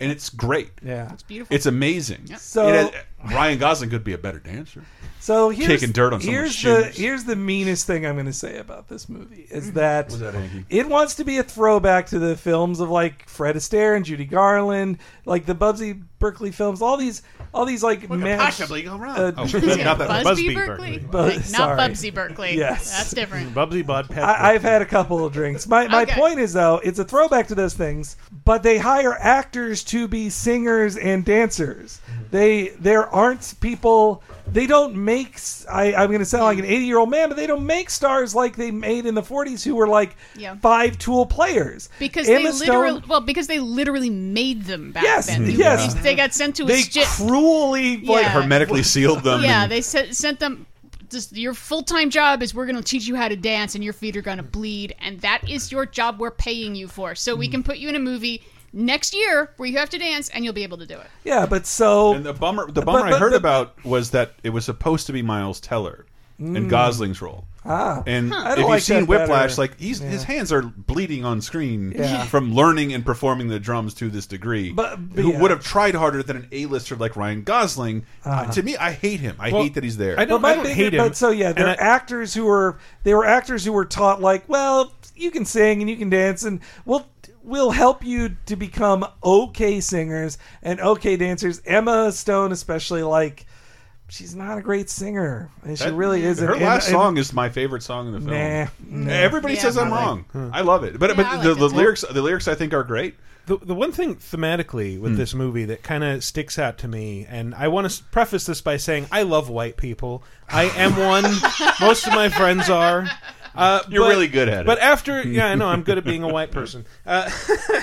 and it's great. Yeah. It's beautiful. It's amazing. So- It has- Ryan Gosling could be a better dancer. So here's, kicking dirt on someone's here's shoes. the here's the meanest thing I'm going to say about this movie is that, Mm-hmm. What's that, Hanky? it wants to be a throwback to the films of like Fred Astaire and Judy Garland, like the Bubsy Berkeley films, all these all these like What could mass- possibly go wrong? uh, Oh, [LAUGHS] not that- Busby Busby Berkeley? Berkeley. Bu- Like, not sorry. Bubsy Berkeley. That's [LAUGHS] different. Bubsy Bud I, I've had a couple of drinks. My my Okay. point is though, it's a throwback to those things, but they hire actors to be singers and dancers. They there aren't people. They don't make. s- I, am going to sound like an 80 year old man, but they don't make stars like they made in the 40s, who were like Yeah. five tool players. Because Emma they Stone- literally, well, because they literally made them back Yes, then. They, yes. they got sent to a They shit. cruelly like Yeah. hermetically sealed them. yeah, and- they sent, sent them. Just, your full time job is we're going to teach you how to dance, and your feet are going to bleed, and that is your job. We're paying you for, so Hmm. we can put you in a movie next year where you have to dance, and you'll be able to do it. Yeah, but so and the bummer the bummer but- but- I heard but- about was that it was supposed to be Miles Teller Mm. and Gosling's role. Ah. and Huh. I if don't you've like seen that Whiplash, better. like he's, his Yeah. hands are bleeding on screen Yeah. from learning and performing the drums to this degree. But- but who yeah. would have tried harder than an A-lister like Ryan Gosling? Ah. Uh, to me, I hate him. I Well, hate that he's there. But my big- But so yeah, they're actors who were they were actors who were taught like, well, you can sing and you can dance, and we'll we'll help you to become okay singers and okay dancers. Emma Stone, especially, like she's not a great singer, and she That- really isn't. Her And- last and- song is my favorite song in the film. Nah, nah. Everybody Yeah, says I'm I like- wrong. I love it, but but I like the, it the too. lyrics the lyrics I think are great. The, the one thing thematically Hmm. with this movie that kind of sticks out to me, and I want to preface this by saying I love white people. I am [LAUGHS] one. Most of my friends are. Uh, You're but- really good at it. But after, yeah, I know I'm good [LAUGHS] at being a white person. Uh, [LAUGHS]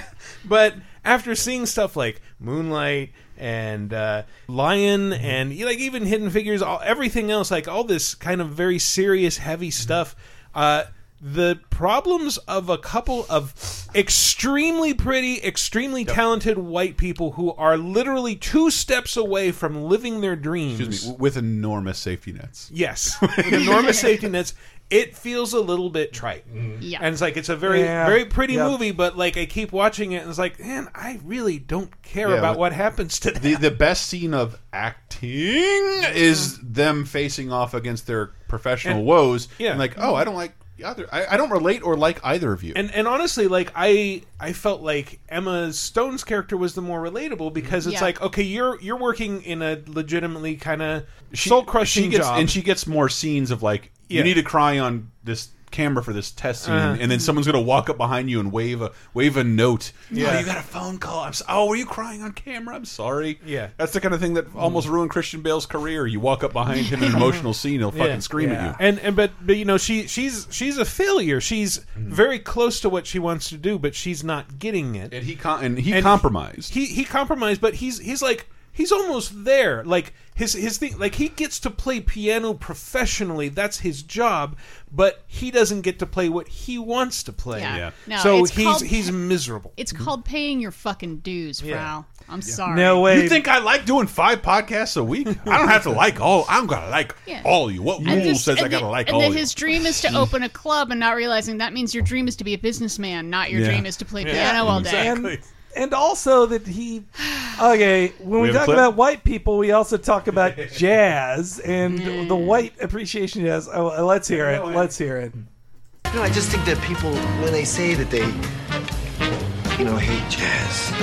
but after seeing stuff like Moonlight and uh, Lion Mm-hmm. and you know, like even Hidden Figures, all everything else, like all this kind of very serious, heavy Mm-hmm. stuff, uh, the problems of a couple of extremely pretty, extremely talented white people who are literally two steps away from living their dreams. Excuse me, with enormous safety nets. Yes, [LAUGHS] With enormous safety nets. It feels a little bit trite, Yeah. and it's like it's a very, Mm-hmm. Yeah. very pretty Yep. movie, but like I keep watching it, and it's like, man, I really don't care Yeah, about but- what happens to them. The the best scene of acting is them facing off against their professional And- woes. yeah. and like oh, I don't like either. I, I don't relate or like either of you. And and honestly, like I, I felt like Emma Stone's character was the more relatable because it's Yeah. like, okay, you're you're working in a legitimately kind of soul she crushing gets, job, and she gets more scenes of like you Yeah. need to cry on this camera for this test scene, Uh-huh. and then someone's gonna walk up behind you and wave a wave a note. Yeah. Oh, you got a phone call. I'm so, oh, were you crying on camera? I'm sorry. Yeah. that's the kind of thing that almost ruined Christian Bale's career. You walk up behind him in an [LAUGHS] emotional scene, he'll fucking Yeah. scream at you. And and but but you know she she's she's a failure. She's Mm-hmm. very close to what she wants to do, but she's not getting it. And he com- and he compromised. He he compromised, but he's he's like he's almost there. Like his his thing, like he gets to play piano professionally. That's his job, but he doesn't get to play what he wants to play. Yeah. Yeah. No, so it's he's called- he's miserable. It's Hmm. called paying your fucking dues, Yeah. Frau. I'm sorry. You think I like doing five podcasts a week? I don't [LAUGHS] have to like all. I'm gonna like Yeah. all you. What And rule this- says I and gotta the- like and all that you? his dream is to open a club and not realizing that means your dream is to be a businessman, not your Yeah. dream is to play Yeah. piano all day. And, and also that [SIGHS] he, okay, when We we, have a talk clip? about white people, we also [LAUGHS] talk about jazz and the white appreciation of jazz. Oh, uh, let's hear it. Let's hear it. You know, I just think that people, when they say that they, you know, hate jazz,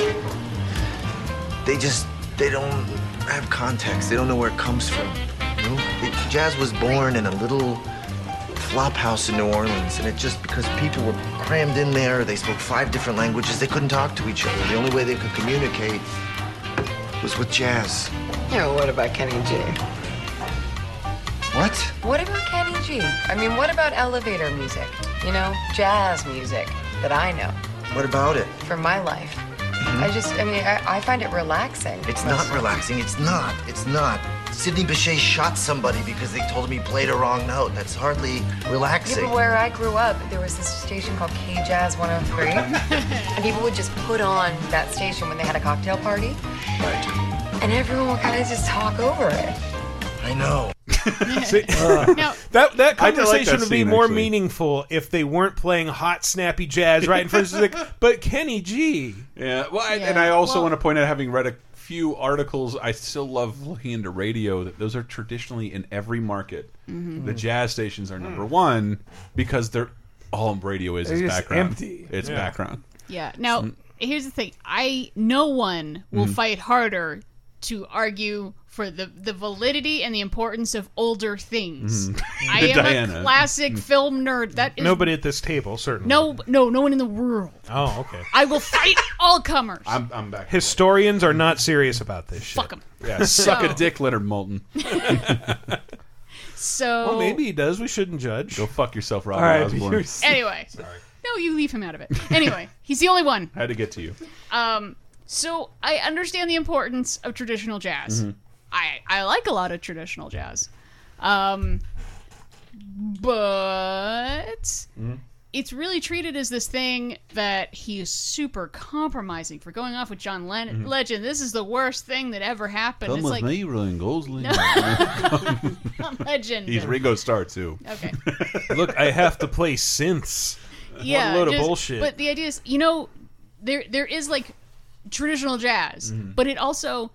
they just they don't have context. They don't know where it comes from. You know? It- jazz was born in a little flop house in New Orleans, and it just because people were crammed in there, they spoke five different languages. They couldn't talk to each other. The only way they could communicate was with jazz. Yeah, what about Kenny G? What? What about Kenny G? I mean, what about elevator music? You know, jazz music that I know What about it? for my life. I just, I mean, I, I find it relaxing. Mm-hmm. It's not relaxing. It's not. It's not. Sidney Bechet shot somebody because they told him he played a wrong note. That's hardly Yeah, relaxing. but where I grew up, there was this station called K Jazz 103, [LAUGHS] and people would just put on that station when they had a cocktail party, and everyone would kind of just talk over it. I [LAUGHS] know. See, Uh, No. That I did like that that conversation would be scene, more actually. meaningful if they weren't playing hot snappy jazz right in front of [LAUGHS] us. Like, but Kenny G. Yeah. Well, I, and Yeah. I also Well- want to point out, having read a few articles, I still love looking into radio. That those are traditionally in every market. Mhm. Mm-hmm. The jazz stations are number one because they're all radio is They're is just background. empty. It's Yeah. background. Yeah. Now, here's the thing. I no one will Mm. fight harder to argue for the the validity and the importance of older things. Mhm. Mm-hmm. [LAUGHS] I am Diana. a classic Mm. film nerd. That is Nobody at this table, certainly. no no no one in the world. Oh, okay. I [LAUGHS] will fight all comers. I'm, I'm back. Historians are not serious about this shit. Fuck 'em. [LAUGHS] Yeah, suck So- a dick, Leonard [LAUGHS] Moulton. So Well, maybe he does. We shouldn't judge. Go fuck yourself, Robert All right, Osborne. you're- anyway. No, you leave him out of it. Anyway, he's the only one. [LAUGHS] Had to get to you. Um, so I understand the importance of traditional jazz. Mhm. I I like a lot of traditional jazz, um, but Mm-hmm. [LAUGHS] it's really treated as this thing that he is super compromising for going off with John Len- Mhm. Legend. This is the worst thing that ever happened. it's like Ryan Gosling. [LAUGHS] John Legend. He's Ringo Starr too. Okay. Look, I have to play synths. yeah, what a load just- of bullshit. But the idea is, you know, there there is like traditional jazz, Mm-hmm. Mhm. but it also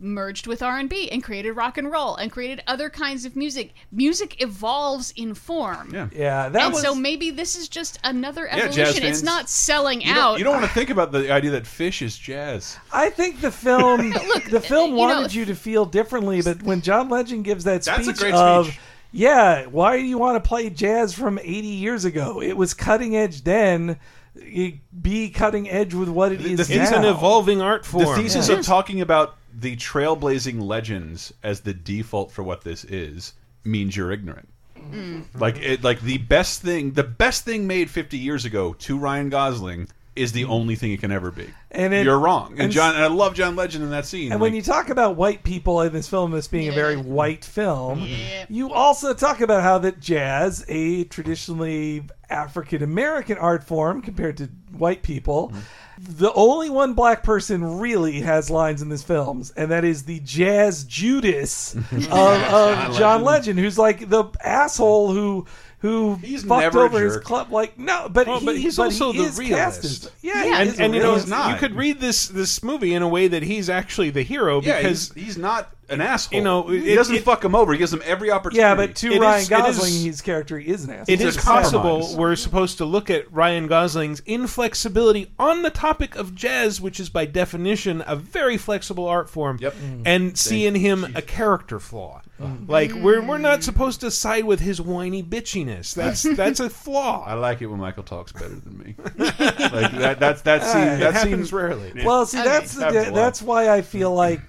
merged with R&B and created rock and roll and created other kinds of music. Music evolves in form. Yeah. Yeah, that and was so maybe this is just another Yeah, jazz evolution. it's fans. not selling You out. don't, you don't want to think about the idea that fish is jazz. I think the film the film know, wanted you to feel differently, but when John Legend gives that speech That's a great of speech. yeah, why do you want to play jazz from 80 years ago? It was cutting edge then. You be cutting edge with what it is it's now. an evolving art form. The thesis of talking about the trailblazing legends as the default for what this is means you're ignorant. mm. Like it, like the best thing, the best thing made 50 years ago to Ryan Gosling is the only thing it can ever be. And it- you're wrong. And, and s- John, and I love John Legend in that scene. And when you talk about white people in this film as being a very white film, you also talk about how that jazz, a traditionally African American art form compared to white people, Mm-hmm. the only one black person really has lines in this film, and that is the [LAUGHS] jazz Judas of, John of John Legend, who's like the asshole who who fucked never a over his jerk. club. Like no, but, Well, he, but he's but also he the is realist. cast as- yeah, he and, is a and you know, realist. you could read this this movie in a way that he's actually the hero Yeah, because he's, he's not an asshole. You know, he it- doesn't it- fuck him over. He gives him every opportunity. Yeah, but to It Ryan is- it is- Gosling, his character is an asshole. it is possible we're supposed to look at Ryan Gosling's inflexibility on the topic of jazz, which is by definition a very flexible art form, Mm. and see in him a character flaw. Like we're we're not supposed to side with his whiny bitchiness. [LAUGHS] That's that's a flaw. oh, I like it when Michael talks better than [LAUGHS] me. like that, that's that scene. Alright. that Uh, It happens scene, rarely. Yeah. Well, see, Okay. that's the, Happens a lot. that's why I feel like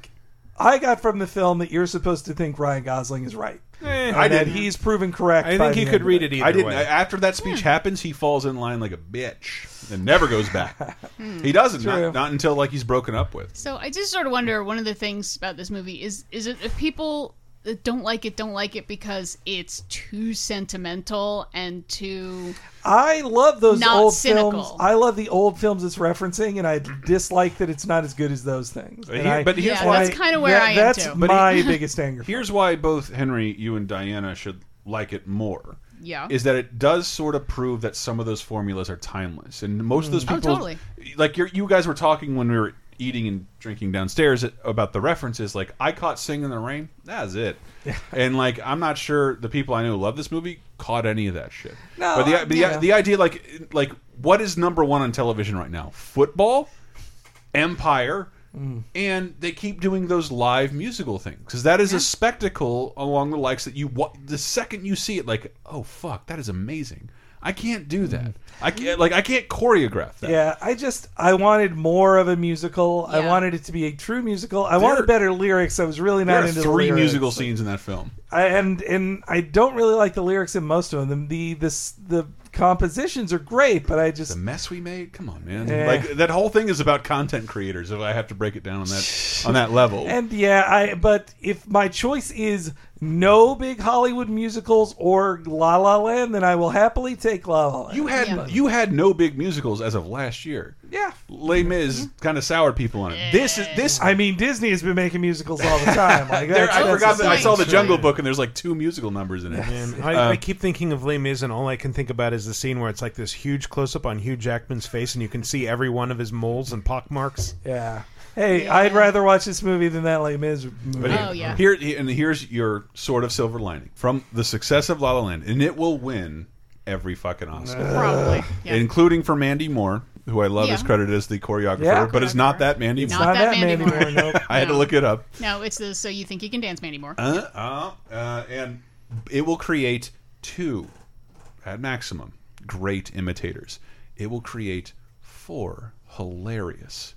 I got from the film that you're supposed to think Ryan Gosling is right. I did. He's proven correct. Eh, I think you could read it either I didn't. way. After that speech happens, he falls in line like a bitch and never goes back. he doesn't. True. Not, not until like he's broken up with. So I just sort of wonder. One of the things about this movie is is it if people that don't like it don't like it because it's too sentimental and too. I love those Not old cynical. films. I love the old films it's referencing, and I dislike that it's not as good as those things. But And he- I- but here's Yeah, why that's kinda where I am, That's too. But [LAUGHS] my he- biggest anger. Here's why both Henry, you and Diana should like it more. Yeah. Is that it does sort of prove that some of those formulas are timeless. And most of those Mm. Oh, people totally. like you're, you guys were talking when we were eating and drinking downstairs about the references like I caught Sing in the Rain. That's [LAUGHS] it. And like I'm not sure the people I know who love this movie caught any of that shit. No, but the I- the, yeah. the idea like like what is number 1 on television right now? Football? Empire? Mm. and they keep doing those live musical things because that is a spectacle along the likes that you wa- the second you see it like oh fuck that is amazing i can't do Mm. that i can't like i can't choreograph that Yeah, I just I wanted more of a musical. I wanted it to be a true musical. I wanted better lyrics. I was really not there are into the three lyrics. musical scenes in that film I, and and I don't really like the lyrics in most of them. The this the compositions are great, but I just Eh. the mess we made. Come on, man Yeah. like that whole thing is about content creators if i have to break it down on that on that level And yeah, I but if my choice is no big Hollywood musicals or La La Land, then I will happily take La La Land. you had you had no big musicals as of last year yeah Mm-hmm. Les Mis kind of soured people on it this is this I mean, Disney has been making musicals all the [LAUGHS] time. Like, There- that's- I Oh that's forgot that I the saw the thing. Jungle Book and there's like two musical numbers in it. Man, I, Uh, I keep thinking of Les Mis, and all I can think about is the scene where it's like this huge close-up on Hugh Jackman's face, and you can see every one of his moles and pockmarks. Yeah. Hey, I'd rather watch this movie than that Les Mis But movie. Oh, here, here and here's your sort of silver lining from the success of La La Land, and it will win every fucking Oscar, Probably, yeah. including for Mandy Moore, who I love Uh, Yeah. is credited as the choreographer, Yeah. but it's not that Mandy. It's Moore. not Not that that Mandy Mandy [LAUGHS] Moore. Moore, I had to look it up. No, it's the so you think you can dance, Mandy Moore. Uh, uh, uh, and it will create two, at maximum, great imitators. It will create four [LAUGHS] hilarious,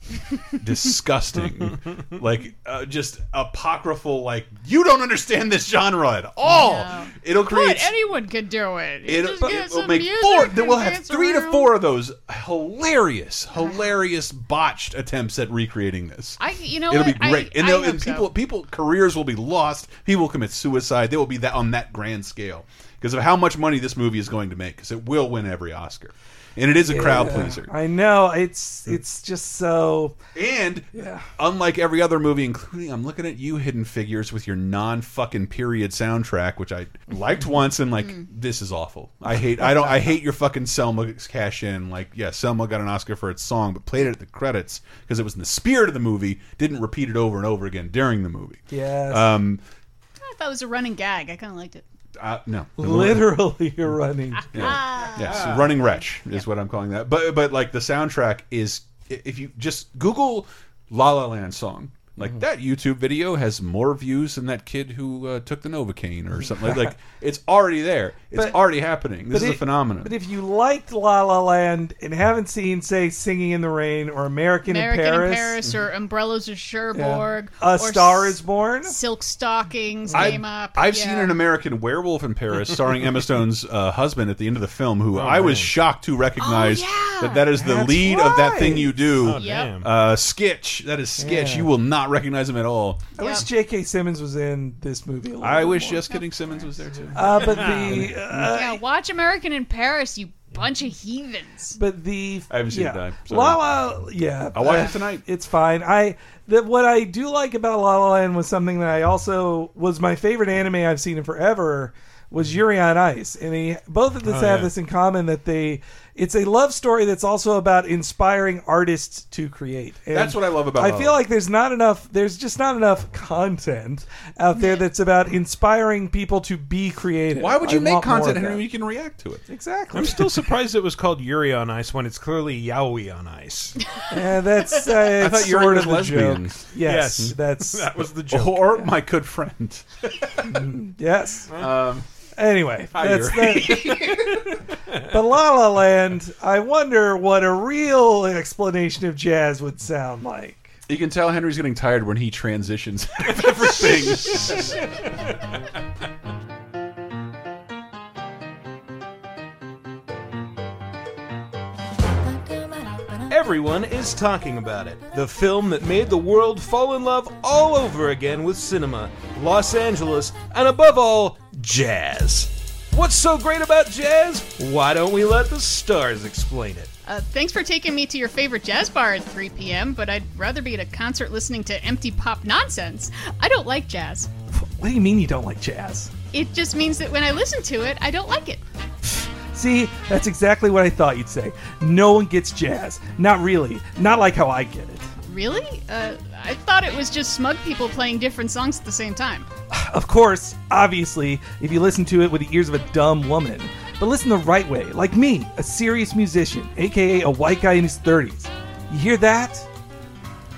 disgusting, like uh, just apocryphal, like you don't understand this genre at all. It'll create. But anyone could do it. You It'll, just get it'll some make music four. and Then we'll have dance three to around. four of those hilarious, hilarious botched attempts at recreating this. I, you know, It'll what? be great, I, and, I they'll- hope and so. people people careers will be lost. People will commit suicide. They will be that on that grand scale because of how much money this movie is going to make. Because it will win every Oscar, and it is a crowd Yeah. pleaser. Mm. I know it's it's just so. And unlike every other movie, including I'm looking at you, Hidden Figures, with your non fucking period soundtrack, which I liked once, and like Mm. this is awful. I hate I don't I hate your fucking Selma cash in. Like yeah, Selma got an Oscar for its song, but played it at the credits because it was in the spirit of the movie. Didn't repeat it over and over again during the movie. [LAUGHS] Yes. Um. I thought it was a running gag. I kind of liked it. Uh, no. Literally, [LAUGHS] Ah. you're running. Yeah. Yes, running wretch is what I'm calling that. But but like the soundtrack is if you just Google La La Land song. Like Mm-hmm. that YouTube video has more views than that kid who uh, took the Novocaine or something like. [LAUGHS] Like it's already there. It's But- already happening. This but is a it- phenomenon. But if you liked La La Land and haven't seen, say, Singing in the Rain or American, American in Paris, or Umbrellas of Cherbourg, A or Star Is Born, Silk Stockings I- came up. I've yeah. seen an American Werewolf in Paris [LAUGHS] starring Emma Stone's uh, husband at the end of the film, who Oh, I was shocked to recognize that that is the That's lead of that thing right. you do. Oh, Yep. damn. Uh, Skitch. That is Skitch. Yeah. You will not recognize him at all. I wish J.K. Simmons was in this movie. A little I bit wish more. just kidding. Simmons was there too. [LAUGHS] Uh, but the uh, yeah, watch American in Paris, you bunch of heathens. But the [LAUGHS] I haven't seen yeah. it. I'm sorry. La La, yeah, I'll watch Uh, it tonight. It's fine. I the, what I do like about La La Land was something that I also was my favorite anime I've seen in forever Mm-hmm. was Yuri on Ice, and they both of this Oh, have yeah. this in common that they it's a love story that's also about inspiring artists to create. And That's what I love about I La La feel like there's not enough. There's just not enough content out there that's about inspiring people to be creative. Why would you I make want more of content, Henry? that. when You can react to it. Exactly. I'm [LAUGHS] [LAUGHS] still surprised it was called Yuri on Ice when it's clearly Yaoi on Ice. [LAUGHS] Yeah, that's uh, I it's thought you were sort of into the lesbians. joke. Yes, Yes. [LAUGHS] that's That was the [LAUGHS] joke. Or my good [LAUGHS] friend. yes. Um, anyway, hi, that's Yuri. that. but La La Land, I wonder what a real explanation of jazz would sound like. You can tell Henry's getting [LAUGHS] tired when he transitions out of everything. Everyone is talking about it. The film that made the world fall in love all over again with cinema, Los Angeles, and above all, jazz. What's so great about jazz? Why don't we let the stars explain it? Uh, thanks for taking me to your favorite jazz bar at 3 p.m., but I'd rather be at a concert listening to empty pop nonsense. I don't like jazz. [LAUGHS] What do you mean you don't like jazz? It just means that when I listen to it, I don't like it. See, that's exactly what I thought you'd say. No one gets jazz. Not really. Not like how I get it. Really? Uh, I thought it was just smug people playing different songs at the same time. Of course, obviously, if you listen to it with the ears of a dumb woman. But listen the right way, like me, a serious musician, aka a white guy in his 30s. You hear that?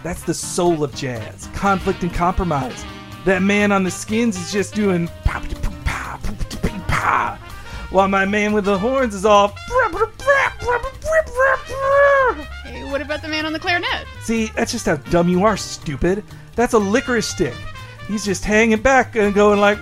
That's the soul of jazz conflict and compromise. That man on the skins is just doing pa pa pa pa pa pa pa, while my man with the horns is all. Hey, what about the man on the clarinet? See, that's just how dumb you are, stupid. That's a licorice stick. He's just hanging back and going like,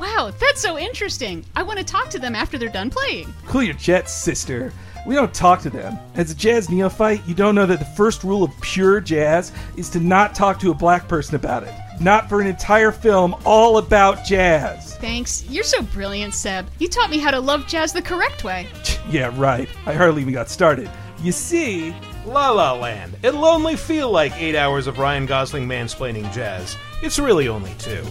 Wow, that's so interesting. I want to talk to them after they're done playing. Cool your jets, sister. We don't talk to them. As a jazz neophyte, you don't know that the first rule of pure jazz is to not talk to a black person about it. Not for an entire film all about jazz. Thanks. You're so brilliant, Seb. You taught me how to love jazz the correct way. Yeah, right. I hardly even got started. You see, La La Land. It'll only feel like eight hours of Ryan Gosling mansplaining jazz. It's really only two.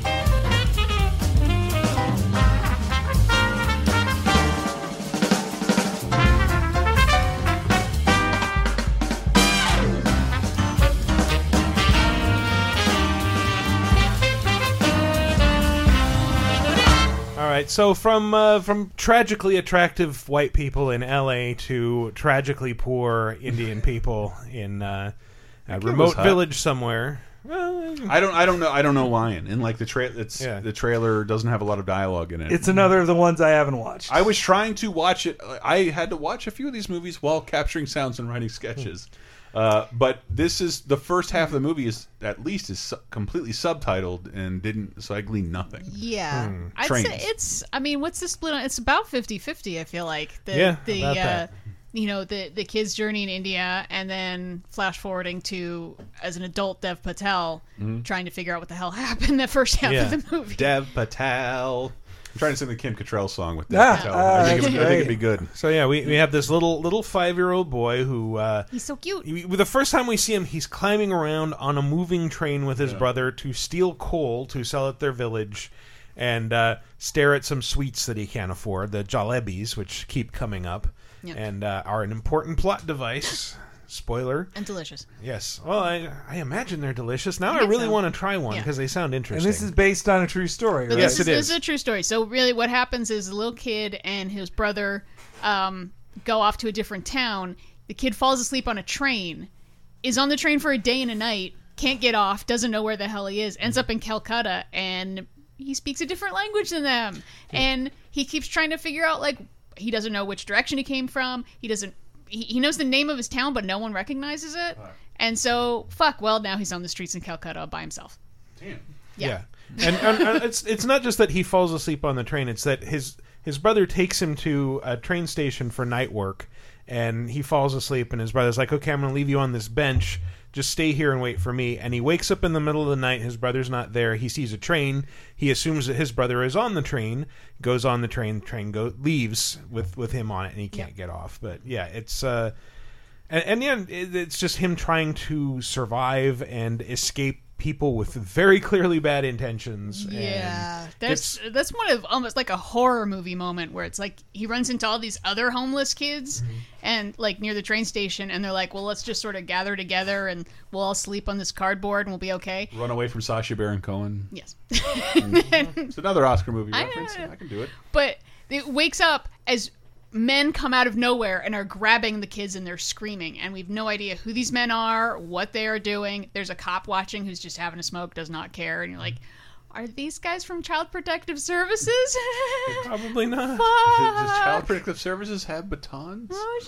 All right, so from uh, from tragically attractive white people in L.A. to tragically poor Indian people in uh, a kid was remote hot. village somewhere. I don't. I don't know. I don't know. Lion and like the tra It's the trailer doesn't have a lot of dialogue in it. [LAUGHS] It's another of the ones I haven't watched. I was trying to watch it. I had to watch a few of these movies while capturing sounds and writing sketches. Hmm. Uh, but this is the first half of the movie is at least is su completely subtitled and didn't so I gleaned nothing. Yeah. Hmm. I'd Trains. say it's I mean, what's the split on it's about 50-50, I feel like. The Yeah, the about uh that. you know, the the kid's journey in India and then flash forwarding to as an adult Dev Patel Mhm. trying to figure out what the hell [LAUGHS] happened the first half of the movie. Dev Patel. I'm trying to sing the Kim Cattrall song with Dev Ah, Patel. ah, I, think it, would- I that's think it'd great. be good. So uh, yeah, we, we have this little little five year old boy who uh, He's so cute. we- the first time we see him, he's climbing around on a moving train with his brother to steal coal to sell at their village, and uh, stare at some sweets that he can't afford, the jalebis, which keep coming up, Yeah. and uh, are an important plot device. Spoiler. And delicious. Yes. Well, I, I imagine they're delicious. Now I I, think really so. want to try one Yeah. because they sound and interesting. this is based on a true story, But right? this, is, this is a true story. So really, what happens is the little kid and his brother um, go off to a different town. The kid falls asleep on a train, is on the train for a day and a night, can't get off, doesn't know where the hell he is, ends up in Calcutta, and he speaks a different language than them, and he keeps trying to figure out like he doesn't know which direction he came from. He doesn't. He, he knows the name of his town, but no one recognizes it. And so, fuck. Well, now he's on the streets in Calcutta by himself. Yeah. And, and, and it's it's not just that he falls asleep on the train, it's that his his brother takes him to a train station for night work and he falls asleep and his brother's like, "Okay, I'm going to leave you on this bench. Just stay here and wait for me." And he wakes up in the middle of the night, his brother's not there. He sees a train. He assumes that his brother is on the train, goes on the train, the train go leaves with with him on it and he can't get off. But yeah, it's uh and, and yeah, it- it's just him trying to survive and escape people with very clearly bad intentions. and Yeah, that's that's one of almost like a horror movie moment where it's like he runs into all these other homeless kids and like near the train station, and they're like, "Well, let's just sort of gather together and we'll all sleep on this cardboard and we'll be okay." Run away from Sasha Baron Cohen. Mm-hmm. Yes. [LAUGHS] it's another Oscar movie I reference. know. I can do it. But it wakes up as men come out of nowhere and are grabbing the kids and they're screaming, and we've no idea who these men are, what they are doing. There's a cop watching who's just having a smoke, does not care, and you're like. Are these guys from Child Protective Services? [LAUGHS] [LAUGHS] Probably not. Does Child Protective Services have batons? Oh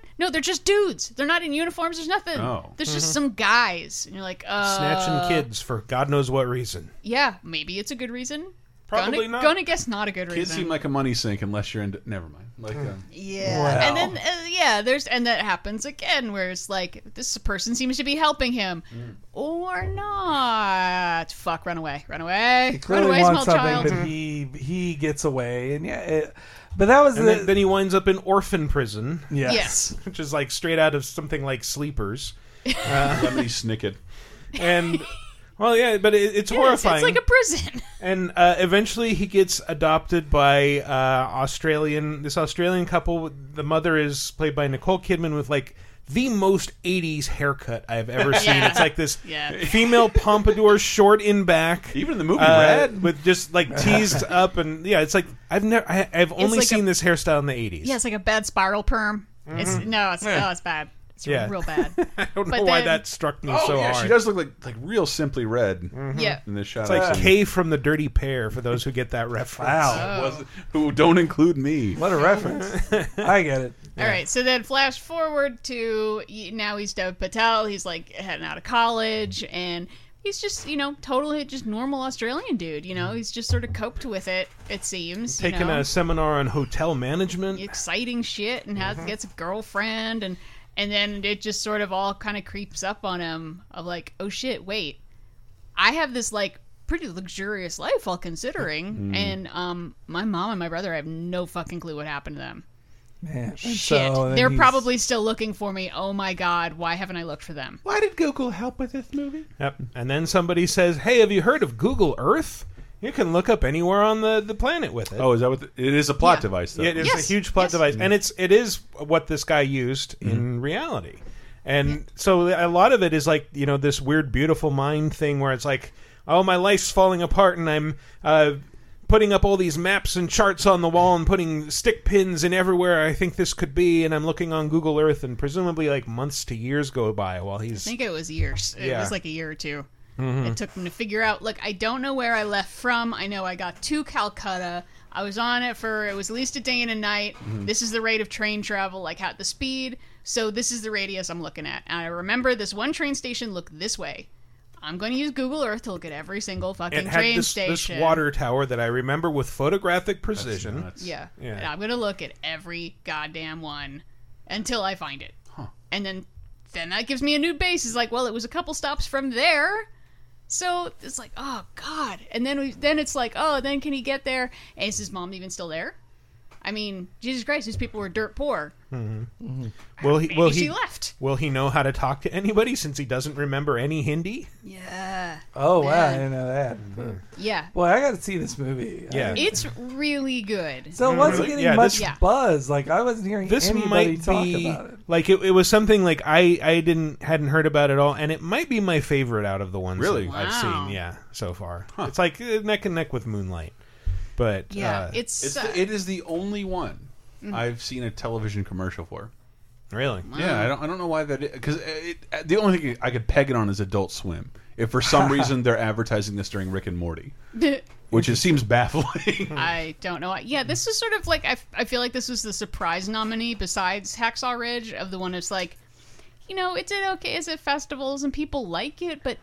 shit! No, they're just dudes. They're not in uniforms. There's nothing. Oh. There's Mhm. just some guys, and you're like, uh, snatching kids for God knows what reason. Yeah, maybe it's a good reason. Probably gonna, not. Gonna guess not a good Kids reason. seem like a money sink unless you're into. Never mind. Like, Hmm. um, Yeah, and then uh, yeah, there's and that happens again where it's like this person seems to be helping him Mm. or not. Fuck, run away, run away, He run clearly away, wants small something, child. but he he gets away, and yeah, it, but that was And the, then, then he winds up in orphan prison. Yes. Yes. which is like straight out of something like Sleepers. Uh, Lemony Snicket. And well, yeah, but it, it's Yes, horrifying. It's like a prison. and uh, eventually he gets adopted by uh, Australian this Australian couple. The mother is played by Nicole Kidman with like the most 80s haircut I've ever seen. Yeah. It's like this Yeah. female pompadour short in back. Even in the movie Red with just like teased up and yeah, it's like I've never I, I've only like seen this hairstyle in the 80s. Yeah, it's like a bad spiral perm. It's Mhm. no, it's Yeah. no, it's bad. It's Yeah. [LAUGHS] real bad. I don't know why that struck me oh, so yeah, hard. she does look like like real simply red. [LAUGHS] Yeah. in this shot. Hmm. It's I've like seen. K from the Dirty Pair for those who get that reference. Oh. Wow. Was- who don't include me. What a reference. I get it. All right, so then flash forward to y- now he's Dev Patel. He's like heading out of college, and he's just you know totally just normal Australian dude. You know, he's just sort of coped with it. It seems you Taking know? Mm. a seminar on hotel management. exciting shit and Mm-hmm. has gets a girlfriend and and then it just sort of all kind of creeps up on him of like oh shit wait i have this like pretty luxurious life while considering Mm-hmm. Mm. and um my mom and my brother have no fucking clue what happened to them Man, shit they're probably still looking for me oh my god why haven't i looked for them why did google help with this movie Yep. And then somebody says, "Hey, have you heard of Google Earth? You can look up anywhere on the, the planet with it." Oh, is that what the- it is? A plot device, though. Yeah, it is Yes, a huge plot device, and it's it is what this guy used Mm-hmm. in reality. And so a lot of it is like you know this weird beautiful mind thing where it's like, oh, my life's falling apart, and I'm uh, putting up all these maps and charts on the wall and putting stick pins in everywhere I think this could be, and I'm looking on Google Earth, and presumably like months to years go by while i he's think it was years it Yeah. was like a year or two Mhm. It took them to figure out. Look, I don't know where I left from. I know I got to Calcutta. I was on it for it was at least a day and a night. Mm-hmm. Mhm. This is the rate of train travel, like how the speed. So this is the radius I'm looking at. And I remember this one train station looked this way. I'm going to use Google Earth to look at every single fucking it had train this, this station. water tower that I remember with photographic precision. Yeah. Yeah. And I'm going to look at every goddamn one until I find it. And then then that gives me a new base. It's like, well, it was a couple stops from there. So it's like, oh god. And then we then it's like, oh, then can he get there? And is his mom even still there? I mean, Jesus Christ, these people were dirt poor. Mhm. Mm-hmm. Will he? Will Maybe he? she left. Will he know how to talk to anybody since he doesn't remember any Hindi? Mm-hmm. Yeah. Oh wow, I Man. didn't know that. Yeah. Boy, I got to see this movie. Yeah. It's really good. so it wasn't getting much Yeah. buzz. Like I wasn't hearing This anybody might talk be about it. like it, it was something like I I didn't hadn't heard about at all, and it might be my favorite out of the ones Really? that I've Wow. seen. Yeah, so far it's like eh, neck and neck with Moonlight, but uh, it's the, it is the only one Mhm. I've seen a television commercial for. Really? Yeah, I don't I don't know why that because it, it, the only thing I could peg it on is Adult Swim. If for [LAUGHS] some reason they're advertising this during Rick and Morty, [LAUGHS] which it seems baffling. [LAUGHS] I don't know. why. Yeah, this is sort of like I, f- I feel like this was the surprise nominee besides Hacksaw Ridge of the one that's like, you know, it did okay as at festivals and people like it, but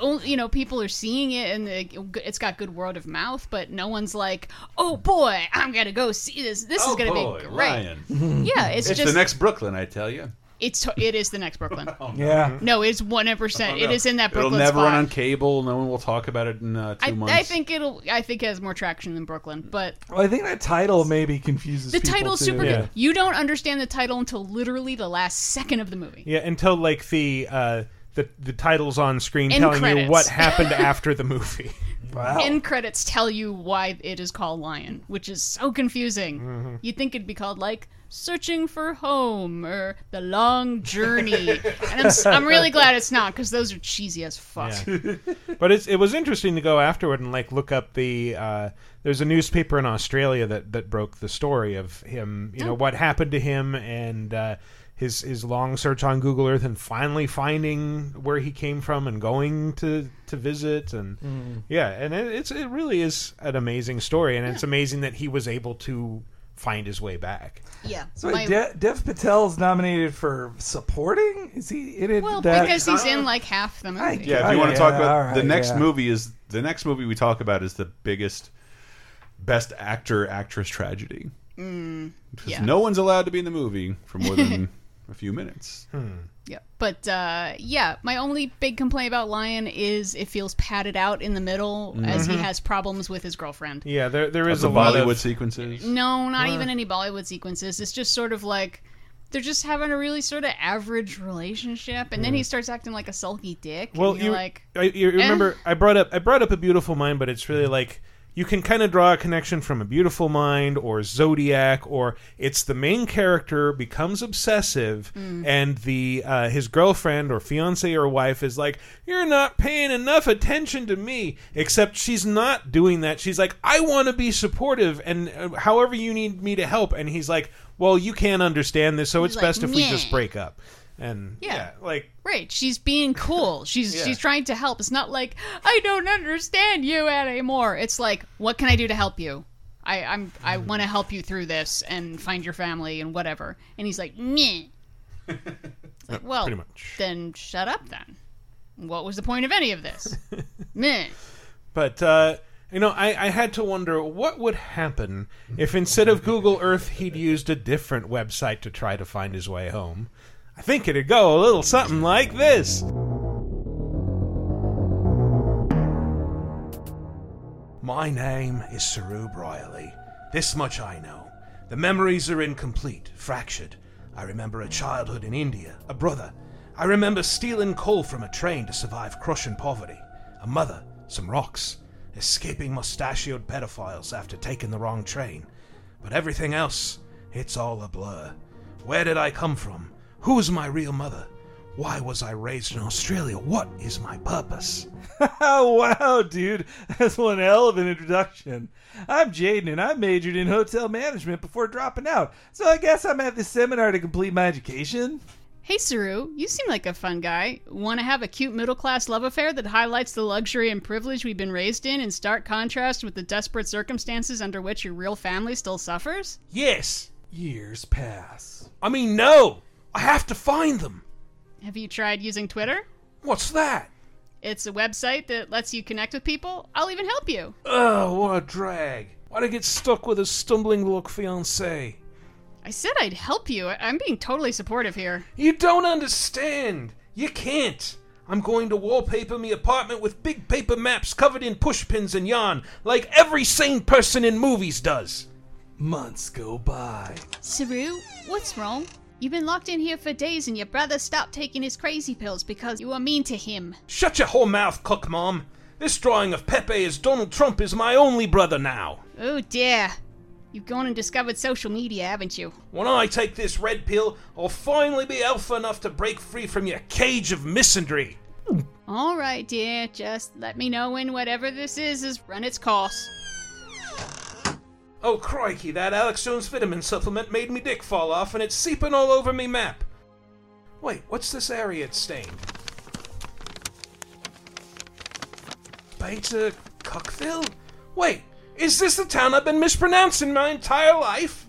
only, you know, people are seeing it and it- it's got good word of mouth, but no one's like, oh boy, I'm gonna go see this. This [LAUGHS] is gonna be great. Oh, Ryan. Yeah, it's the just- next Brooklyn, I tell you. It's to- it is the next [LAUGHS] Brooklyn. Oh, Yeah. No, it's one hundred percent. It is in that Brooklyn Mm-hmm. Oh, It'll never spot. run on cable. No one will talk about it in uh, two I, months. I think it'll. I think it has more traction than Brooklyn, but Well, I think that title maybe confuses the people, title's too. super good. You don't understand the title until literally the last second of the movie. yeah until like the uh, the the titles on screen End telling you credits. [LAUGHS] what happened after the movie. End credits tell you why it is called Lion, which is so confusing. Mm-hmm. Mhm. You'd think it'd be called like Searching for Home or The Long [LAUGHS] Journey, and I'm, s- I'm really glad it's not because those are cheesy as fuck. Yeah. but it's, it was interesting to go afterward and like look up the uh, there's a newspaper in Australia that that broke the story of him you know Oh. what happened to him and uh, his his long search on Google Earth and finally finding where he came from and going to to visit and Mm. yeah and it, it's it really is an amazing story and it's amazing that he was able to find his way back Yeah. So wait, De- Dev Patel's nominated for supporting? Is he in it? Well, that- because he's [LAUGHS] in like half the movie. Yeah, if you want to talk about Oh, all the right, next yeah. movie is the next movie we talk about is the biggest Best Actor Actress Tragedy. Mm, Because yeah. no one's allowed to be in the movie for more [LAUGHS] than a few minutes. Hmm. Yeah. But uh, yeah, my only big complaint about Lion is it feels padded out in the middle as he Mm-hmm. Mhm. has problems with his girlfriend. Yeah, there there Of is the a lot Bollywood of, sequences. No, not Or- even any Bollywood sequences. It's just sort of like they're just having a really sort of average relationship, and then Yeah. he starts acting like a sulky dick. Mm. Well, and you're you like, I, you remember I brought up I brought up a beautiful mind, but it's really like you can kind of draw a connection from a beautiful mind or Zodiac, or it's the main character becomes obsessive, Mm. and the uh, his girlfriend or fiance or wife is like, "You're not paying enough attention to me." Except she's not doing that. She's like, "I want to be supportive, and uh, however you need me to help," and he's like, "Well, you can't understand this, so He's it's like, best if we "Nyeh." just break up." And yeah, like right. She's being [LAUGHS] cool. She's Yeah. she's trying to help. It's not like I don't understand you anymore. It's like, what can I do to help you? I I'm Mm. I want to help you through this and find your family and whatever. And he's like, meh. It's like, Yeah, well, pretty much. then shut up. Then, what was the point of any of this? [LAUGHS] meh. But uh, you know, I, I had to wonder what would happen if instead of Google Earth, he'd used a different website to try to find his way home. I think it'd go a little something like this. My name is Saru Brierly. This much I know. The memories are incomplete, fractured. I remember a childhood in India, a brother. I remember stealing coal from a train to survive crushing poverty, a mother, some rocks, escaping mustachioed pedophiles after taking the wrong train. But everything else, it's all a blur. Where did I come from? Who is my real mother? Why was I raised in Australia? What is my purpose? wow, dude. That's one hell of an introduction. I'm Jaden, and I majored in hotel management before dropping out. So I guess I'm at this seminar to complete my education. Hey, Saru, you seem like a fun guy. Want to have a cute middle class love affair that highlights the luxury and privilege we've been raised in in stark contrast with the desperate circumstances under which your real family still suffers? Yes. Years pass. I mean, no. I have to find them. Have you tried using Twitter? What's that? It's a website that lets you connect with people. I'll even help you. Oh, what a drag. Why'd I get stuck with a stumbling block fiance? I said I'd help you. I- I'm being totally supportive here. You don't understand. You can't. I'm going to wallpaper me apartment with big paper maps covered in pushpins and yarn, like every sane person in movies does. Months go by. Saru, what's wrong? You've been locked in here for days and your brother stopped taking his crazy pills because you were mean to him. Shut your whole mouth, cook mom. This drawing of Pepe as Donald Trump is my only brother now. Oh dear. You've gone and discovered social media, haven't you? When I take this red pill, I'll finally be alpha enough to break free from your cage of misandry. All right, dear. Just let me know when whatever this is has run its course. Oh crikey, that Alex Jones vitamin supplement made me dick fall off and it's seeping all over me map. Wait, what's this area it's stained? Beta Cuckville? Wait, is this the town I've been mispronouncing my entire life?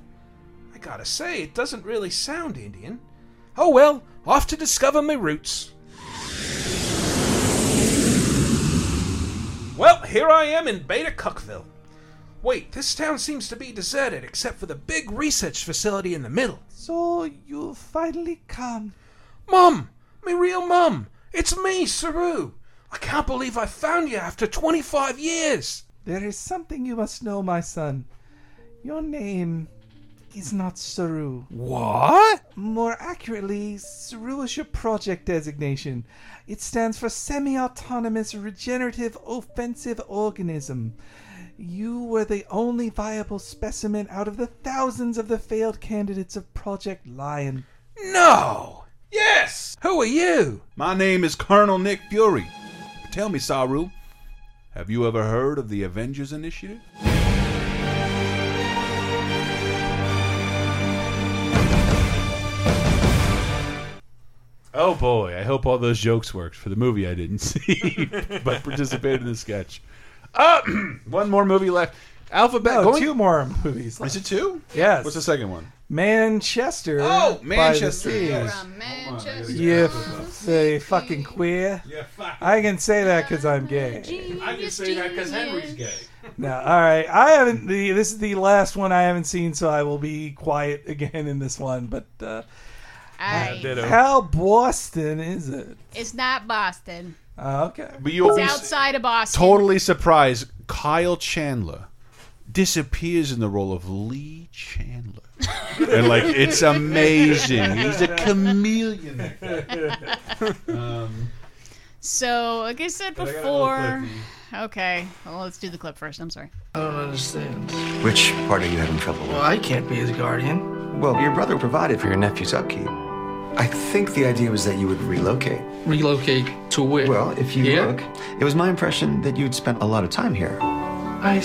I gotta say, it doesn't really sound Indian. Oh well, off to discover my roots. Well, here I am in Beta Cuckville. Wait, this town seems to be deserted except for the big research facility in the middle. So you finally come. Mum! Me real mum! It's me, Saru! I can't believe I found you after 25 years! There is something you must know, my son. Your name is not Saru. What? More accurately, Saru is your project designation. It stands for Semi Autonomous Regenerative Offensive Organism. You were the only viable specimen out of the thousands of the failed candidates of Project Lion. No! Yes! Who are you? My name is Colonel Nick Fury. Tell me, Saru, have you ever heard of the Avengers Initiative? Oh boy, I hope all those jokes worked for the movie I didn't [LAUGHS] see, but participated in the sketch. Uh, [CLEARS THROAT] one more movie left. Alphabet. No, going- two more movies. Is it two? Yes. What's the second one? Manchester. Oh, by the Manchester, Sea. yes. You f- say fucking queer. Yeah, fucking I can say that because I'm gay. I can say that because Henry's gay. No, all right. I haven't. The, this is the last one I haven't seen, so I will be quiet again in this one. But uh, Aye. ditto. how Boston is it? It's not Boston. Uh, okay, But you It's always- outside of Boston. [LAUGHS] Totally surprised. Kyle Chandler disappears in the role of Lee [LAUGHS] Chandler. and like it's amazing. He's a chameleon. Um, So, like I said But I got another before. okay, well, let's do the clip first. I'm sorry. I don't understand. Which part are you having trouble with? Well, I can't be his guardian. Well, your brother provided for your nephew's upkeep. I think the idea was that you would relocate. Relocate to where? Well, if you Here? look, it was my impression that you'd spent a lot of time here. I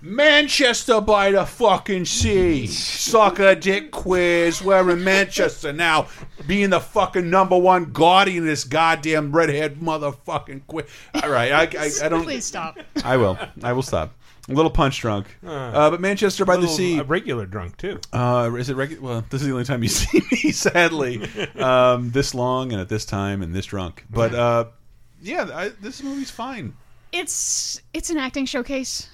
Manchester by the fucking sea. Sucker dick quiz. We're in Manchester now. Being the fucking number one guardian of this goddamn redhead motherfucking quiz. All right, I, I, I don't. Please stop. I will. I will stop. A little punch drunk. Uh, but Manchester by the Little- Sea. Oh, a regular drunk too. Uh, is it regular? Well, this is the only time you [LAUGHS] see me, sadly, um, this long and at this time and this drunk. But uh, yeah, I, this movie's fine. It's it's an acting showcase.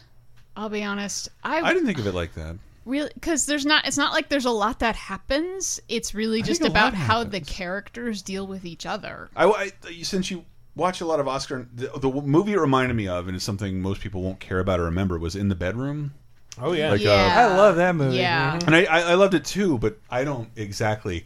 I'll be honest. I, I didn't think of it like that. really because there's not. It's not like there's a lot that happens. It's really I just think a lot about how the characters deal with each other. I, I- since you watch a lot of Oscar, the, the movie it reminded me of, and it's something most people won't care about or remember, was In the Bedroom. Oh yeah, Like, uh, Yeah. I love that movie. Yeah. man. And I, I, I loved it too, but I don't exactly.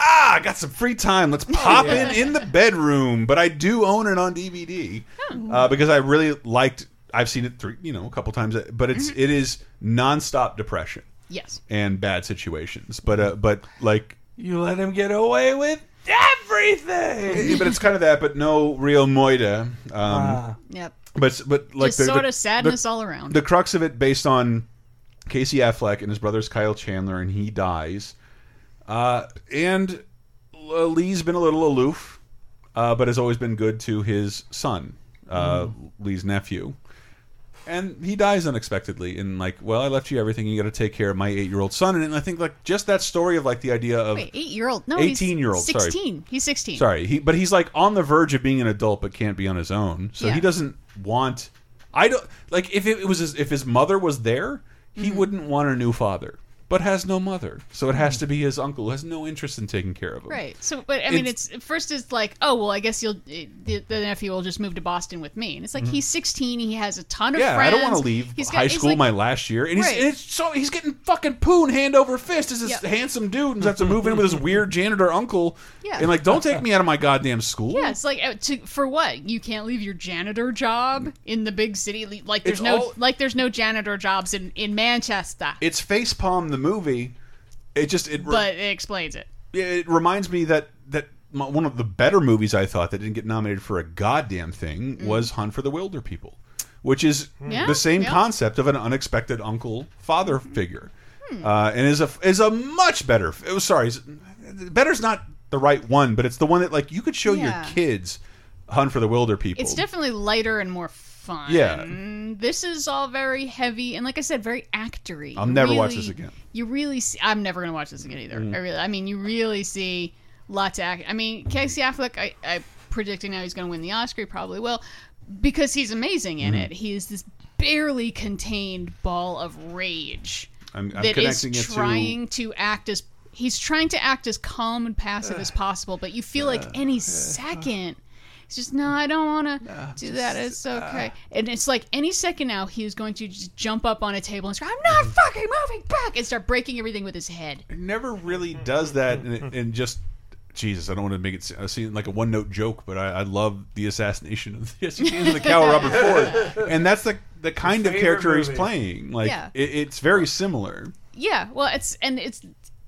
Ah, I got some free time. Let's pop Yeah. in in the bedroom. But I do own it on DVD uh, because I really liked. I've seen it three, you know, a couple times. But it's it is nonstop depression Yes. and bad situations. But uh, but like You let him get away with Yeah, everything. but it's kind of that, but no real moida. Um, Yep. But but like Just the, sort the- of sadness the- all around. The crux of it, based on Casey Affleck and his brother's Kyle Chandler, and he dies. Uh, and uh, Lee's been a little aloof, uh, but has always been good to his son, uh, Lee's nephew. And he dies unexpectedly, and like, well, I left you everything. You got to take care of my eight-year-old son, and I think like just that story of like the idea of Wait, eight year old? No, eighteen 18 year old, sorry. Sixteen. He's sixteen. Sorry, he, but he's like on the verge of being an adult, but can't be on his own. So he Yeah. doesn't want. I don't like if it was his, if his mother was there, Mm-hmm. he wouldn't want a new father, but has no mother, so it has to be his uncle who has no interest in taking care of him. Mm. Right. So, but I mean, it's, first it's like, oh well, I guess you'll the, the nephew will just move to Boston with me, and it's like Mhm. he's 16, he has a ton of yeah, friends. I don't want to leave He's got- high it's school like- my last year, and he's Right. and it's so he's getting fucking poon hand over fist as this Yeah. handsome dude, and has to move in [LAUGHS] with his weird janitor uncle, Yeah. and like, don't take me out of my goddamn school. yeah, it's like uh, to, for what you can't leave your janitor job in the big city. Li- Like there's It's no all- like there's no janitor jobs in in Manchester, It's facepalm the movie. It just it re- but it explains it. it reminds me that that m one of the better movies I thought that didn't get nominated for a goddamn thing Mm. Hmm. was Hunt for the Wilder People, which is Yeah, the same yeah. Hmm. concept of an unexpected uncle father figure, uh, and is a is a much better. It was sorry, is- better's not the right one, but it's the one that like you could show Yeah. your kids Hunt for the Wilder People. It's definitely lighter and more fun. Yeah. This is all very heavy and, like I said, very actory. I'll You never watch really- this again. You really see. I'm never going to watch this again either. Mm. I really. I mean, you really see lots of act. I mean, Casey Affleck. I, I predicting now he's going to win the Oscar. He probably will, because he's amazing in Mhm. it. He is this barely contained ball of rage I'm, I'm that is connecting it to trying to act as he's trying to act as calm and [SIGHS] passive as possible, but you feel like any second it's just no, I don't want to do that. It's uh, okay, and it's like any second now he is going to just jump up on a table and scream, "I'm not Mm-hmm. fucking moving back!" and start breaking everything with his head. It never really does that, and, it- and just Jesus, I don't want to make it se- seem like a one note joke, but I, I love the assassination of the, [LAUGHS] assassination of the cow Robert Ford, and that's the the kind of Favorite character he's movie. playing. Like Yeah. it, it's very similar. Yeah, well, it's and it's,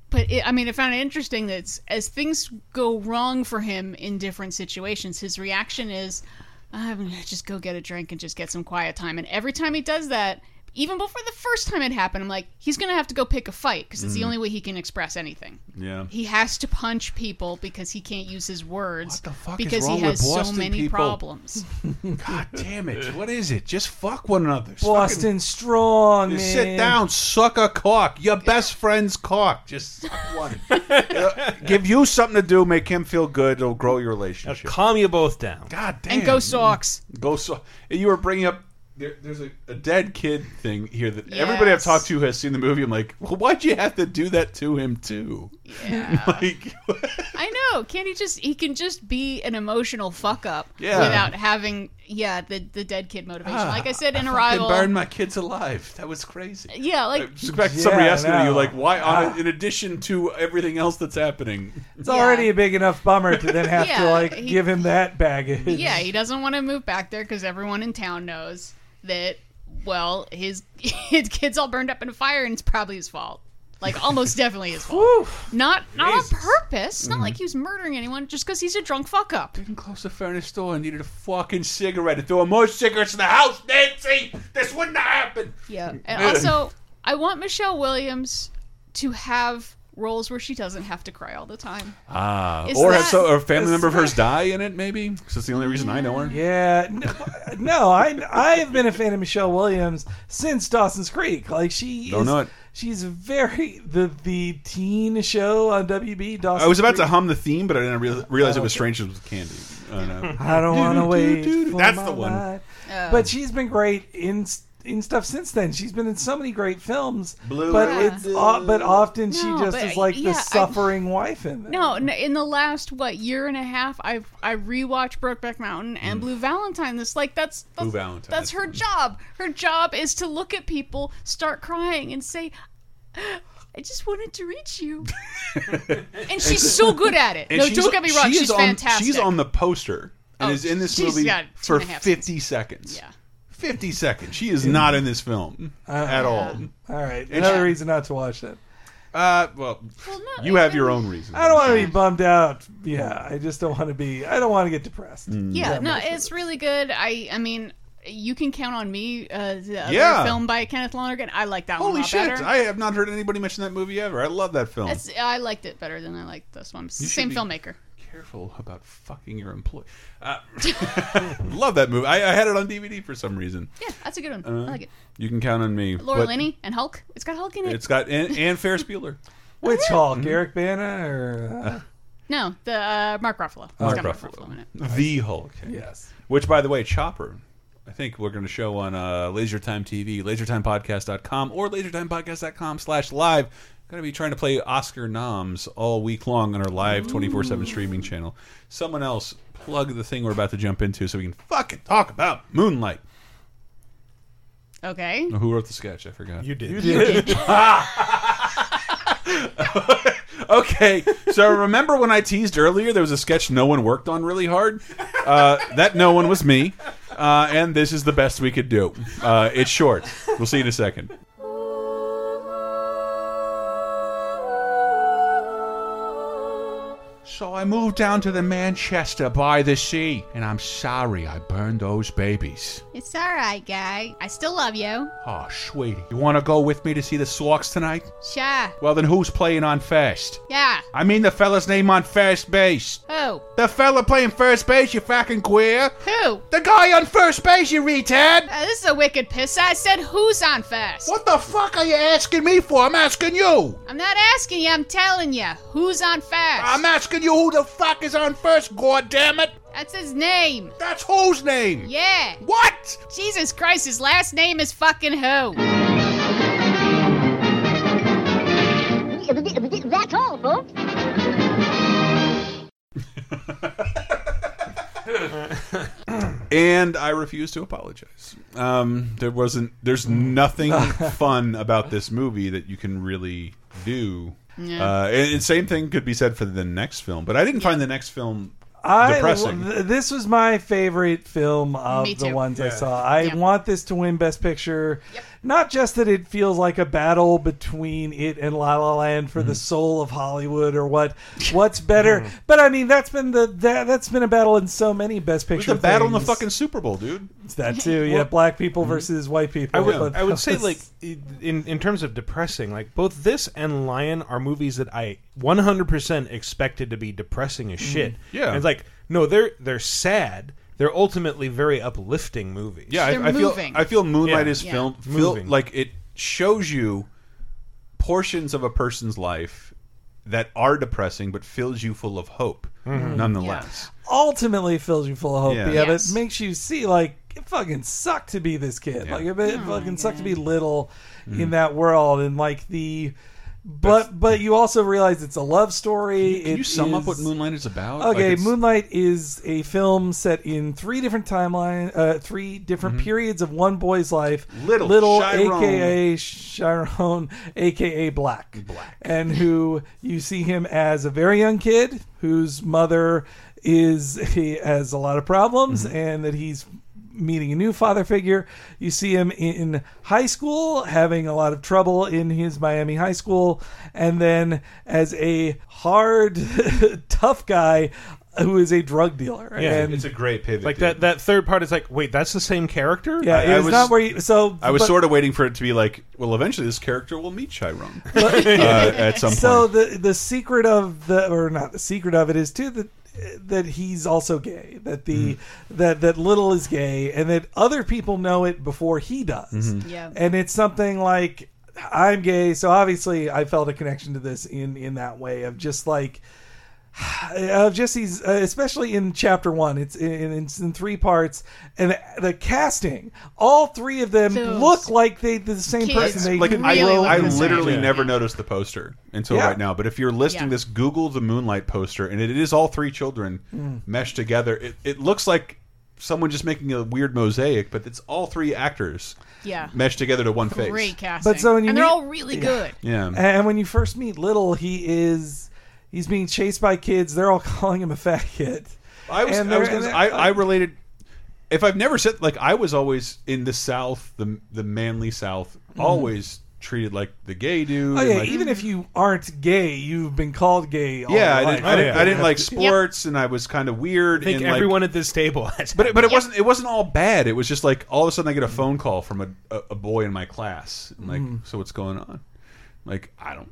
but it, I mean, I found it interesting that it's, as things go wrong for him in different situations, his reaction is, "I'm gonna just go get a drink and just get some quiet time." And every time he does that, even before the first time it happened, I'm like, he's gonna have to go pick a fight because it's the Mhm. only way he can express anything. Yeah. He has to punch people because he can't use his words is because wrong he with has so Boston many people? problems. God damn it! What is it? Just fuck one another. Boston strong. Fucking- man. Sit down, suck a cock. Your best friend's cock. Just suck [LAUGHS] one. Uh, give you something to do, make him feel good. It'll grow your relationship. calm you both down. God damn. And go socks. Go so you were bringing up there, there's a, a dead kid thing here that everybody I've talked to has seen the movie. I'm like, well, why'd you have to do that to him too? Yeah. [LAUGHS] like, I know. Can't he just? He can just be an emotional fuck up Yeah. without having yeah the the dead kid motivation. ah, like I said in fucking Arrival, burned my kids alive. That was crazy. Yeah, like- I expect somebody Yeah, I asking you know. like, why? On, Ah. in addition to everything else that's happening, It's already a big enough bummer to then have Yeah, to like he- give him that baggage. [LAUGHS] yeah, he doesn't want to move back there because everyone in town knows that. Well, his [LAUGHS] his kid's all burned up in a fire, and it's probably his fault. Like almost definitely his fault. not not on purpose. Not Mhm. like he was murdering anyone just because he's a drunk fuck up. Didn't close the furnace door. I needed a fucking cigarette. If there were more cigarettes in the house, Nancy, this wouldn't have happened. Yeah, and also I want Michelle Williams to have roles where she doesn't have to cry all the time. Ah, Is or that- have so, or a family is member of hers die in it, maybe? Because that's the only reason I know her. Yeah, no, no, I I have been a fan of Michelle Williams since Dawson's Creek. Like she Don't is, know it. she's very the the teen show on WB. Dawson's I was about to Creek. hum the theme, but I didn't real- realize it was Strangers with Candy. I don't, know. I don't want to wait. for That's my the one. ride. Oh. But she's been great in in stuff since then. She's been in so many great films. Blue but Yeah. it's o- but often No, she just but is like yeah, I- the suffering wife in them. No, no, in the last what year and a half, I've I rewatched Brokeback Mountain and Blue Valentine. This like that's that's, Mm. Blue Valentine, that's that's her job. Her job is to look at people, start crying, and say, "I just wanted to [LAUGHS] reach you." and she's so good at it. And no, she's- don't get me wrong. she She's, is on- fantastic. She's on the poster and Oh, is in this she's movie got two for and a half 50 seconds. Yeah. 50 seconds. She is not in this film Uh, at all. Uh, All right, And another she- reason not to watch that. Uh, well, you have your own reasons. I don't want to be bummed out. Yeah, I just don't want to be. I don't want to get depressed. Mm. Yeah, That no, much. it's really good. I I mean, you can count on me. Uh, the other Yeah. film by Kenneth Lonergan. I like that one a Holy lot shit! better. I have not heard anybody mention that movie ever. I love that film. That's- I liked it better than I liked this one. It's the You should Same be- filmmaker. Careful about fucking your employee. Uh, [LAUGHS] love that movie. I, I had it on DVD for some reason. Yeah, that's a good one. Uh, I like it. You can count on me. Laura But Linney and Hulk. It's got Hulk in it. It's got and, and Ferris Bueller. [LAUGHS] Which Hulk? Mm-hmm. Eric Bana or uh, no, the uh, Mark Ruffalo. It's Mark got Ruffalo, in it. the Hulk. Yes. Which, by the way, Chopper. I think we're going to show on uh, LaserTime TV, LaserTimePodcast.com, or LaserTimePodcast.com slash live. Going to be trying to play Oscar noms all week long on our live 24 7 streaming channel. Someone else plug the thing we're about to jump into so we can fucking talk about Moonlight. Okay. No, who wrote the sketch? I forgot. You did. You did. [LAUGHS] okay. So remember when I teased earlier there was a sketch no one worked on really hard? Uh, that no one was me. Uh, and this is the best we could do. Uh, it's short. We'll see you in a second. So I moved down to the Manchester by the sea, and I'm sorry I burned those babies. It's all right, guy. I still love you. Oh, sweetie, you want to go with me to see the Slogs tonight? Sure. Well, then who's playing on first? Yeah. Oh. I mean the fella's name on first base. Who? The fella playing first base, you fucking queer. Who? The guy on first base, you retard. Oh. Uh, this is a wicked piss. I said who's on first. What the fuck are you asking me for? I'm asking you. I'm not asking you. I'm telling you who's on first. I'm asking you who the fuck is on first, god damn it. That's his name. That's whose name? Yeah. What? Jesus Christ, his last name is fucking who? That's all, folks. And I refuse to apologize. Um, there wasn't. There's nothing fun about this movie that you can really do. Yeah. Uh, and, and same thing could be said for the next film. But I didn't find the next film I depressing. th- this was my favorite film of Me the too. ones I Yeah. saw. I want this to win Best Picture. Not just that it feels like a battle between it and La La Land Mm-hmm. for the soul of Hollywood or what [LAUGHS] what's better. Mm. But I mean that's been the that, that's been a battle in so many Best It's Picture. a battle in the things. fucking Super Bowl, dude. Mm-hmm. It's [LAUGHS] that too. Yeah, black people versus white people. I would, But I [LAUGHS] would say that was- like in in terms of depressing, like both this and Lion are movies that I 100% expected to be depressing as shit. Mm. Yeah. And it's like no, they're they're sad. They're ultimately very uplifting movies. Yeah, I, I feel I feel Moonlight is film feel, Moving. like it shows you portions of a person's life that are depressing, but fills you full of hope Mhm. nonetheless. ultimately fills you full of hope. Yeah. Yeah, but makes you see like it fucking sucked to be this kid. Like it, it fucking sucked to be little Mm-hmm. in that world and like the but but you also realize it's a love story. Can you It sum up is- what Moonlight is about? Like, Okay, it's- Moonlight is a film set in three different timeline, uh, three different periods of one boy's life. Mm-hmm. Little Chiron. aka Chiron, aka Black, Black, and who you see him as a very young kid whose mother is he has a lot of problems, and that he's meeting a new father figure. You see him in high school having a lot of trouble in his Miami high school, and then as a hard, [LAUGHS] tough guy who is a drug dealer. and it's a great pivot. Like that, that third part is like, wait, that's the same character? Yeah, it was, not where you. So I was Oh, but- sort of waiting for it to be like, well, eventually this character will meet Chiron [LAUGHS] uh, [LAUGHS] at some point. So the the secret of the or not the secret of it is too that that he's also gay. That the Mm-hmm. that that little is gay, and that other people know it before he does. Mhm. Yeah. and it's something like I'm gay, so obviously I felt a connection to this in in that way of just like [SIGHS] of just these, uh, especially in chapter one, it's in, it's in three parts, and the, the casting, all three of them Those look like they the same person. They like I, grow I in the same literally way. never noticed the poster until Yeah. right now. But if you're listing Yeah. this, Google the Moonlight poster, and it is all three children Mm. meshed together. It, it looks like someone just making a weird mosaic, but it's all three actors Yeah. meshed together to one face. Great casting. But so when you and they're meet- all really Yeah. good. Yeah. And- And when you first meet Little, he is he's being chased by kids. They're all [LAUGHS] calling him a fat kid. I was, And I, was they're- gonna say, and I, they're- I related. If I've never said like I was always in the South, the the manly South, Mhm. always treated like the gay dude. Oh and, yeah, like- even if you aren't gay, you've been called gay. All yeah, I your didn't, life. I didn't, I didn't like Yeah. sports, and I was kind of weird. I think and, like- everyone at this table [LAUGHS] has. But it, but it wasn't it wasn't all bad. It was just like all of a sudden I get a phone call from a, a, a boy in my class. i like, Mm. so what's going on? I'm like I don't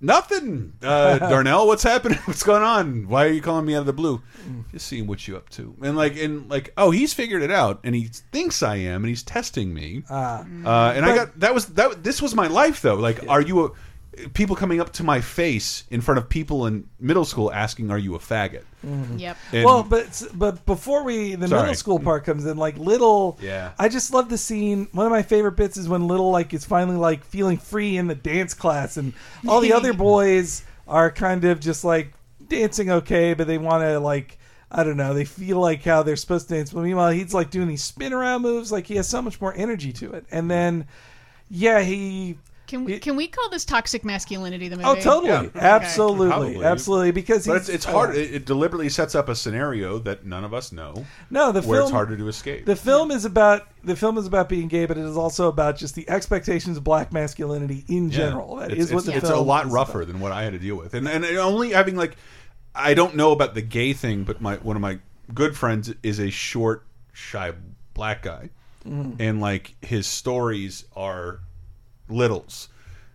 nothing. Uh, Darnell, what's happening? [LAUGHS] What's going on? Why are you calling me out of the blue? Just seeing what you up to. And like and like oh he's figured it out and he thinks I am and he's testing me. Ah. Mm. Uh, and I But- got that was that. This was my life though. Like, are you a people coming up to my face in front of people in middle school asking, "Are you a faggot?" Mhm. Yep. And- well, but but before we the Sorry. middle school part comes in, like little. Yeah. I just love the scene. One of my favorite bits is when little like is finally like feeling free in the dance class, and all [LAUGHS] the other boys are kind of just like dancing okay, but they want to like. I don't know. They feel like how they're supposed to dance, but meanwhile he's like doing these spin around moves. Like he has so much more energy to it. And then, yeah, he Can we can we call this toxic masculinity the movie? Oh, totally. Okay. Absolutely. Probably. Absolutely. Because But it's, he's, it's hard. uh, It, it deliberately sets up a scenario that none of us know. no, the where film it's harder to escape. The film is about the film is about being gay, but it is also about just the expectations of black masculinity in Yeah. general. That is it's, it's, what the it's film a lot is rougher than what I had to deal with, and and only having like I don't know about the gay thing, but my one of my good friends is a short, shy black guy, Mm. Mhm. and like his stories are littles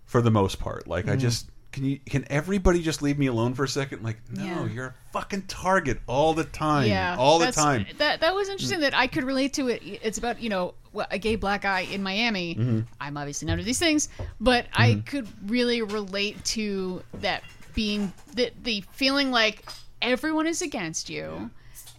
for the most part. Like I Mm. Mhm. just can you can everybody just leave me alone for a second? Like no, Yeah. you're a fucking target all the time, Yeah, all the that's- time. That that was interesting that I could relate to it. It's about you know a gay black guy in Miami. Mhm. I'm obviously none of these things, but I Mhm. could really relate to that being the the feeling like everyone is against you.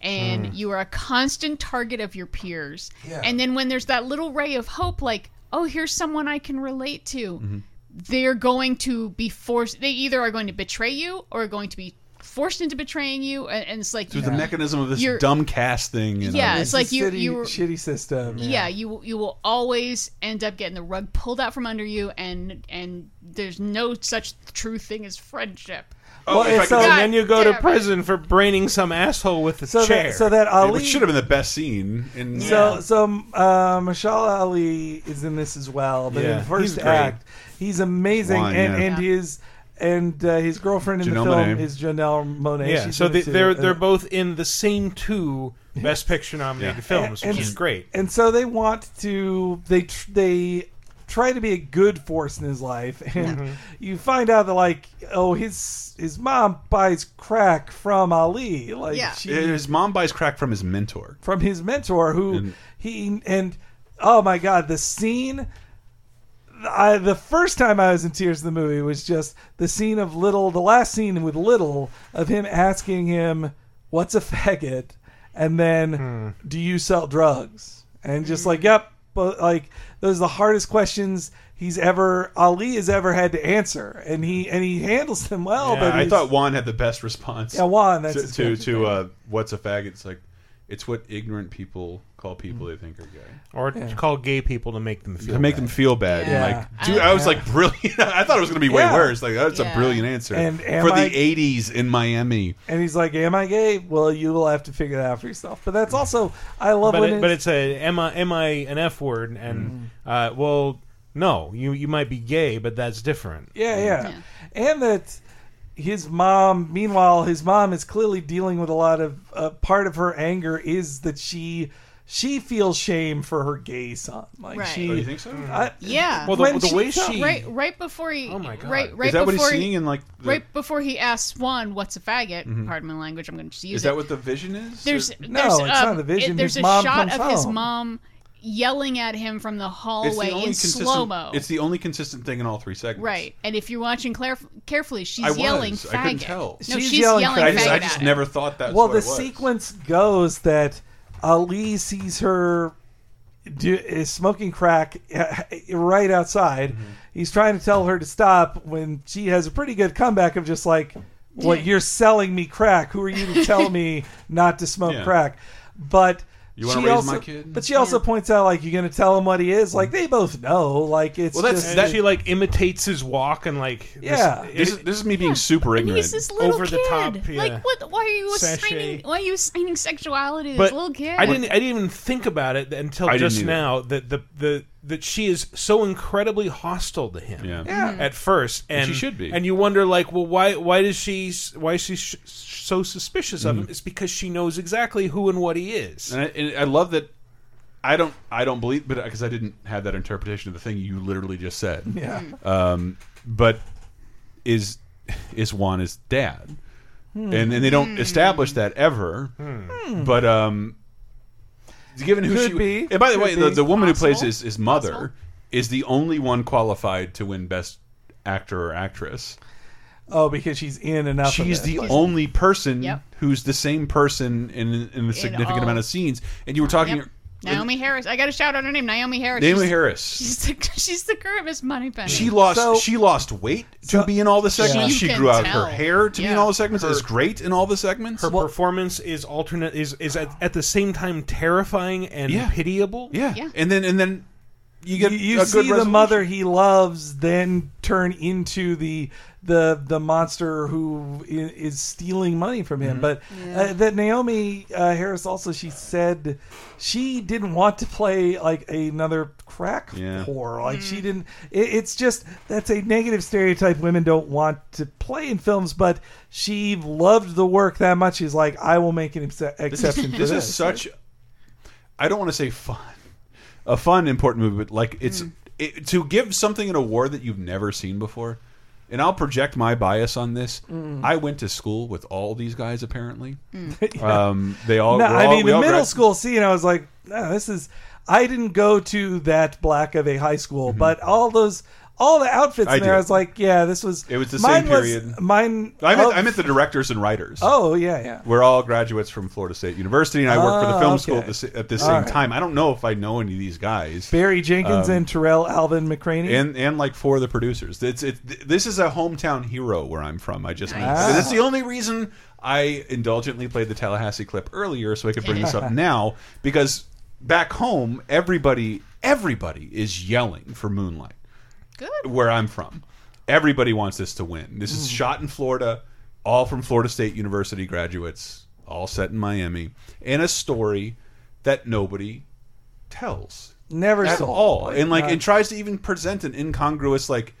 And Mm. you are a constant target of your peers. Yeah. And then when there's that little ray of hope, like, oh, here's someone I can relate to, Mm-hmm. Mhm. they're going to be forced. They either are going to betray you or are going to be forced into betraying you. And, and it's like Through the mechanism of this you're- dumb cast thing. And Yeah, it's like you- Shitty- you were- shitty system. yeah. you you will always end up getting the rug pulled out from under you, and and there's no such true thing as friendship. Oh, if I could- and then you go to damn it. prison for braining some asshole with a So that- chair. so that Ali- Which should have been the best scene. In So so uh, Mashallah Ali is in this as well, but in Yeah, the first he's great. act, he's amazing, Wine, and yeah. and his and uh, his girlfriend in Janelle the film Monáe. is Janelle Monet. yeah, so they, uh, they're they're both in the same two Best Picture nominated films, which is great. And so they want to they tr- they try to be a good force in his life, [LAUGHS] and Mm-hmm. Mhm. you find out that like oh his his mom buys crack from Ali, like she his mom buys crack from his mentor. from his mentor who he and oh my god the scene I, the first time I was in tears in the movie was just the scene of little the last scene with little of him asking him what's a faggot and then do you sell drugs and just like, yep, but like those are the hardest questions he's ever Ali has ever had to answer, and he and he handles them well. Yeah, but I he's- thought Juan had the best response. Yeah, Juan, that's his to to, best. to uh, what's a fag? It's like it's what ignorant people call people they think are gay, or Yeah. call gay people to make them feel to make bad. them feel bad. And, Yeah. like, dude, I was like brilliant. [LAUGHS] I thought it was going to be way Yeah. worse. Like that's Yeah. a brilliant answer And am for I- the '80s in Miami. and he's like, "Am I gay?" Well, you will have to figure that out for yourself. But that's also I love but, when it- it's, but it's a am I am I an F word and Mm. uh, well no you you might be gay but that's different. Yeah, yeah, And that his mom, meanwhile, his mom is clearly dealing with a lot of uh, part of her anger is that she she feels shame for her gay son. Like Right. she, Oh, you think so? I- Yeah. when she- right right before he oh my God. right Is right that what before he's he- seeing in, like, the- right before he asks Juan what's a faggot. Mhm. Pardon my language. I'm going to just use Is it. that what the vision is? There's Or- there's, um, it- there's a shot of his mom yelling at him from the It's the hallway only in consistent- slow mo. It's the only consistent thing in all three segments. Right, and if you're watching claref- carefully, she's I was. yelling faggot. I couldn't tell. No, she's, yelling, faggot. I just, I just at him. never thought that. well, what the it was. sequence goes that Ali sees her do, is smoking crack [LAUGHS] uh, right outside. Mm-hmm. He's trying to tell her to stop when she has a pretty good comeback of just like, "Well, you're selling me crack. Who are you to tell me not to smoke Yeah. crack?" But You she wanna raise also, my kid? But she also points out like, "You're going to tell him what he is." Like they both know. Like it's well, that's just, that, she like imitates his walk and like this- Yeah. it- This is, this is me being super ignorant. He's this little Over kid. the top, yeah. Like what? Why are you Sachet. assigning? Why are you assigning sexuality to this but little kid? I didn't I didn't even think about it until I didn't just either. now that the the that she is so incredibly hostile to him Yeah. at first And and she should be. and you wonder like well why why does she s- why is she sh- so suspicious of him it's because she knows exactly who and what he is Mm-hmm. And I, and I love that. I don't. I don't believe, but because I didn't have that interpretation of the thing you literally just said. Yeah. Um, but is is Juan his dad, Hmm. and and they don't Hmm. establish that ever. Hmm. But um, given who Could she be. and by the Could way, the, be. the woman who plays Possible. his, his mother Possible. is the only one qualified to win best actor or actress. oh, because she's in enough. of She's it, the like- only person Yep. who's the same person in in a significant all. amount of scenes. And you were talking. Yep. Naomi Harris. I got to shout out her name. Naomi Harris. Naomi she's, Harris. She's the [LAUGHS] she's the current Miss Moneypenny. She lost. she lost weight to be in all the segments. You She can grew out tell. her hair to be in all the segments. Is great in all the segments. Her performance is alternate is is at, at the same time terrifying and Yeah. pitiable. Yeah. and then and then you get you a good see the resolution. mother he loves then turn into the the the monster who i- is stealing money from Mm-hmm. him. But uh, that Naomi uh, Harris also she said she didn't want to play like another crack Yeah. whore. Like she didn't. It, it's just that's a negative stereotype women don't want to play in films. But she loved the work that much. She's like, I will make an exce- This, exception. is- for this is such. I don't want to say fun, a fun important movie, but like it's Mm. it, to give something an award that you've never seen before. And I'll project my bias on this. Mm. I went to school with all these guys. Apparently, Mm. [LAUGHS] Yeah. um, they all. No, we're I all- mean we the all middle grad- school scene. I was like, no, this is. I didn't go to that black of a high school, but all those, all the outfits Mm-hmm. I in there. did. I was like, yeah, this was. It was the mine same was- period. mine. I meant, of- I meant the directors and writers. Oh yeah, yeah. We're all graduates from Florida State University, and I work for the Oh, film school okay. at the, sa- at the All same right. time. I don't know if I know any of these guys. Barry Jenkins Um, and Terrell Alvin McCraney. and and like four of the producers. It's it. th- This is a hometown hero where I'm from. I just Nice. Ah. that's the only reason I indulgently played the Tallahassee clip earlier, so I could bring this up now because back home everybody everybody is yelling for Moonlight. Good. Where I'm from, everybody wants this to win. This is Mm. shot in Florida, all from Florida State University graduates, all set in Miami, and a story that nobody tells Never Uh, at sold. all, and like not- and tries to even present an incongruous like,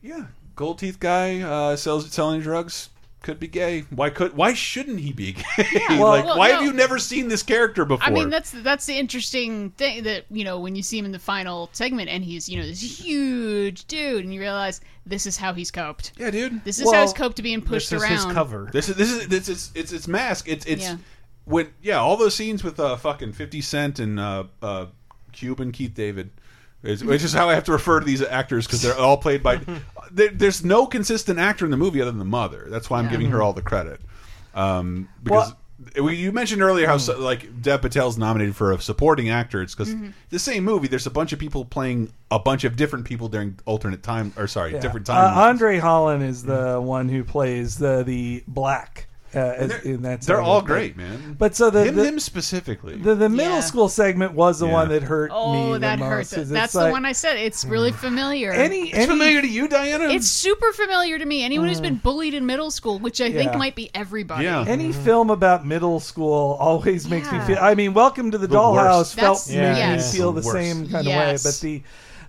yeah, gold teeth guy uh, sells selling drugs could be gay. Why could why shouldn't he be gay? [LAUGHS] like Well, why no. have you never seen this character before? I mean, that's that's the interesting thing that you know when you see him in the final segment and he's you know this huge dude and you realize this is how he's coped. Yeah, dude. This is how he's coped to being pushed around. This is this is this is it's its mask. It's it's Yeah. when yeah all those scenes with uh fucking Fifty Cent and uh uh Cuban Keith David. Is, which is how I have to refer to these actors because they're all played by. there, there's no consistent actor in the movie other than the mother. That's why I'm giving her all the credit. Um, because we, you mentioned earlier how so- like Dev Patel's nominated for a supporting actor. It's because Mm-hmm. Mhm. the same movie. There's a bunch of people playing a bunch of different people during alternate time or sorry, Yeah. different Uh, time. Andre Holland is the one who plays the the black. Uh, as, in that they're segment. all great, man. But so the Him- the, him specifically, the, the middle Yeah. school segment was the Yeah. one that hurt me. Oh, the that most, hurts. 'cause it's That's like- the one I said. It's really familiar. Any- It's any- familiar to you, Diana? It's super familiar to me. Anyone who's Mm. been bullied in middle school, which I think Yeah. might be everybody. Any film about middle school always makes me Yeah. feel. I mean, Welcome to the, The Dollhouse worst. felt That's- made Yeah. me yes. feel the, The worst. same kind Yes. of way. But the,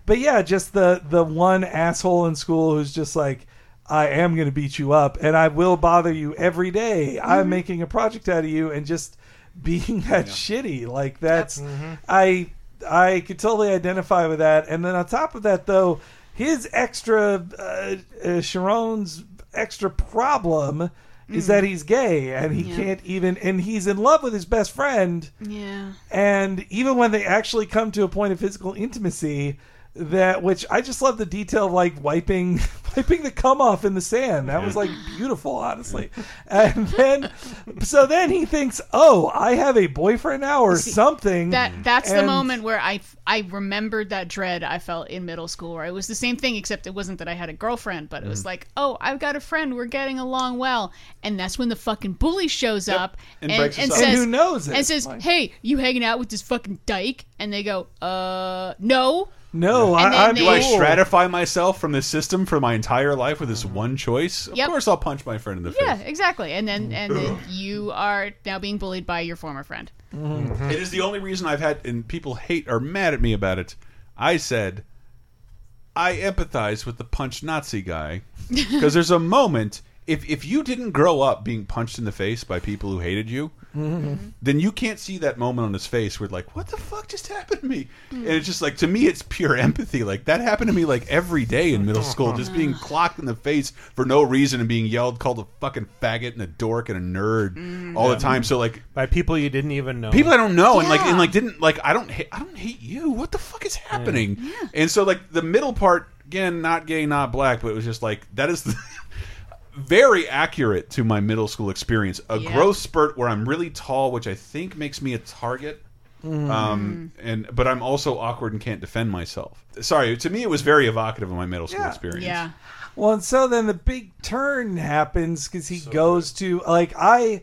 but yeah, just the the one asshole in school who's just like. I am going to beat you up, and I will bother you every day. Mm-hmm. I'm making a project out of you, and just being that shitty, like that's, Mm-hmm. I, I could totally identify with that. And then on top of that, though, his extra uh, uh, Sharon's extra problem is that he's gay and he Mm. Yeah. can't even and he's in love with his best friend Yeah. and even when they actually come to a point of physical intimacy that which I just love the detail of like wiping [LAUGHS] wiping the cum off in the sand. That was like beautiful, honestly. And then so then he thinks, "Oh, I have a boyfriend now or something." That that's the And- moment where I I remembered that dread I felt in middle school where it was the same thing except it wasn't that I had a girlfriend but it was Mhm. like oh I've got a friend we're getting along well and that's when the fucking bully shows up And and breaks us and up. says And who knows it? and says Like- hey you hanging out with this fucking dyke and they go uh no no And then do they- I stratify myself from this system for my entire life with Mm-hmm. this one choice? Of Yep. course, I'll punch my friend in the face. yeah exactly and then and then you are now being bullied by your former friend Mm-hmm. It is the only reason I've had, and people hate or mad at me about it. I said, I empathize with the punch Nazi [LAUGHS] guy because there's a moment. If if you didn't grow up being punched in the face by people who hated you, Mm-hmm. Mm-hmm. then you can't see that moment on his face where like, what the fuck just happened to me? And it's just like to me, it's pure empathy. Like that happened to me like every day in middle school, just being clocked in the face for no reason and being yelled, called a fucking faggot and a dork and a nerd all the Yeah. time. So like by people you didn't even know. people I don't know and like and like didn't like I don't hate I don't hate you. What the fuck is happening? And so like the middle part again, not gay, not black, but it was just like that is the, [LAUGHS] very accurate to my middle school experience. A Yeah. growth spurt where I'm really tall, which I think makes me a target. Mm. Um and but I'm also awkward and can't defend myself. Sorry, to me it was very evocative of my middle school experience. yeah Well, and so then the big turn happens because he goes to like I,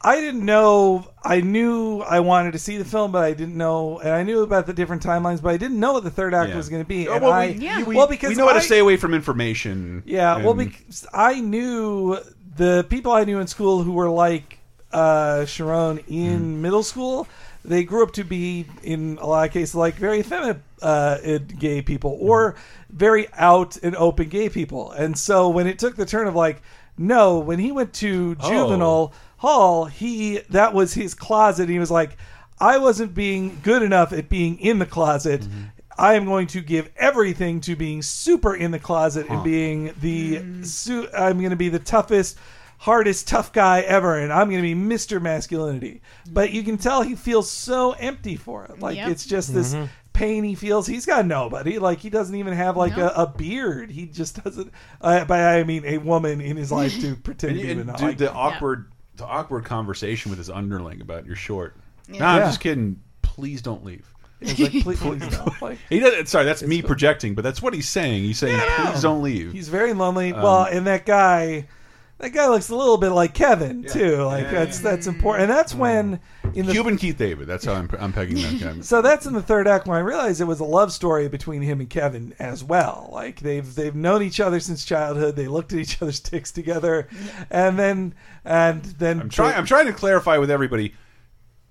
I didn't know. I knew I wanted to see the film, but I didn't know, and I knew about the different timelines, but I didn't know what the third act Yeah. was going to be. Oh, and well, I, we, you- we, well, because we know how to I- stay away from information. yeah, well, and- because I knew the people I knew in school who were like uh, Sharon in middle school. They grew up to be, in a lot of cases, like very effeminate uh, uh, gay people or very out and open gay people. And so when it took the turn of like, no, when he went to Oh. juvenile hall, he that was his closet. And he was like, I wasn't being good enough at being in the closet. Mm-hmm. I am going to give everything to being super in the closet and being the Mm. su- I'm going to be the toughest, hardest tough guy ever, and I'm going to be Mister Masculinity. But you can tell he feels so empty for it. Like Yep. it's just this Mm-hmm. Mhm. pain he feels. He's got nobody. Like he doesn't even have like No. a, a beard. He just doesn't. Uh, by I mean a woman in his life [LAUGHS] [LAUGHS] to pretend and, to you- be. and with. dude, Like- the awkward, the awkward conversation with his underling about you're short. Yeah. Nah, I'm Yeah. just kidding. Please don't leave. It's [LAUGHS] like, please, please don't. Like, He doesn't. Sorry, that's me projecting, but that's what he's saying. He's saying, Yeah. please don't leave. He's very lonely. Um, well, and that guy, that guy looks a little bit like Kevin too. Like that's that's important. And that's when in the Um, Cuban Keith David. That's how I'm, I'm pegging that [LAUGHS] guy. so that's in the third act when I realized it was a love story between him and Kevin as well. Like they've they've known each other since childhood. They looked at each other's dicks together, and then and then I'm trying. I'm trying to clarify with everybody.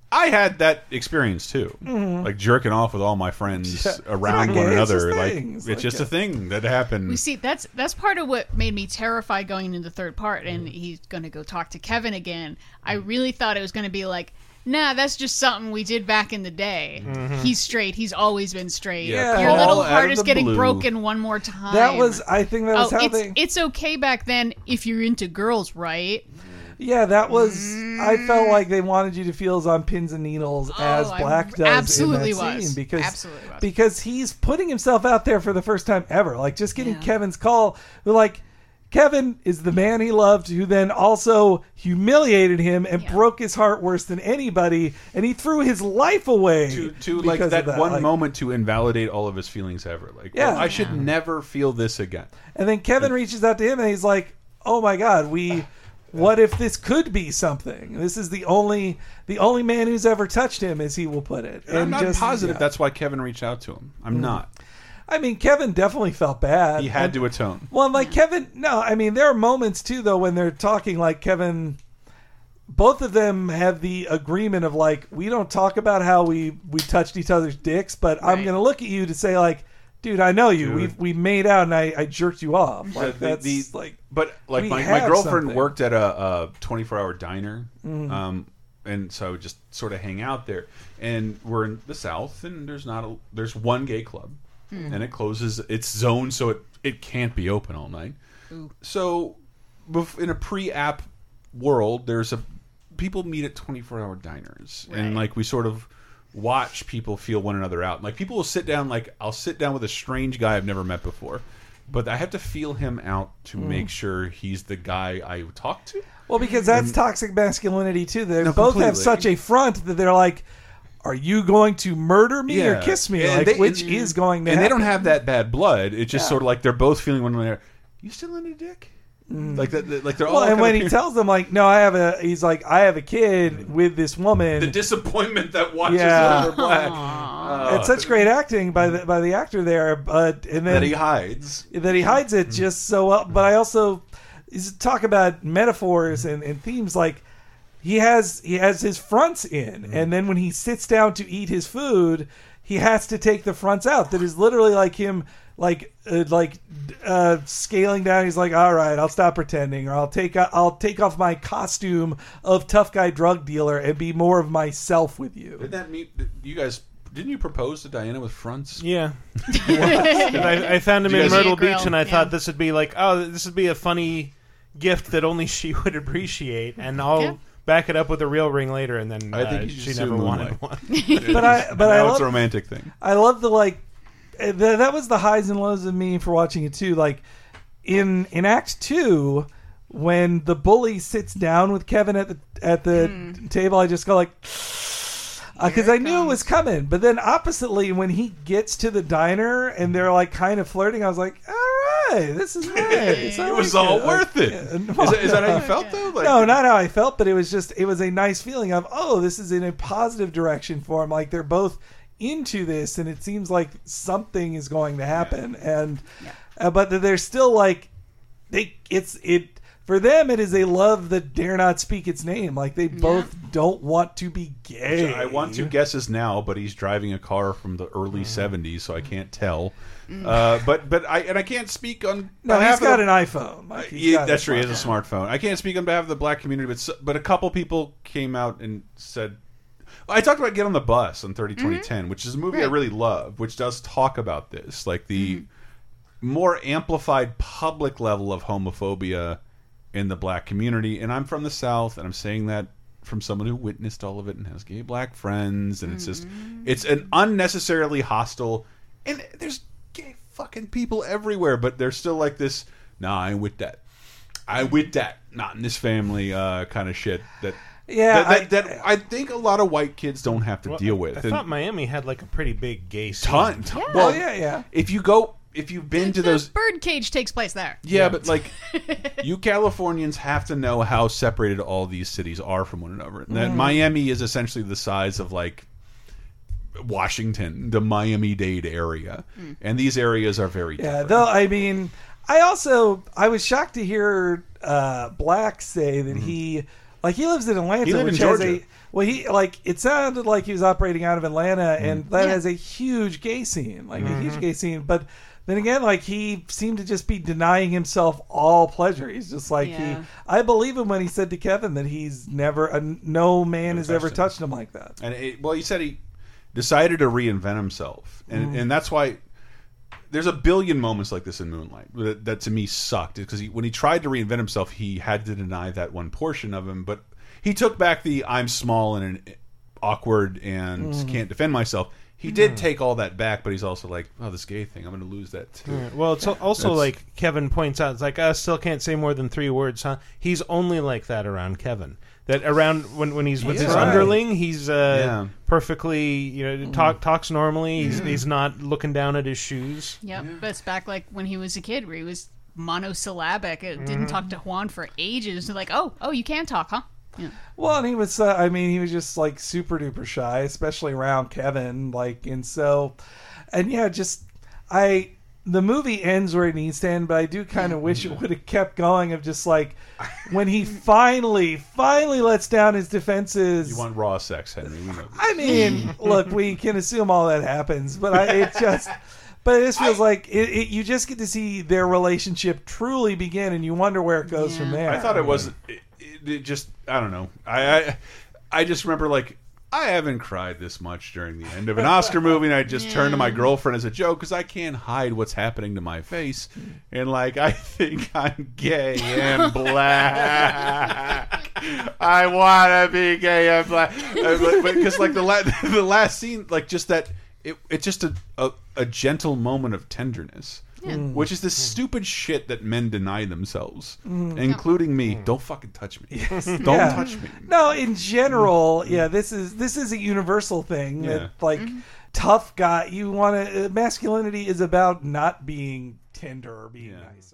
I had that experience too, Mhm. like jerking off with all my friends Yeah. It's around not one gay, it's another. just like things, it's like, just yeah. a thing that happened. We Mm. see that's that's part of what made me terrified going into the third part, Mm. and he's gonna go talk to Kevin again. I really thought it was gonna be like, nah, that's just something we did back in the day. Mhm. He's straight. He's always been straight. Yeah, Your call little out heart of is the getting blue. broken one more time. that was I think that was oh, how it's they it's okay back then if you're into girls, right? yeah that was I felt like they wanted you to feel as on pins and needles as Mm. Oh, I Black does absolutely in that was. scene because Absolutely was. because he's putting himself out there for the first time ever. Like just getting Kevin's call, like Kevin is the man he loved who then also humiliated him and broke his heart worse than anybody, and he threw his life away to, to like that, one moment to invalidate all of his feelings ever. Like, Yeah. well, I should never feel this again. And then Kevin reaches out to him and he's like, "Oh my God, we, what if this could be something? This is the only the only man who's ever touched him, as he will put it." And I'm not positive yeah. that's why Kevin reached out to him. I'm Mm. not. I mean, Kevin definitely felt bad. He had And- to atone. Well, like Kevin, no, I mean there are moments too though when they're talking like Kevin. Both of them have the agreement of like we don't talk about how we we touched each other's dicks, but I'm gonna look at you to say like, dude, I know you. Dude. We've we made out and I, I jerked you off. The- the- Like that's the- like, but like we my, my have girlfriend something. worked at a, a 24 hour diner Mhm. um, and so I would just sort of hang out there and we're in the south and there's not a there's one gay club Hmm. and it closes its zone so it it can't be open all night Ooh. so bef- in a pre-app world there's a people meet at 24 hour diners and like we sort of watch people feel one another out like people will sit down like i'll sit down with a strange guy i've never met before but i have to feel him out to Mm. make sure he's the guy i talk to Well, because that's And- toxic masculinity too. They No, both have completely. such a front that they're like, "Are you going to murder me or Yeah. kiss me?" And Like, they- which and- is going to and they happen. don't have that bad blood it's just Yeah. sort of like they're both feeling one another you still in a dick like that that- like they're all well, and kind when of- he tells them like, "No, I have a," he's like, "I have a kid with this woman." the disappointment that watches Yeah. over black Uh, it's such great acting by the by the actor there, but and then That he hides. that he hides it just so well. But I also is talk about metaphors and, and themes like he has he has his fronts in, Mm-hmm. and then when he sits down to eat his food, he has to take the fronts out. That is literally like him. Like, uh, like, uh, scaling down. He's like, "All right, I'll stop pretending, or I'll take, I'll take off my costume of tough guy drug dealer and be more of myself with you." Didn't that mean you guys? Didn't you propose to Diana with fronts? Yeah. [LAUGHS] [LAUGHS] And I, I found him You in guys- Myrtle Beach, and I thought this would be like, oh, this would be a funny gift that only she [LAUGHS] would appreciate, and I'll Yeah. back it up with a real ring later. And then I think uh, you should she sue never wanted Moonlight. [LAUGHS] [LAUGHS] one. but I, but I now love, it's a romantic thing. I love the like. eh, th that was the highs and lows of me for watching it too. Like in in Act Two, when the bully sits down with Kevin at the at the table, I just go like. Because I knew it was coming, but then oppositely, when he gets to the diner and they're like kind of flirting, I was like, "All right, this is nice." I It was like all Like, worth it. yeah, Is no. that- is that how [LAUGHS] you felt though? [LAUGHS] Like, no, not how I felt, but it was just it was a nice feeling of oh, this is in a positive direction for him. Like they're both into this, and it seems like something is going to happen. And uh, but they're still like they it's it for them. It is a love that dare not speak its name. Like they both don't want to be gay. I want to guesses now, but he's driving a car from the early '70s, so I can't tell. Mm. Uh, but but I and I can't speak on. No, behalf he's of got the- an iPhone. Like, he's Yeah, got a that's true. He has a smartphone. I can't speak on behalf of the black community, but s- but a couple people came out and said. I talked about Get on the Bus on 30 Mm-hmm. 2010, which is a movie I really love, which does talk about this, like the Mm-hmm. more amplified public level of homophobia in the black community. And I'm from the South, and I'm saying that from someone who witnessed all of it and has gay black friends, and it's just it's an unnecessarily hostile and there's gay fucking people everywhere, but they're still like this. Nah, I ain't with that. I ain't with that. Not in this family, uh, kind of shit. That Yeah, That, that, that I, think a lot of white kids don't have to Well, deal with. I And thought Miami had like a pretty big gay scene. ton. ton Yeah. Well, Oh, yeah, yeah. If you go, if you've been to those, Birdcage takes place there. yeah, but like you Californians have to know how separated all these cities are from one another. And that Mm. Miami is essentially the size of like Washington, the Miami Dade area, and these areas are very Yeah, though I mean, I also I was shocked to hear uh, Black say that he like he lives in Atlanta, Mm-hmm. He lived in which has Georgia. a well he like it sounded like he was operating out of Mm-hmm. Atlanta, and that Yeah. has a huge gay scene, like a Mm-hmm. huge gay scene, but. Then again, like he seemed to just be denying himself all pleasure. He's just like Yeah. he. I believe him when he said to Kevin that he's never, uh, no man has ever touched him. touched him like that. And it, well, he said he decided to reinvent himself, and Mm. Mhm. and that's why there's a billion moments like this in Moonlight that, that to me sucked because he, when he tried to reinvent himself, he had to deny that one portion of him. But he took back the "I'm small and an awkward and Mhm. Mm. can't defend myself." He did take all that back, but he's also like, oh, this gay thing, I'm going to lose that too. Yeah, Well, it's [LAUGHS] al- also That's- like Kevin points out. It's like I still can't say more than three words, huh? He's only like that around Kevin. That around when, when he's with That's his right. underling, he's uh, Yeah. perfectly you know talk, talks normally. He's, he's not looking down at his shoes. Yep, but it's back like when he was a kid, where he was monosyllabic. It didn't Mhm. talk to Juan for ages. Like, oh, oh, you can talk, huh? Yeah. Well, and he was, uh, I mean, he was just like super duper shy, especially around Kevin. Like, and so, and yeah, just, I, the movie ends where it needs to end, but I do [LAUGHS] kind of wish it would have kept going of just like when he finally, finally lets down his defenses. You want raw sex, Henry. We know. [LAUGHS] I mean, look, we can assume all that happens, but I, it just, but this feels like it, it, you just get to see their relationship truly begin, and you wonder where it goes from there. I thought it wasn't. It, it- it just I don't know. I, I I just remember like I haven't cried this much during the end of an Oscar movie, and I just turned to my girlfriend as a joke because I can't hide what's happening to my face, and like I think I'm gay and black. I want to be gay and black Uh, because like the la- [LAUGHS] the last scene, like just that. It, it's just a, a, a gentle moment of tenderness, Yeah. Mm. which is this Hmm. stupid shit that men deny themselves, Mm. Yeah. including me. Don't fucking touch me. [LAUGHS] [LAUGHS] Don't Yeah. touch me. No, in general, yeah, this is this is a universal thing Yeah. that like tough guy. You want to masculinity is about not being tender or being nice.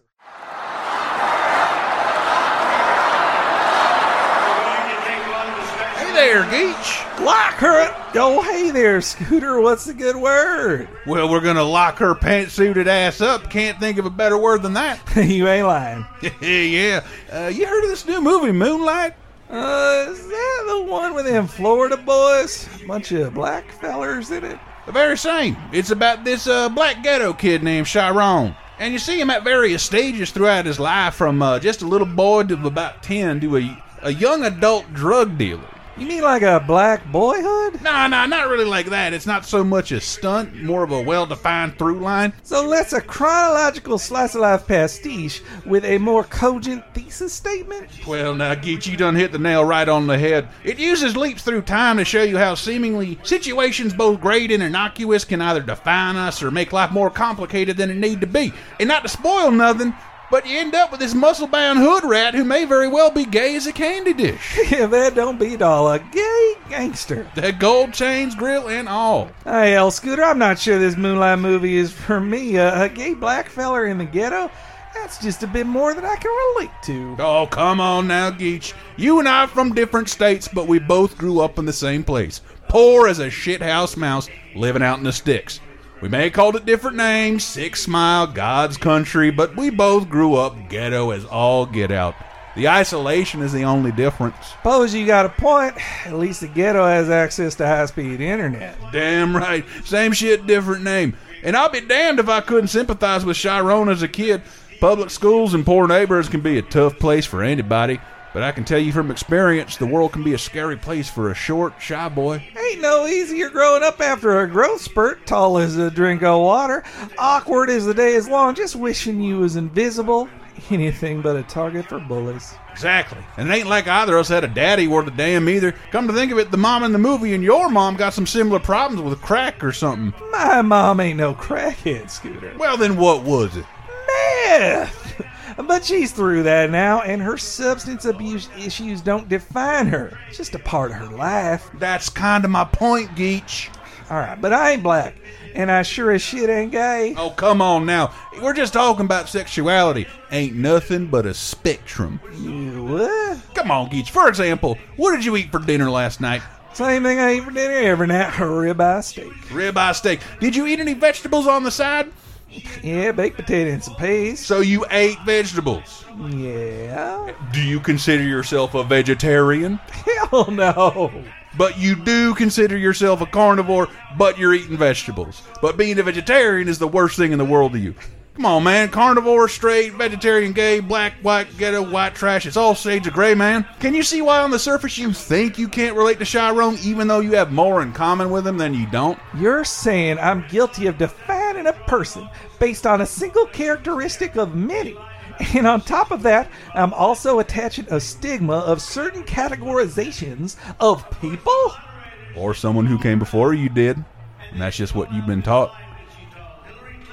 Hey there, Geach. Lock her. Oh, hey there, Scooter. What's a good word? Well, we're gonna lock her pantsuited ass up. Can't think of a better word than that. [LAUGHS] you ain't lying. [LAUGHS] yeah. Uh, you heard of this new movie, Moonlight? Uh, is that the one with them Florida boys? Bunch of black fellers in it. The very same. It's about this uh, black ghetto kid named Chiron. And you see him at various stages throughout his life, from uh, just a little boy to about 10 to a, a young adult drug dealer. You mean like a black boyhood? Nah, nah, not really like that. It's not so much a stunt, more of a well defined through line. So that's a chronological slice of life pastiche with a more cogent thesis statement. Well, now, Geach, you done hit the nail right on the head. It uses leaps through time to show you how seemingly situations both great and innocuous can either define us or make life more complicated than it need to be. And not to spoil nothing, but you end up with this muscle-bound hood rat who may very well be gay as a candy dish. [LAUGHS] yeah, that don't beat all a gay gangster. The gold chains, grill, and all. Hey, El Scooter, I'm not sure this Moonlight movie is for me. Uh, a gay black feller in the ghetto? That's just a bit more than I can relate to. Oh, come on now, Geach. You and I are from different states, but we both grew up in the same place. Poor as a shithouse mouse living out in the sticks. We may have called it different names, Six Mile, God's Country, but we both grew up ghetto as all get out. The isolation is the only difference. Suppose you got a point. At least the ghetto has access to high speed internet. Damn right. Same shit, different name. And I'll be damned if I couldn't sympathize with Chiron as a kid. Public schools and poor neighbors can be a tough place for anybody, but I can tell you from experience the world can be a scary place for a short, shy boy. Ain't no easier growing up after a growth spurt, tall as a drink of water, awkward as the day is long, just wishing you was invisible, anything but a target for bullies. Exactly. And it ain't like either of us had a daddy worth a damn either. Come to think of it, the mom in the movie and your mom got some similar problems with crack or something. My mom ain't no crackhead, Scooter. Well, then what was it? Meth! [LAUGHS] But she's through that now, and her substance abuse issues don't define her. It's just a part of her life. That's kind of my point, Geach. Alright, but I ain't black, and I sure as shit ain't gay. Oh, come on now. We're just talking about sexuality. Ain't nothing but a spectrum. You what? Come on, Geach. For example, what did you eat for dinner last night? Same thing I eat for dinner every night, [LAUGHS] a ribeye steak. Ribeye steak. Did you eat any vegetables on the side? Yeah, baked potato and some peas. So you ate vegetables. Yeah. Do you consider yourself a vegetarian? Hell no. But you do consider yourself a carnivore, but you're eating vegetables. But being a vegetarian is the worst thing in the world to you. Come on, man. Carnivore, straight, vegetarian, gay, black, white, ghetto, white trash. It's all shades of gray, man. Can you see why on the surface you think you can't relate to Chiron, even though you have more in common with him than you don't? You're saying I'm guilty of defining a person based on a single characteristic of many. And on top of that, I'm also attaching a stigma of certain categorizations of people? Or someone who came before you did. And that's just what you've been taught.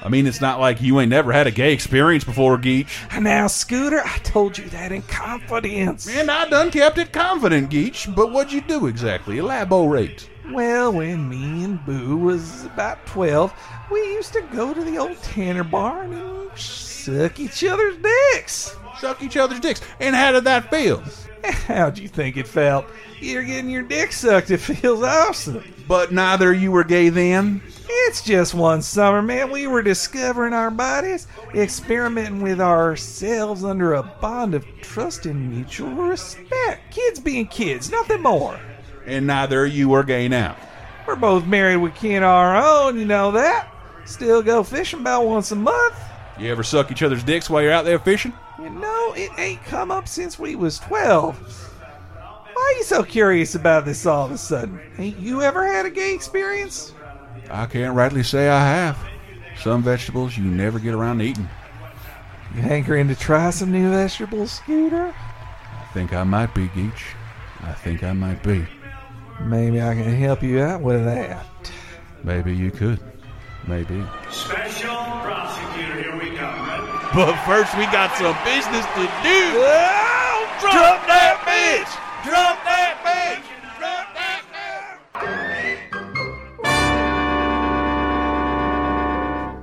I mean, it's not like you ain't never had a gay experience before, Geach. Now, Scooter, I told you that in confidence. Man, I done kept it confident, Geach. But what'd you do exactly? Elaborate. Well, when me and Boo was about 12, we used to go to the old Tanner barn and suck each other's dicks. Suck each other's dicks. And how did that feel? How'd you think it felt? You're getting your dick sucked. It feels awesome. But neither you were gay then? It's just one summer, man. We were discovering our bodies, experimenting with ourselves under a bond of trust and mutual respect. Kids being kids, nothing more. And neither you were gay now. We're both married with kin of our own, you know that. Still go fishing about once a month. You ever suck each other's dicks while you're out there fishing? You know, it ain't come up since we was 12. Why are you so curious about this all of a sudden? Ain't you ever had a gay experience? I can't rightly say I have. Some vegetables you never get around to eating. You hankering to try some new vegetables, Scooter? I think I might be, Geach. I think I might be. Maybe I can help you out with that. Maybe you could. Maybe. Special prosecutor, here we come. Ready? But first, we got some business to do. Drop, that bitch! Drop that bitch!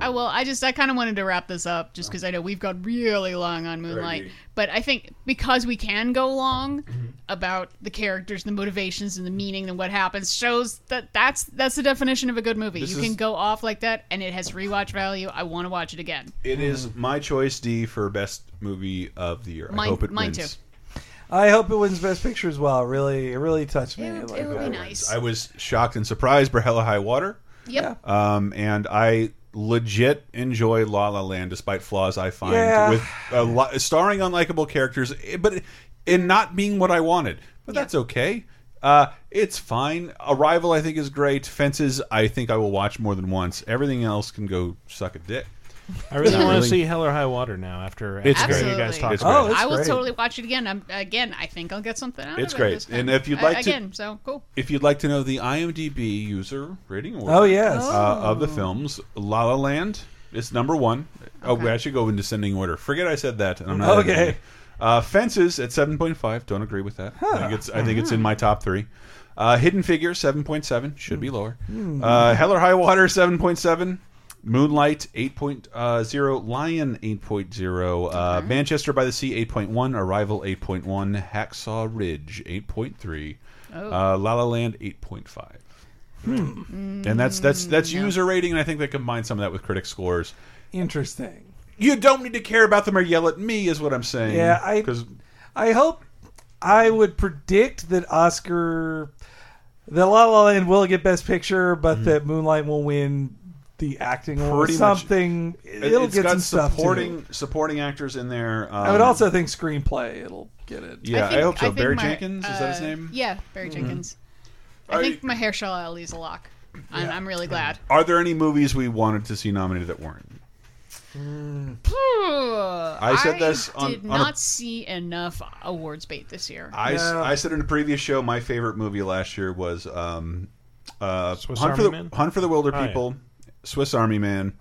I will. I just I kind of wanted to wrap this up just because I know we've gone really long on Moonlight, Right. but I think because we can go long Mm-hmm. about the characters, and the motivations, and the meaning, and what happens, shows that that's that's the definition of a good movie. This you is- can go off like that, and it has rewatch value. I want to watch it again. It is my choice, D, for best movie of the year. I Mine- hope it mine wins. too. I hope it wins Best Picture as well. Really, it really touched me. It, it uh, would be nice. I was shocked and surprised by Hella High Water. Yep. Um, and I legit enjoy La La Land despite flaws I find Yeah. with a lo- starring unlikable characters, eh, but and not being what I wanted. But that's okay. Uh, it's fine. Arrival I think is great. Fences I think I will watch more than once. Everything else can go suck a dick. I really Not want to really. see Hell or High Water now after, It's after great. you guys talk Oh, It's about great. it. I will great. totally watch it again. I'm, again, I think I'll get something out It's of it. great. this time. And if you'd A- like to- again, so cool. If you'd like to know the IMDb user rating order, Oh, yes. uh, of the films, La La Land is number one. Oh, we actually go in descending order. Forget I said that, and I'm not Okay. editing it. Uh, Fences at seven point five. Don't agree with that. I think it's I think it's in my top three. Uh, Hidden Figure seven point seven should be lower. Hmm. Uh, Hell or High Water seven point seven. Moonlight 8.0, Lion 8.0, uh, Manchester by the Sea 8.1, Arrival 8.1, Hacksaw Ridge 8.3, Oh. Hmm. uh, La La Land 8.5. Hmm. And that's that's Mm, that's user rating, and I think they combine some of that with critic scores. Interesting. You don't need to care about them or yell at me, is what I'm saying. Yeah, I- because I hope I would predict that Oscar, that La La Land will get Best Picture, but that Moonlight will win the acting or Mm-hmm. Pretty much. something. it, It'll has get got some stuff to it. supporting supporting actors in there. Um, I would also think screenplay. It'll get it. Yeah, I, think- hope so. think Barry my- Jenkins is that his uh, name? Yeah, Barry Mhm. Jenkins. Are I think my hair shall Ali's a lock. And I'm really glad. Are there any movies we wanted to see nominated that weren't? I said this on- did on a- not see enough awards bait this year. I, s- I said in a previous show my favorite movie last year was um, uh, Hunt Army for the Man? Hunt for the Wilder Oh, yeah. People, Swiss Army Man,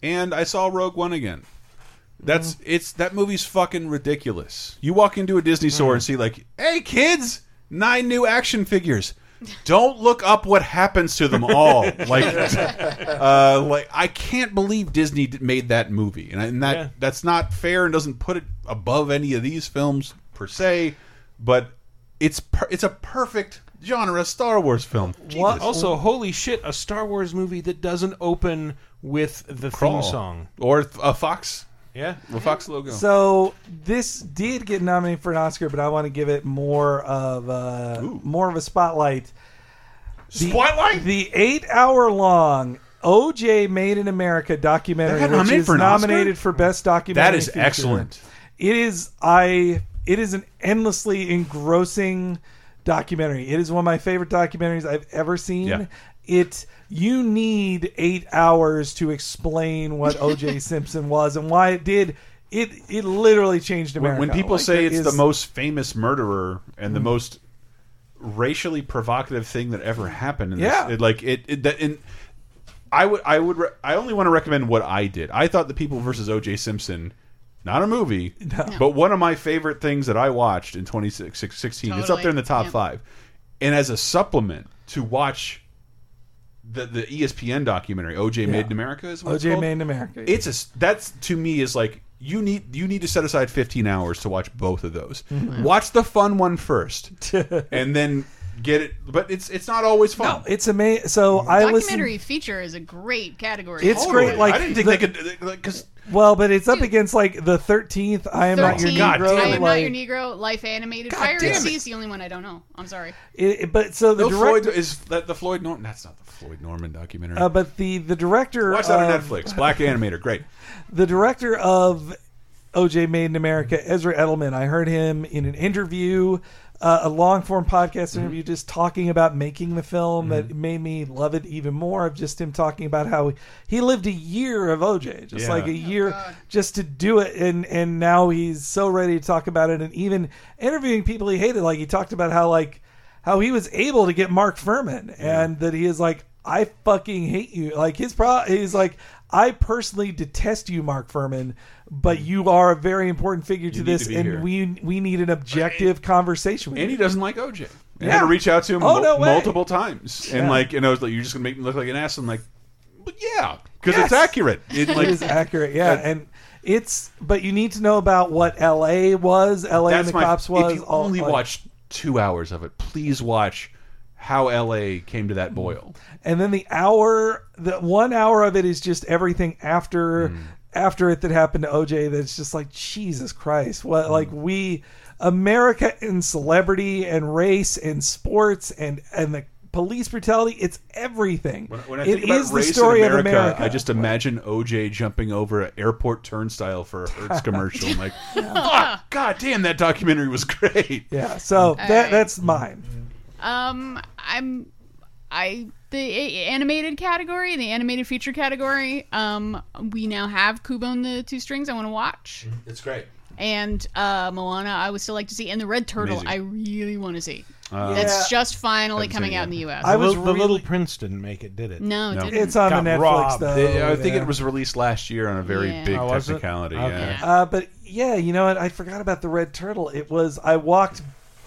and I saw Rogue One again. That's Mm-hmm. it's that movie's fucking ridiculous. You walk into a Disney Mm. store and see like, hey kids, nine new action figures. Don't look up what happens to them [LAUGHS] all. like, uh, like I can't believe Disney d- made that movie, and, I- and that Yeah. that's not fair and doesn't put it above any of these films per se. But it's per it's a perfect genre Star Wars film. Jesus. Also, holy shit, a Star Wars movie that doesn't open with the Crawl. theme song. or th- a fox. Yeah, the fox logo. So this did get nominated for an Oscar, but I want to give it more of a, more of a spotlight. The, spotlight. The eight-hour-long OJ Made in America documentary, That got which nominated is for an Oscar? nominated for best documentary. That is feature. excellent. It is I. It is an endlessly engrossing documentary. It is one of my favorite documentaries I've ever seen. Yeah. It you need eight hours to explain [LAUGHS] what O.J. Simpson was and why it did. It it literally changed When- America. When people Like, say it it's the is- most famous murderer and the Mm. most racially provocative thing that ever happened, in Yeah. this, it, like it, it that, and I would I would re I only want to recommend what I did. I thought The People versus O.J. Simpson, not a [LAUGHS] movie, but one of my favorite things that I watched in 2016. It's up Totally. there in the top Yeah. five, and as a supplement to watch. The, the E ESPN documentary OJ Yeah. Made in America is what it's OJ called? Made in America, yeah. It's a s- that's to me is like you need you need to set aside 15 hours to watch both of those. Mhm. Watch the fun one first, [LAUGHS] and then get it. But it's it's not always fun. It's amazing. So I Documentary listen. feature is a great category. It's great. Like the- [LAUGHS] well, but it's up against like the thirteenth. I am not your 13, Negro. I am not your like- Negro. Life animated. God Fire damn AC it. is the only one I don't know. I'm sorry. It, it- but so the No, director Floyd is that the Floyd Norman. That's not the Floyd Norman documentary. Uh, but the the director Watch that on of- Netflix. Black animator, great. [LAUGHS] The director of OJ Made in America, Ezra Edelman. I heard him in an interview, uh, a long form podcast Mm-hmm. interview, just talking about making the film. That made me love it even more. Of just him talking about how he, he lived a year of OJ, just Yeah. like a Oh, year, just to do it, and and now he's so ready to talk about it, and even interviewing people he hated. Like he talked about how like how he was able to get Mark Furman and that he is like, I fucking hate you. Like his pro he's like, I personally detest you, Mark Furman, but you are a very important figure to need this to be and here." we we need an objective conversation with And he you. doesn't like OJ. And I Yeah. had to reach out to him Oh, mul- no way. multiple times, and Yeah. like, and I was like, "You're just gonna make me look like an ass." I'm like, "But yeah, because Yes. it's accurate. It, like, [LAUGHS] it is accurate, yeah. and it's but you need to know about what LA was, LA and the cops was If you all- only like- watched two hours of it, please watch how LA came to that Mm-hmm. boil. and then the hour the one hour of it is just everything after Hmm. after it that happened to OJ that's just like Jesus Christ Hmm. what like we America and celebrity and race and sports and and the police brutality it's everything When I It think about is the race in story of America, America. I just imagine OJ jumping over an airport turnstile for a [LAUGHS] Hertz commercial. I'm like, fuck, god damn, that documentary was great. Yeah, so that right. that's mine [LAUGHS] Um, I'm I the a- animated category, the animated feature category. Um, we now have Kubo and the Two Strings. I want to watch It's great. and uh, Moana. I would still like to see and the Red Turtle. Amazing. I really want to see. Uh, That's Yeah. just finally Haven't coming seen it out in the yet. U.S. The Little- the Little Prince didn't make it, did it? No, it No. didn't. It's on the Netflix, though. I think Yeah. it was released last year on a very Yeah. big Oh, was it? technicality. Okay. Yeah. Uh, but yeah, you know what? I forgot about the red turtle. It was I walked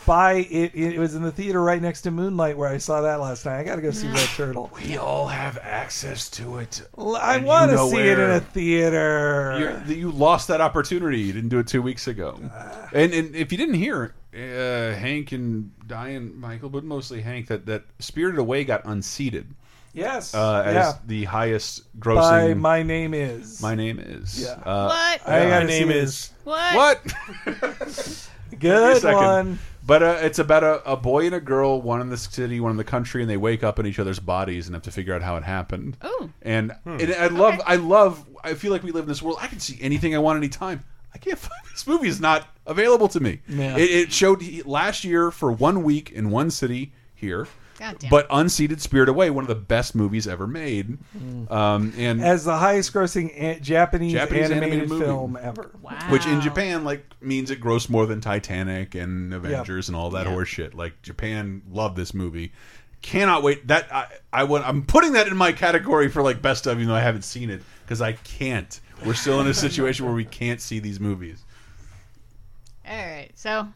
by it. It was in the theater right next to Moonlight where I saw that last night. I got to go see Red Turtle. We all have access to it. Well, I And you want to know see it in where. a theater. You're, you lost that opportunity. You didn't do it two weeks ago. Uh. And and if you didn't hear, uh, Hank and Diane, Michael, but mostly Hank, that that Spirited Away got unseated. Yes, uh, as yeah. the highest grossing. By my name is. My name is. Yeah. Uh, What? I gotta My see name this. is. What? [LAUGHS] What? Give me a Good second. one. But uh, it's about a, a boy and a girl, one in the city, one in the country, and they wake up in each other's bodies and have to figure out how it happened. Oh. And, Hmm. and I love, I love, I feel like we live in this world. I can see anything I want anytime. I can't [LAUGHS] find this movie is not available to me. Yeah. It, it showed he- last year for one week in one city here, God damn. but unseated Spirit Away, one of the best movies ever made. Um, and Hmm. As the highest grossing an- Japanese, Japanese animated, animated movie. film ever. Which in Japan like means it grossed more than Titanic and Avengers and all that Yeah. horseshit. Like Japan loved this movie. Cannot wait. That I I would, I'm putting that in my category for like best of, even though I haven't seen it because I can't. We're still in a situation where we can't see these movies. All right. So,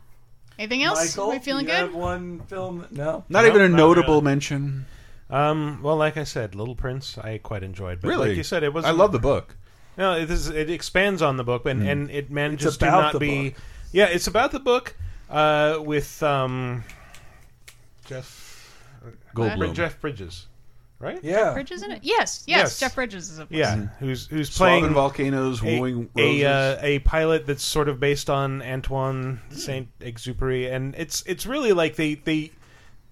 anything else? Michael, Are we feeling you good? have one film. No. Not even a notable mention. Um, well, like I said, Little Prince, I quite enjoyed. But Really? like you said, it was. I love the book. No, it is. It expands on the book, and, Mm. and it manages It's to about not the be. Yeah, it's about the book, uh, with um, Jeff uh, Goldblum. Jeff Bridges, right? Yeah. Bridges in it? Yes, yes. Jeff Bridges is a Yeah, who's who's Swabbing playing volcanoes, a- wooing a roses. uh, a pilot that's sort of based on Antoine Saint Exupery, and it's it's really like they they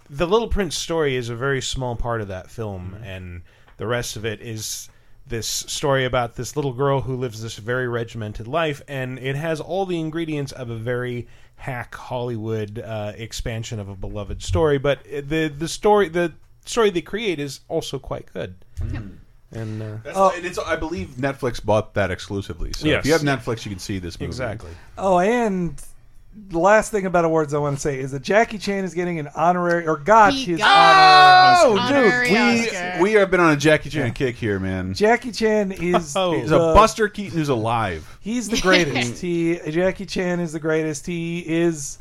the Little Prince story is a very small part of that film, Mm-hmm. and the rest of it is this story about this little girl who lives this very regimented life, and it has all the ingredients of a very hack Hollywood uh, expansion of a beloved story, but uh, the the story the story they create is also quite good. And uh, Mm-hmm. That's, Oh. and it's, I believe Netflix bought that exclusively. So if Yes. you have Netflix, you can see this movie. Exactly. Oh, and the last thing about awards I want to say is that Jackie Chan is getting an honorary or got He his got honorary. his Oh, honorary Oscar. we have been on a Jackie Chan kick here, man. Jackie Chan [LAUGHS] is Oh. He's the- a Buster Keaton who's alive. He's the greatest. he Jackie Chan is the greatest. He is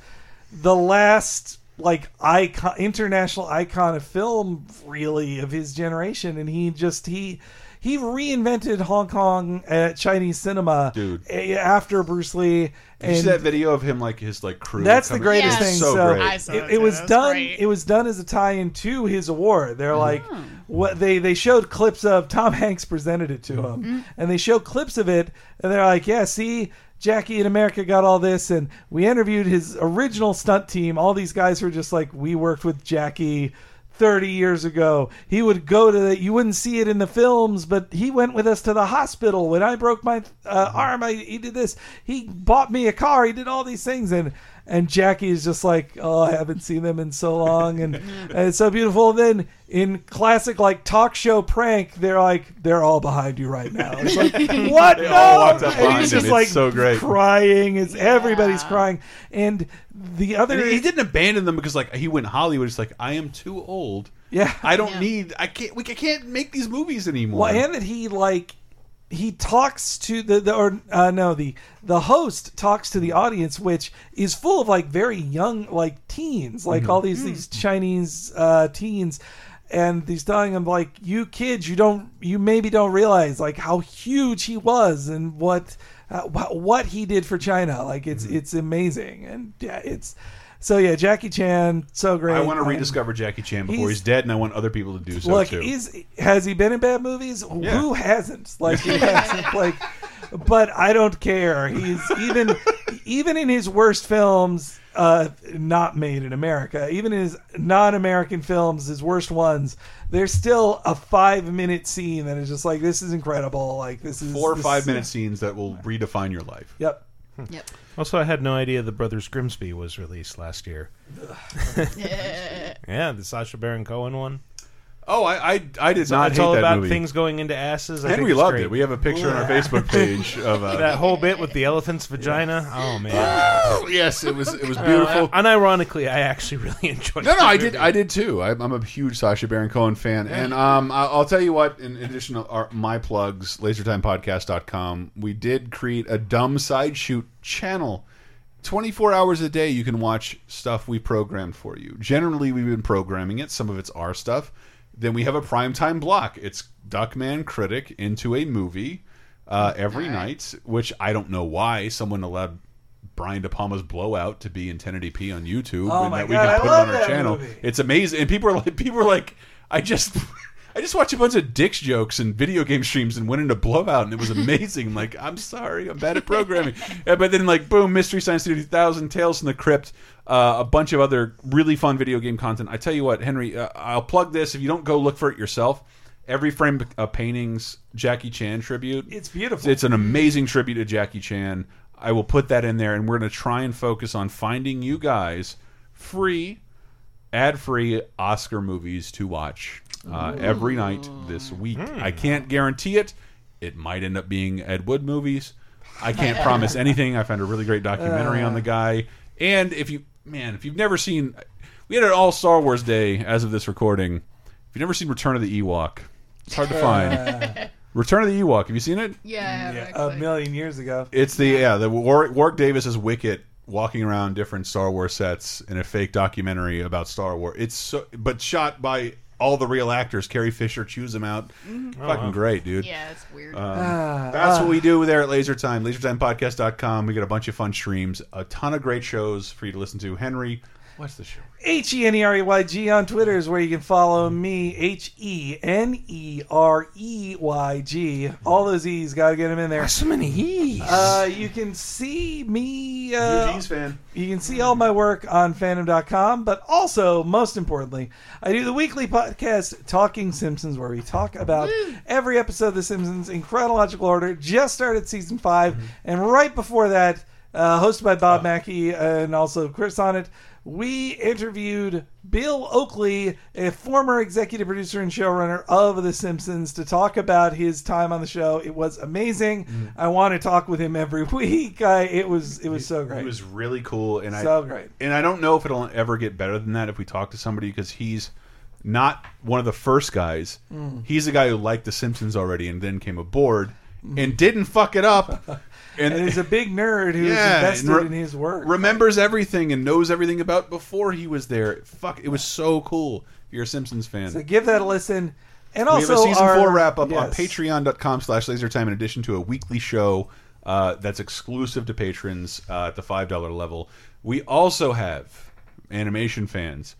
the last like icon, international icon of film, really of his generation, and he just he he reinvented Hong Kong uh, Chinese cinema, Dude. a- after Bruce Lee. Did you see and- that video of him like his like crew? that's the coming- greatest It's thing. So, so great. it, it was done. It was done as a tie-in to his award. They're Mm-hmm. like, what they they showed clips of Tom Hanks presented it to him, Mhm. and they show clips of it, and they're like, yeah, see. Jackie in America got all this, and we interviewed his original stunt team. All these guys were just like, we worked with Jackie 30 years ago. He would go to the, you wouldn't see it in the films, but he went with us to the hospital. When I broke my uh, arm, I, he did this. He bought me a car. He did all these things. And, and Jackie is just like, oh, I haven't seen them in so long. And, and it's so beautiful. And then in classic, like talk show prank, they're like, they're all behind you right now. It's [LAUGHS] like, what? They no! all walked up And behind he's him. just It's like so great. crying. It's everybody's crying. And the other, And he he didn't abandon them because like he went Hollywood. He's like, I am too old. Yeah. I don't need. I can't. We I can't make these movies anymore. Well, and that he like he talks to the, the or uh, no the the host talks to the audience, which is full of like very young like teens, like Mm-hmm. all these these Chinese uh, teens. And he's telling them like, you kids, you don't, you maybe don't realize like how huge he was and what, uh, wh- what he did for China. Like it's, Mm-hmm. it's amazing. And yeah, it's, so yeah, Jackie Chan, so great. I want to And- rediscover Jackie Chan before he's, He's- dead, and I want other people to do so Look, too. he's has he been in bad movies? Who hasn't? [LAUGHS] Like who hasn't? Like, but I don't care. He's even even in his worst films, uh, not made in America. Even in his non-American films, his worst ones, there's still a five-minute scene that is just like this is incredible. Like this is Four or this- five minute scenes that will redefine your life. Yep. Yep. Also, I had no idea the Brothers Grimsby was released last year. [LAUGHS] [LAUGHS] yeah, the Sasha Baron Cohen one. Oh, I I, I did not It's hate all that about movie. things going into asses. I And think we it's loved great. it. We have a picture [LAUGHS] on our Facebook page of uh, that whole bit with the elephant's vagina. Oh man! yes, it was it was Uh, beautiful. unironically, I actually really [LAUGHS] enjoyed. No, no, that I movie. did. I did too. I, I'm a huge Sasha Baron Cohen fan, and um, I- I'll tell you what. In addition to our, my plugs, LaserTimePodcast.com, we did create a dumb side shoot channel. 24 hours a day, you can watch stuff we programmed for you. Generally, we've been programming it. Some of it's our stuff. Then we have a primetime block. It's Duckman Critic into a movie uh, every night, which I don't know why someone allowed Brian De Palma's Blowout to be in 1080p on YouTube Oh and my that God, we I can put love it on our that channel. movie. [LAUGHS] It's amazing. And people are like people are like I just [LAUGHS] I just watch a bunch of dicks jokes and video game streams and went into Blowout and it was amazing. like I'm sorry, I'm bad at [LAUGHS] programming. And- but then like boom, Mystery Science Theater 2000, Tales from the Crypt, uh, a bunch of other really fun video game content. I tell you what, Henry, uh, I'll plug this if you don't go look for it yourself. Every frame uh, paintings Jackie Chan tribute. It's beautiful. It's an amazing tribute to Jackie Chan. I will put that in there, and we're going to try and focus on finding you guys free, ad free Oscar movies to watch uh, every night this week. I can't guarantee it. It might end up being Ed Wood movies. I can't promise anything. I found a really great documentary on the guy. And if you, man, if you've never seen, we had an all Star Wars day as of this recording. If you've never seen Return of the Ewok, it's hard to find. Return of the Ewok. Have you seen it? yeah, a million years ago. It's the yeah the Warwick, Warwick Davis is Wicket walking around different Star Wars sets in a fake documentary about Star Wars. It's so but shot by all the real actors. Carrie Fisher chews them out. Mhm. Fucking Oh, wow. great, dude. Yeah, it's weird. Um, Ah, that's ah. what we do there at Laser Time. LaserTimePodcast.com. We got a bunch of fun streams, a ton of great shows for you to listen to. Henry, what's the show? H E N E R E Y G on Twitter is where you can follow me. H E N E R E Y G. All those E's, gotta get them in there. So many E's. Uh, you can see me. Uh, Eugene's fan. You can see all my work on fandom.com, but also, most importantly, I do the weekly podcast Talking Simpsons, where we talk about every episode of The Simpsons in chronological order. Just started season 5 and right before that, uh, hosted by Bob Mackey and also Chris Sonnet, we interviewed Bill Oakley, a former executive producer and showrunner of The Simpsons, to talk about his time on the show. It was amazing. Mm. I want to talk with him every [LAUGHS] week. I, it was it was so great. It was really cool, and I So great. And I don't know if it'll ever get better than that if we talk to somebody because he's not one of the first guys. Mm. He's the guy who liked The Simpsons already and then came aboard and didn't fuck it up. [LAUGHS] And, he's a big nerd who's invested and re- in his work. Remembers everything and knows everything about before he was there. Fuck, it was so cool. If you're a Simpsons fan, So give that a listen. And we also, have a season our- four wrap up on yes. patreon.com slash lasertime in addition to a weekly show uh, that's exclusive to patrons uh, at the $5 level. We also have animation fans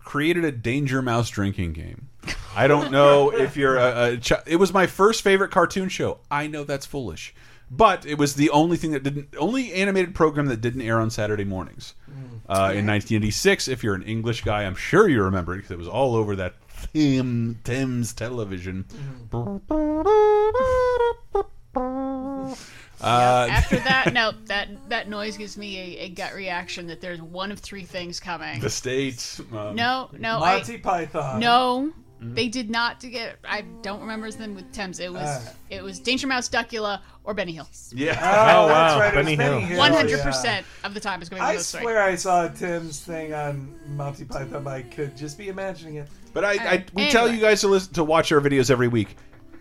created a Danger Mouse drinking game. I don't [LAUGHS] know if you're a, a ch It was my first favorite cartoon show. I know that's foolish. But it was the only thing that didn't, only animated program that didn't air on Saturday mornings Mm. uh, in 1986. If you're an English guy, I'm sure you remember it because it was all over that Tim Thames television. Mm-hmm. Uh, After [LAUGHS] that, no, that that noise gives me a, a gut reaction that there's one of three things coming. [LAUGHS] the states. um, no, no, Monty I, Python. No, Mm-hmm. Mhm. they did not to get. I don't remember them with Thames. It was Ah. it was Danger Mouse, Duckula, or Benny Hill. Yeah. Uh. Oh, that's right. It was Benny Hill. One hundred percent of the time is going to be I those three. swear I saw Tim's thing on Monty Python. but I could just be imagining it. But I, I we tell you guys to listen to watch our videos every week.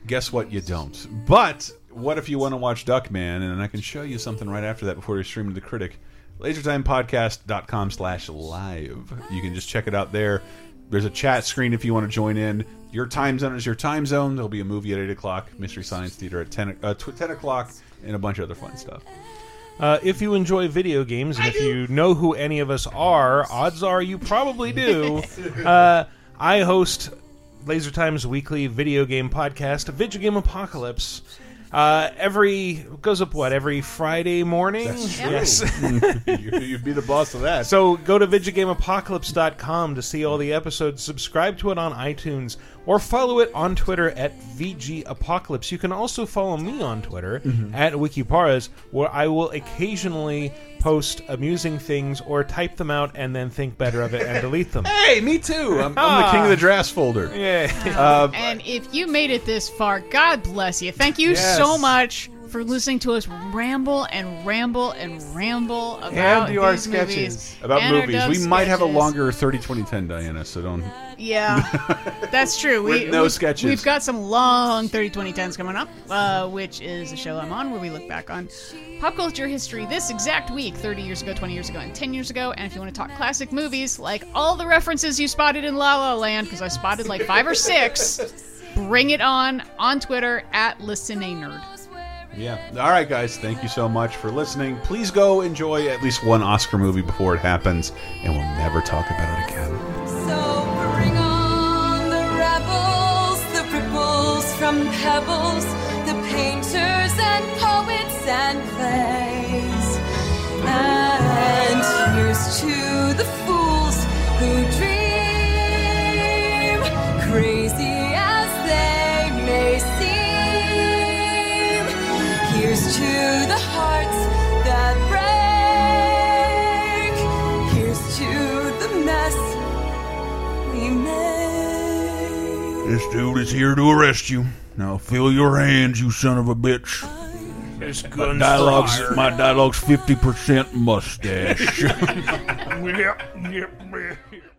Guess what? You don't. But what if you want to watch Duckman? And I can show you something right after that before we stream to the critic. LaserTimePodcast.com slash live. You can just check it out there. There's a chat screen if you want to join in. Your time zone is your time zone. There'll be a movie at 8 o'clock, Mystery Science Theater at 10, o- uh, tw- 10 o'clock, and a bunch of other fun stuff. Uh, if you enjoy video games, and if you know who any of us are, odds are you [LAUGHS] probably do. uh, I host Laser Time's weekly video game podcast, Video Game Apocalypse. Uh, every goes up what every Friday morning. That's true. Mm. Yes, you, you'd be the boss of that. So go to VigigameApocalypse.com to see all the episodes. Subscribe to it on iTunes or follow it on Twitter at VGApocalypse. You can also follow me on Twitter Mm-hmm. at Wikiparas, where I will occasionally post amusing things or type them out and then think better of it [LAUGHS] and delete them. Ah. Hey, me too. I'm, I'm the king of the drafts folder. Yeah. [LAUGHS] Uh, And if you made it this far, God bless you. Thank you Yes. so much for listening to us ramble and ramble and ramble about And do our these sketches. movies. about And our movies. We dumb might have a sketches. longer 30 20 10 Diana, so don't [LAUGHS] Yeah, that's true. We, With no we- sketches. We've got some long 30 20 10s coming up, uh, which is a show I'm on where we look back on pop culture history this exact week 30 years ago, 20 years ago, and 10 years ago. And if you want to talk classic movies, like all the references you spotted in La La Land, because I spotted like five or six, bring it on on Twitter at Listen A Nerd. Yeah. All right, guys. Thank you so much for listening. Please go enjoy at least one Oscar movie before it happens, and we'll never talk about it again. Bring on the rebels, the ripples from pebbles, the painters and poets and plays. And here's to the fools who dream, crazy as they may seem. Here's to the hearts that break. Here's to the mess we made. This dude is here to arrest you. Now fill your hands, you son of a bitch. This My dialogue's, my [LAUGHS] dialogue's 50% mustache. yep, yep.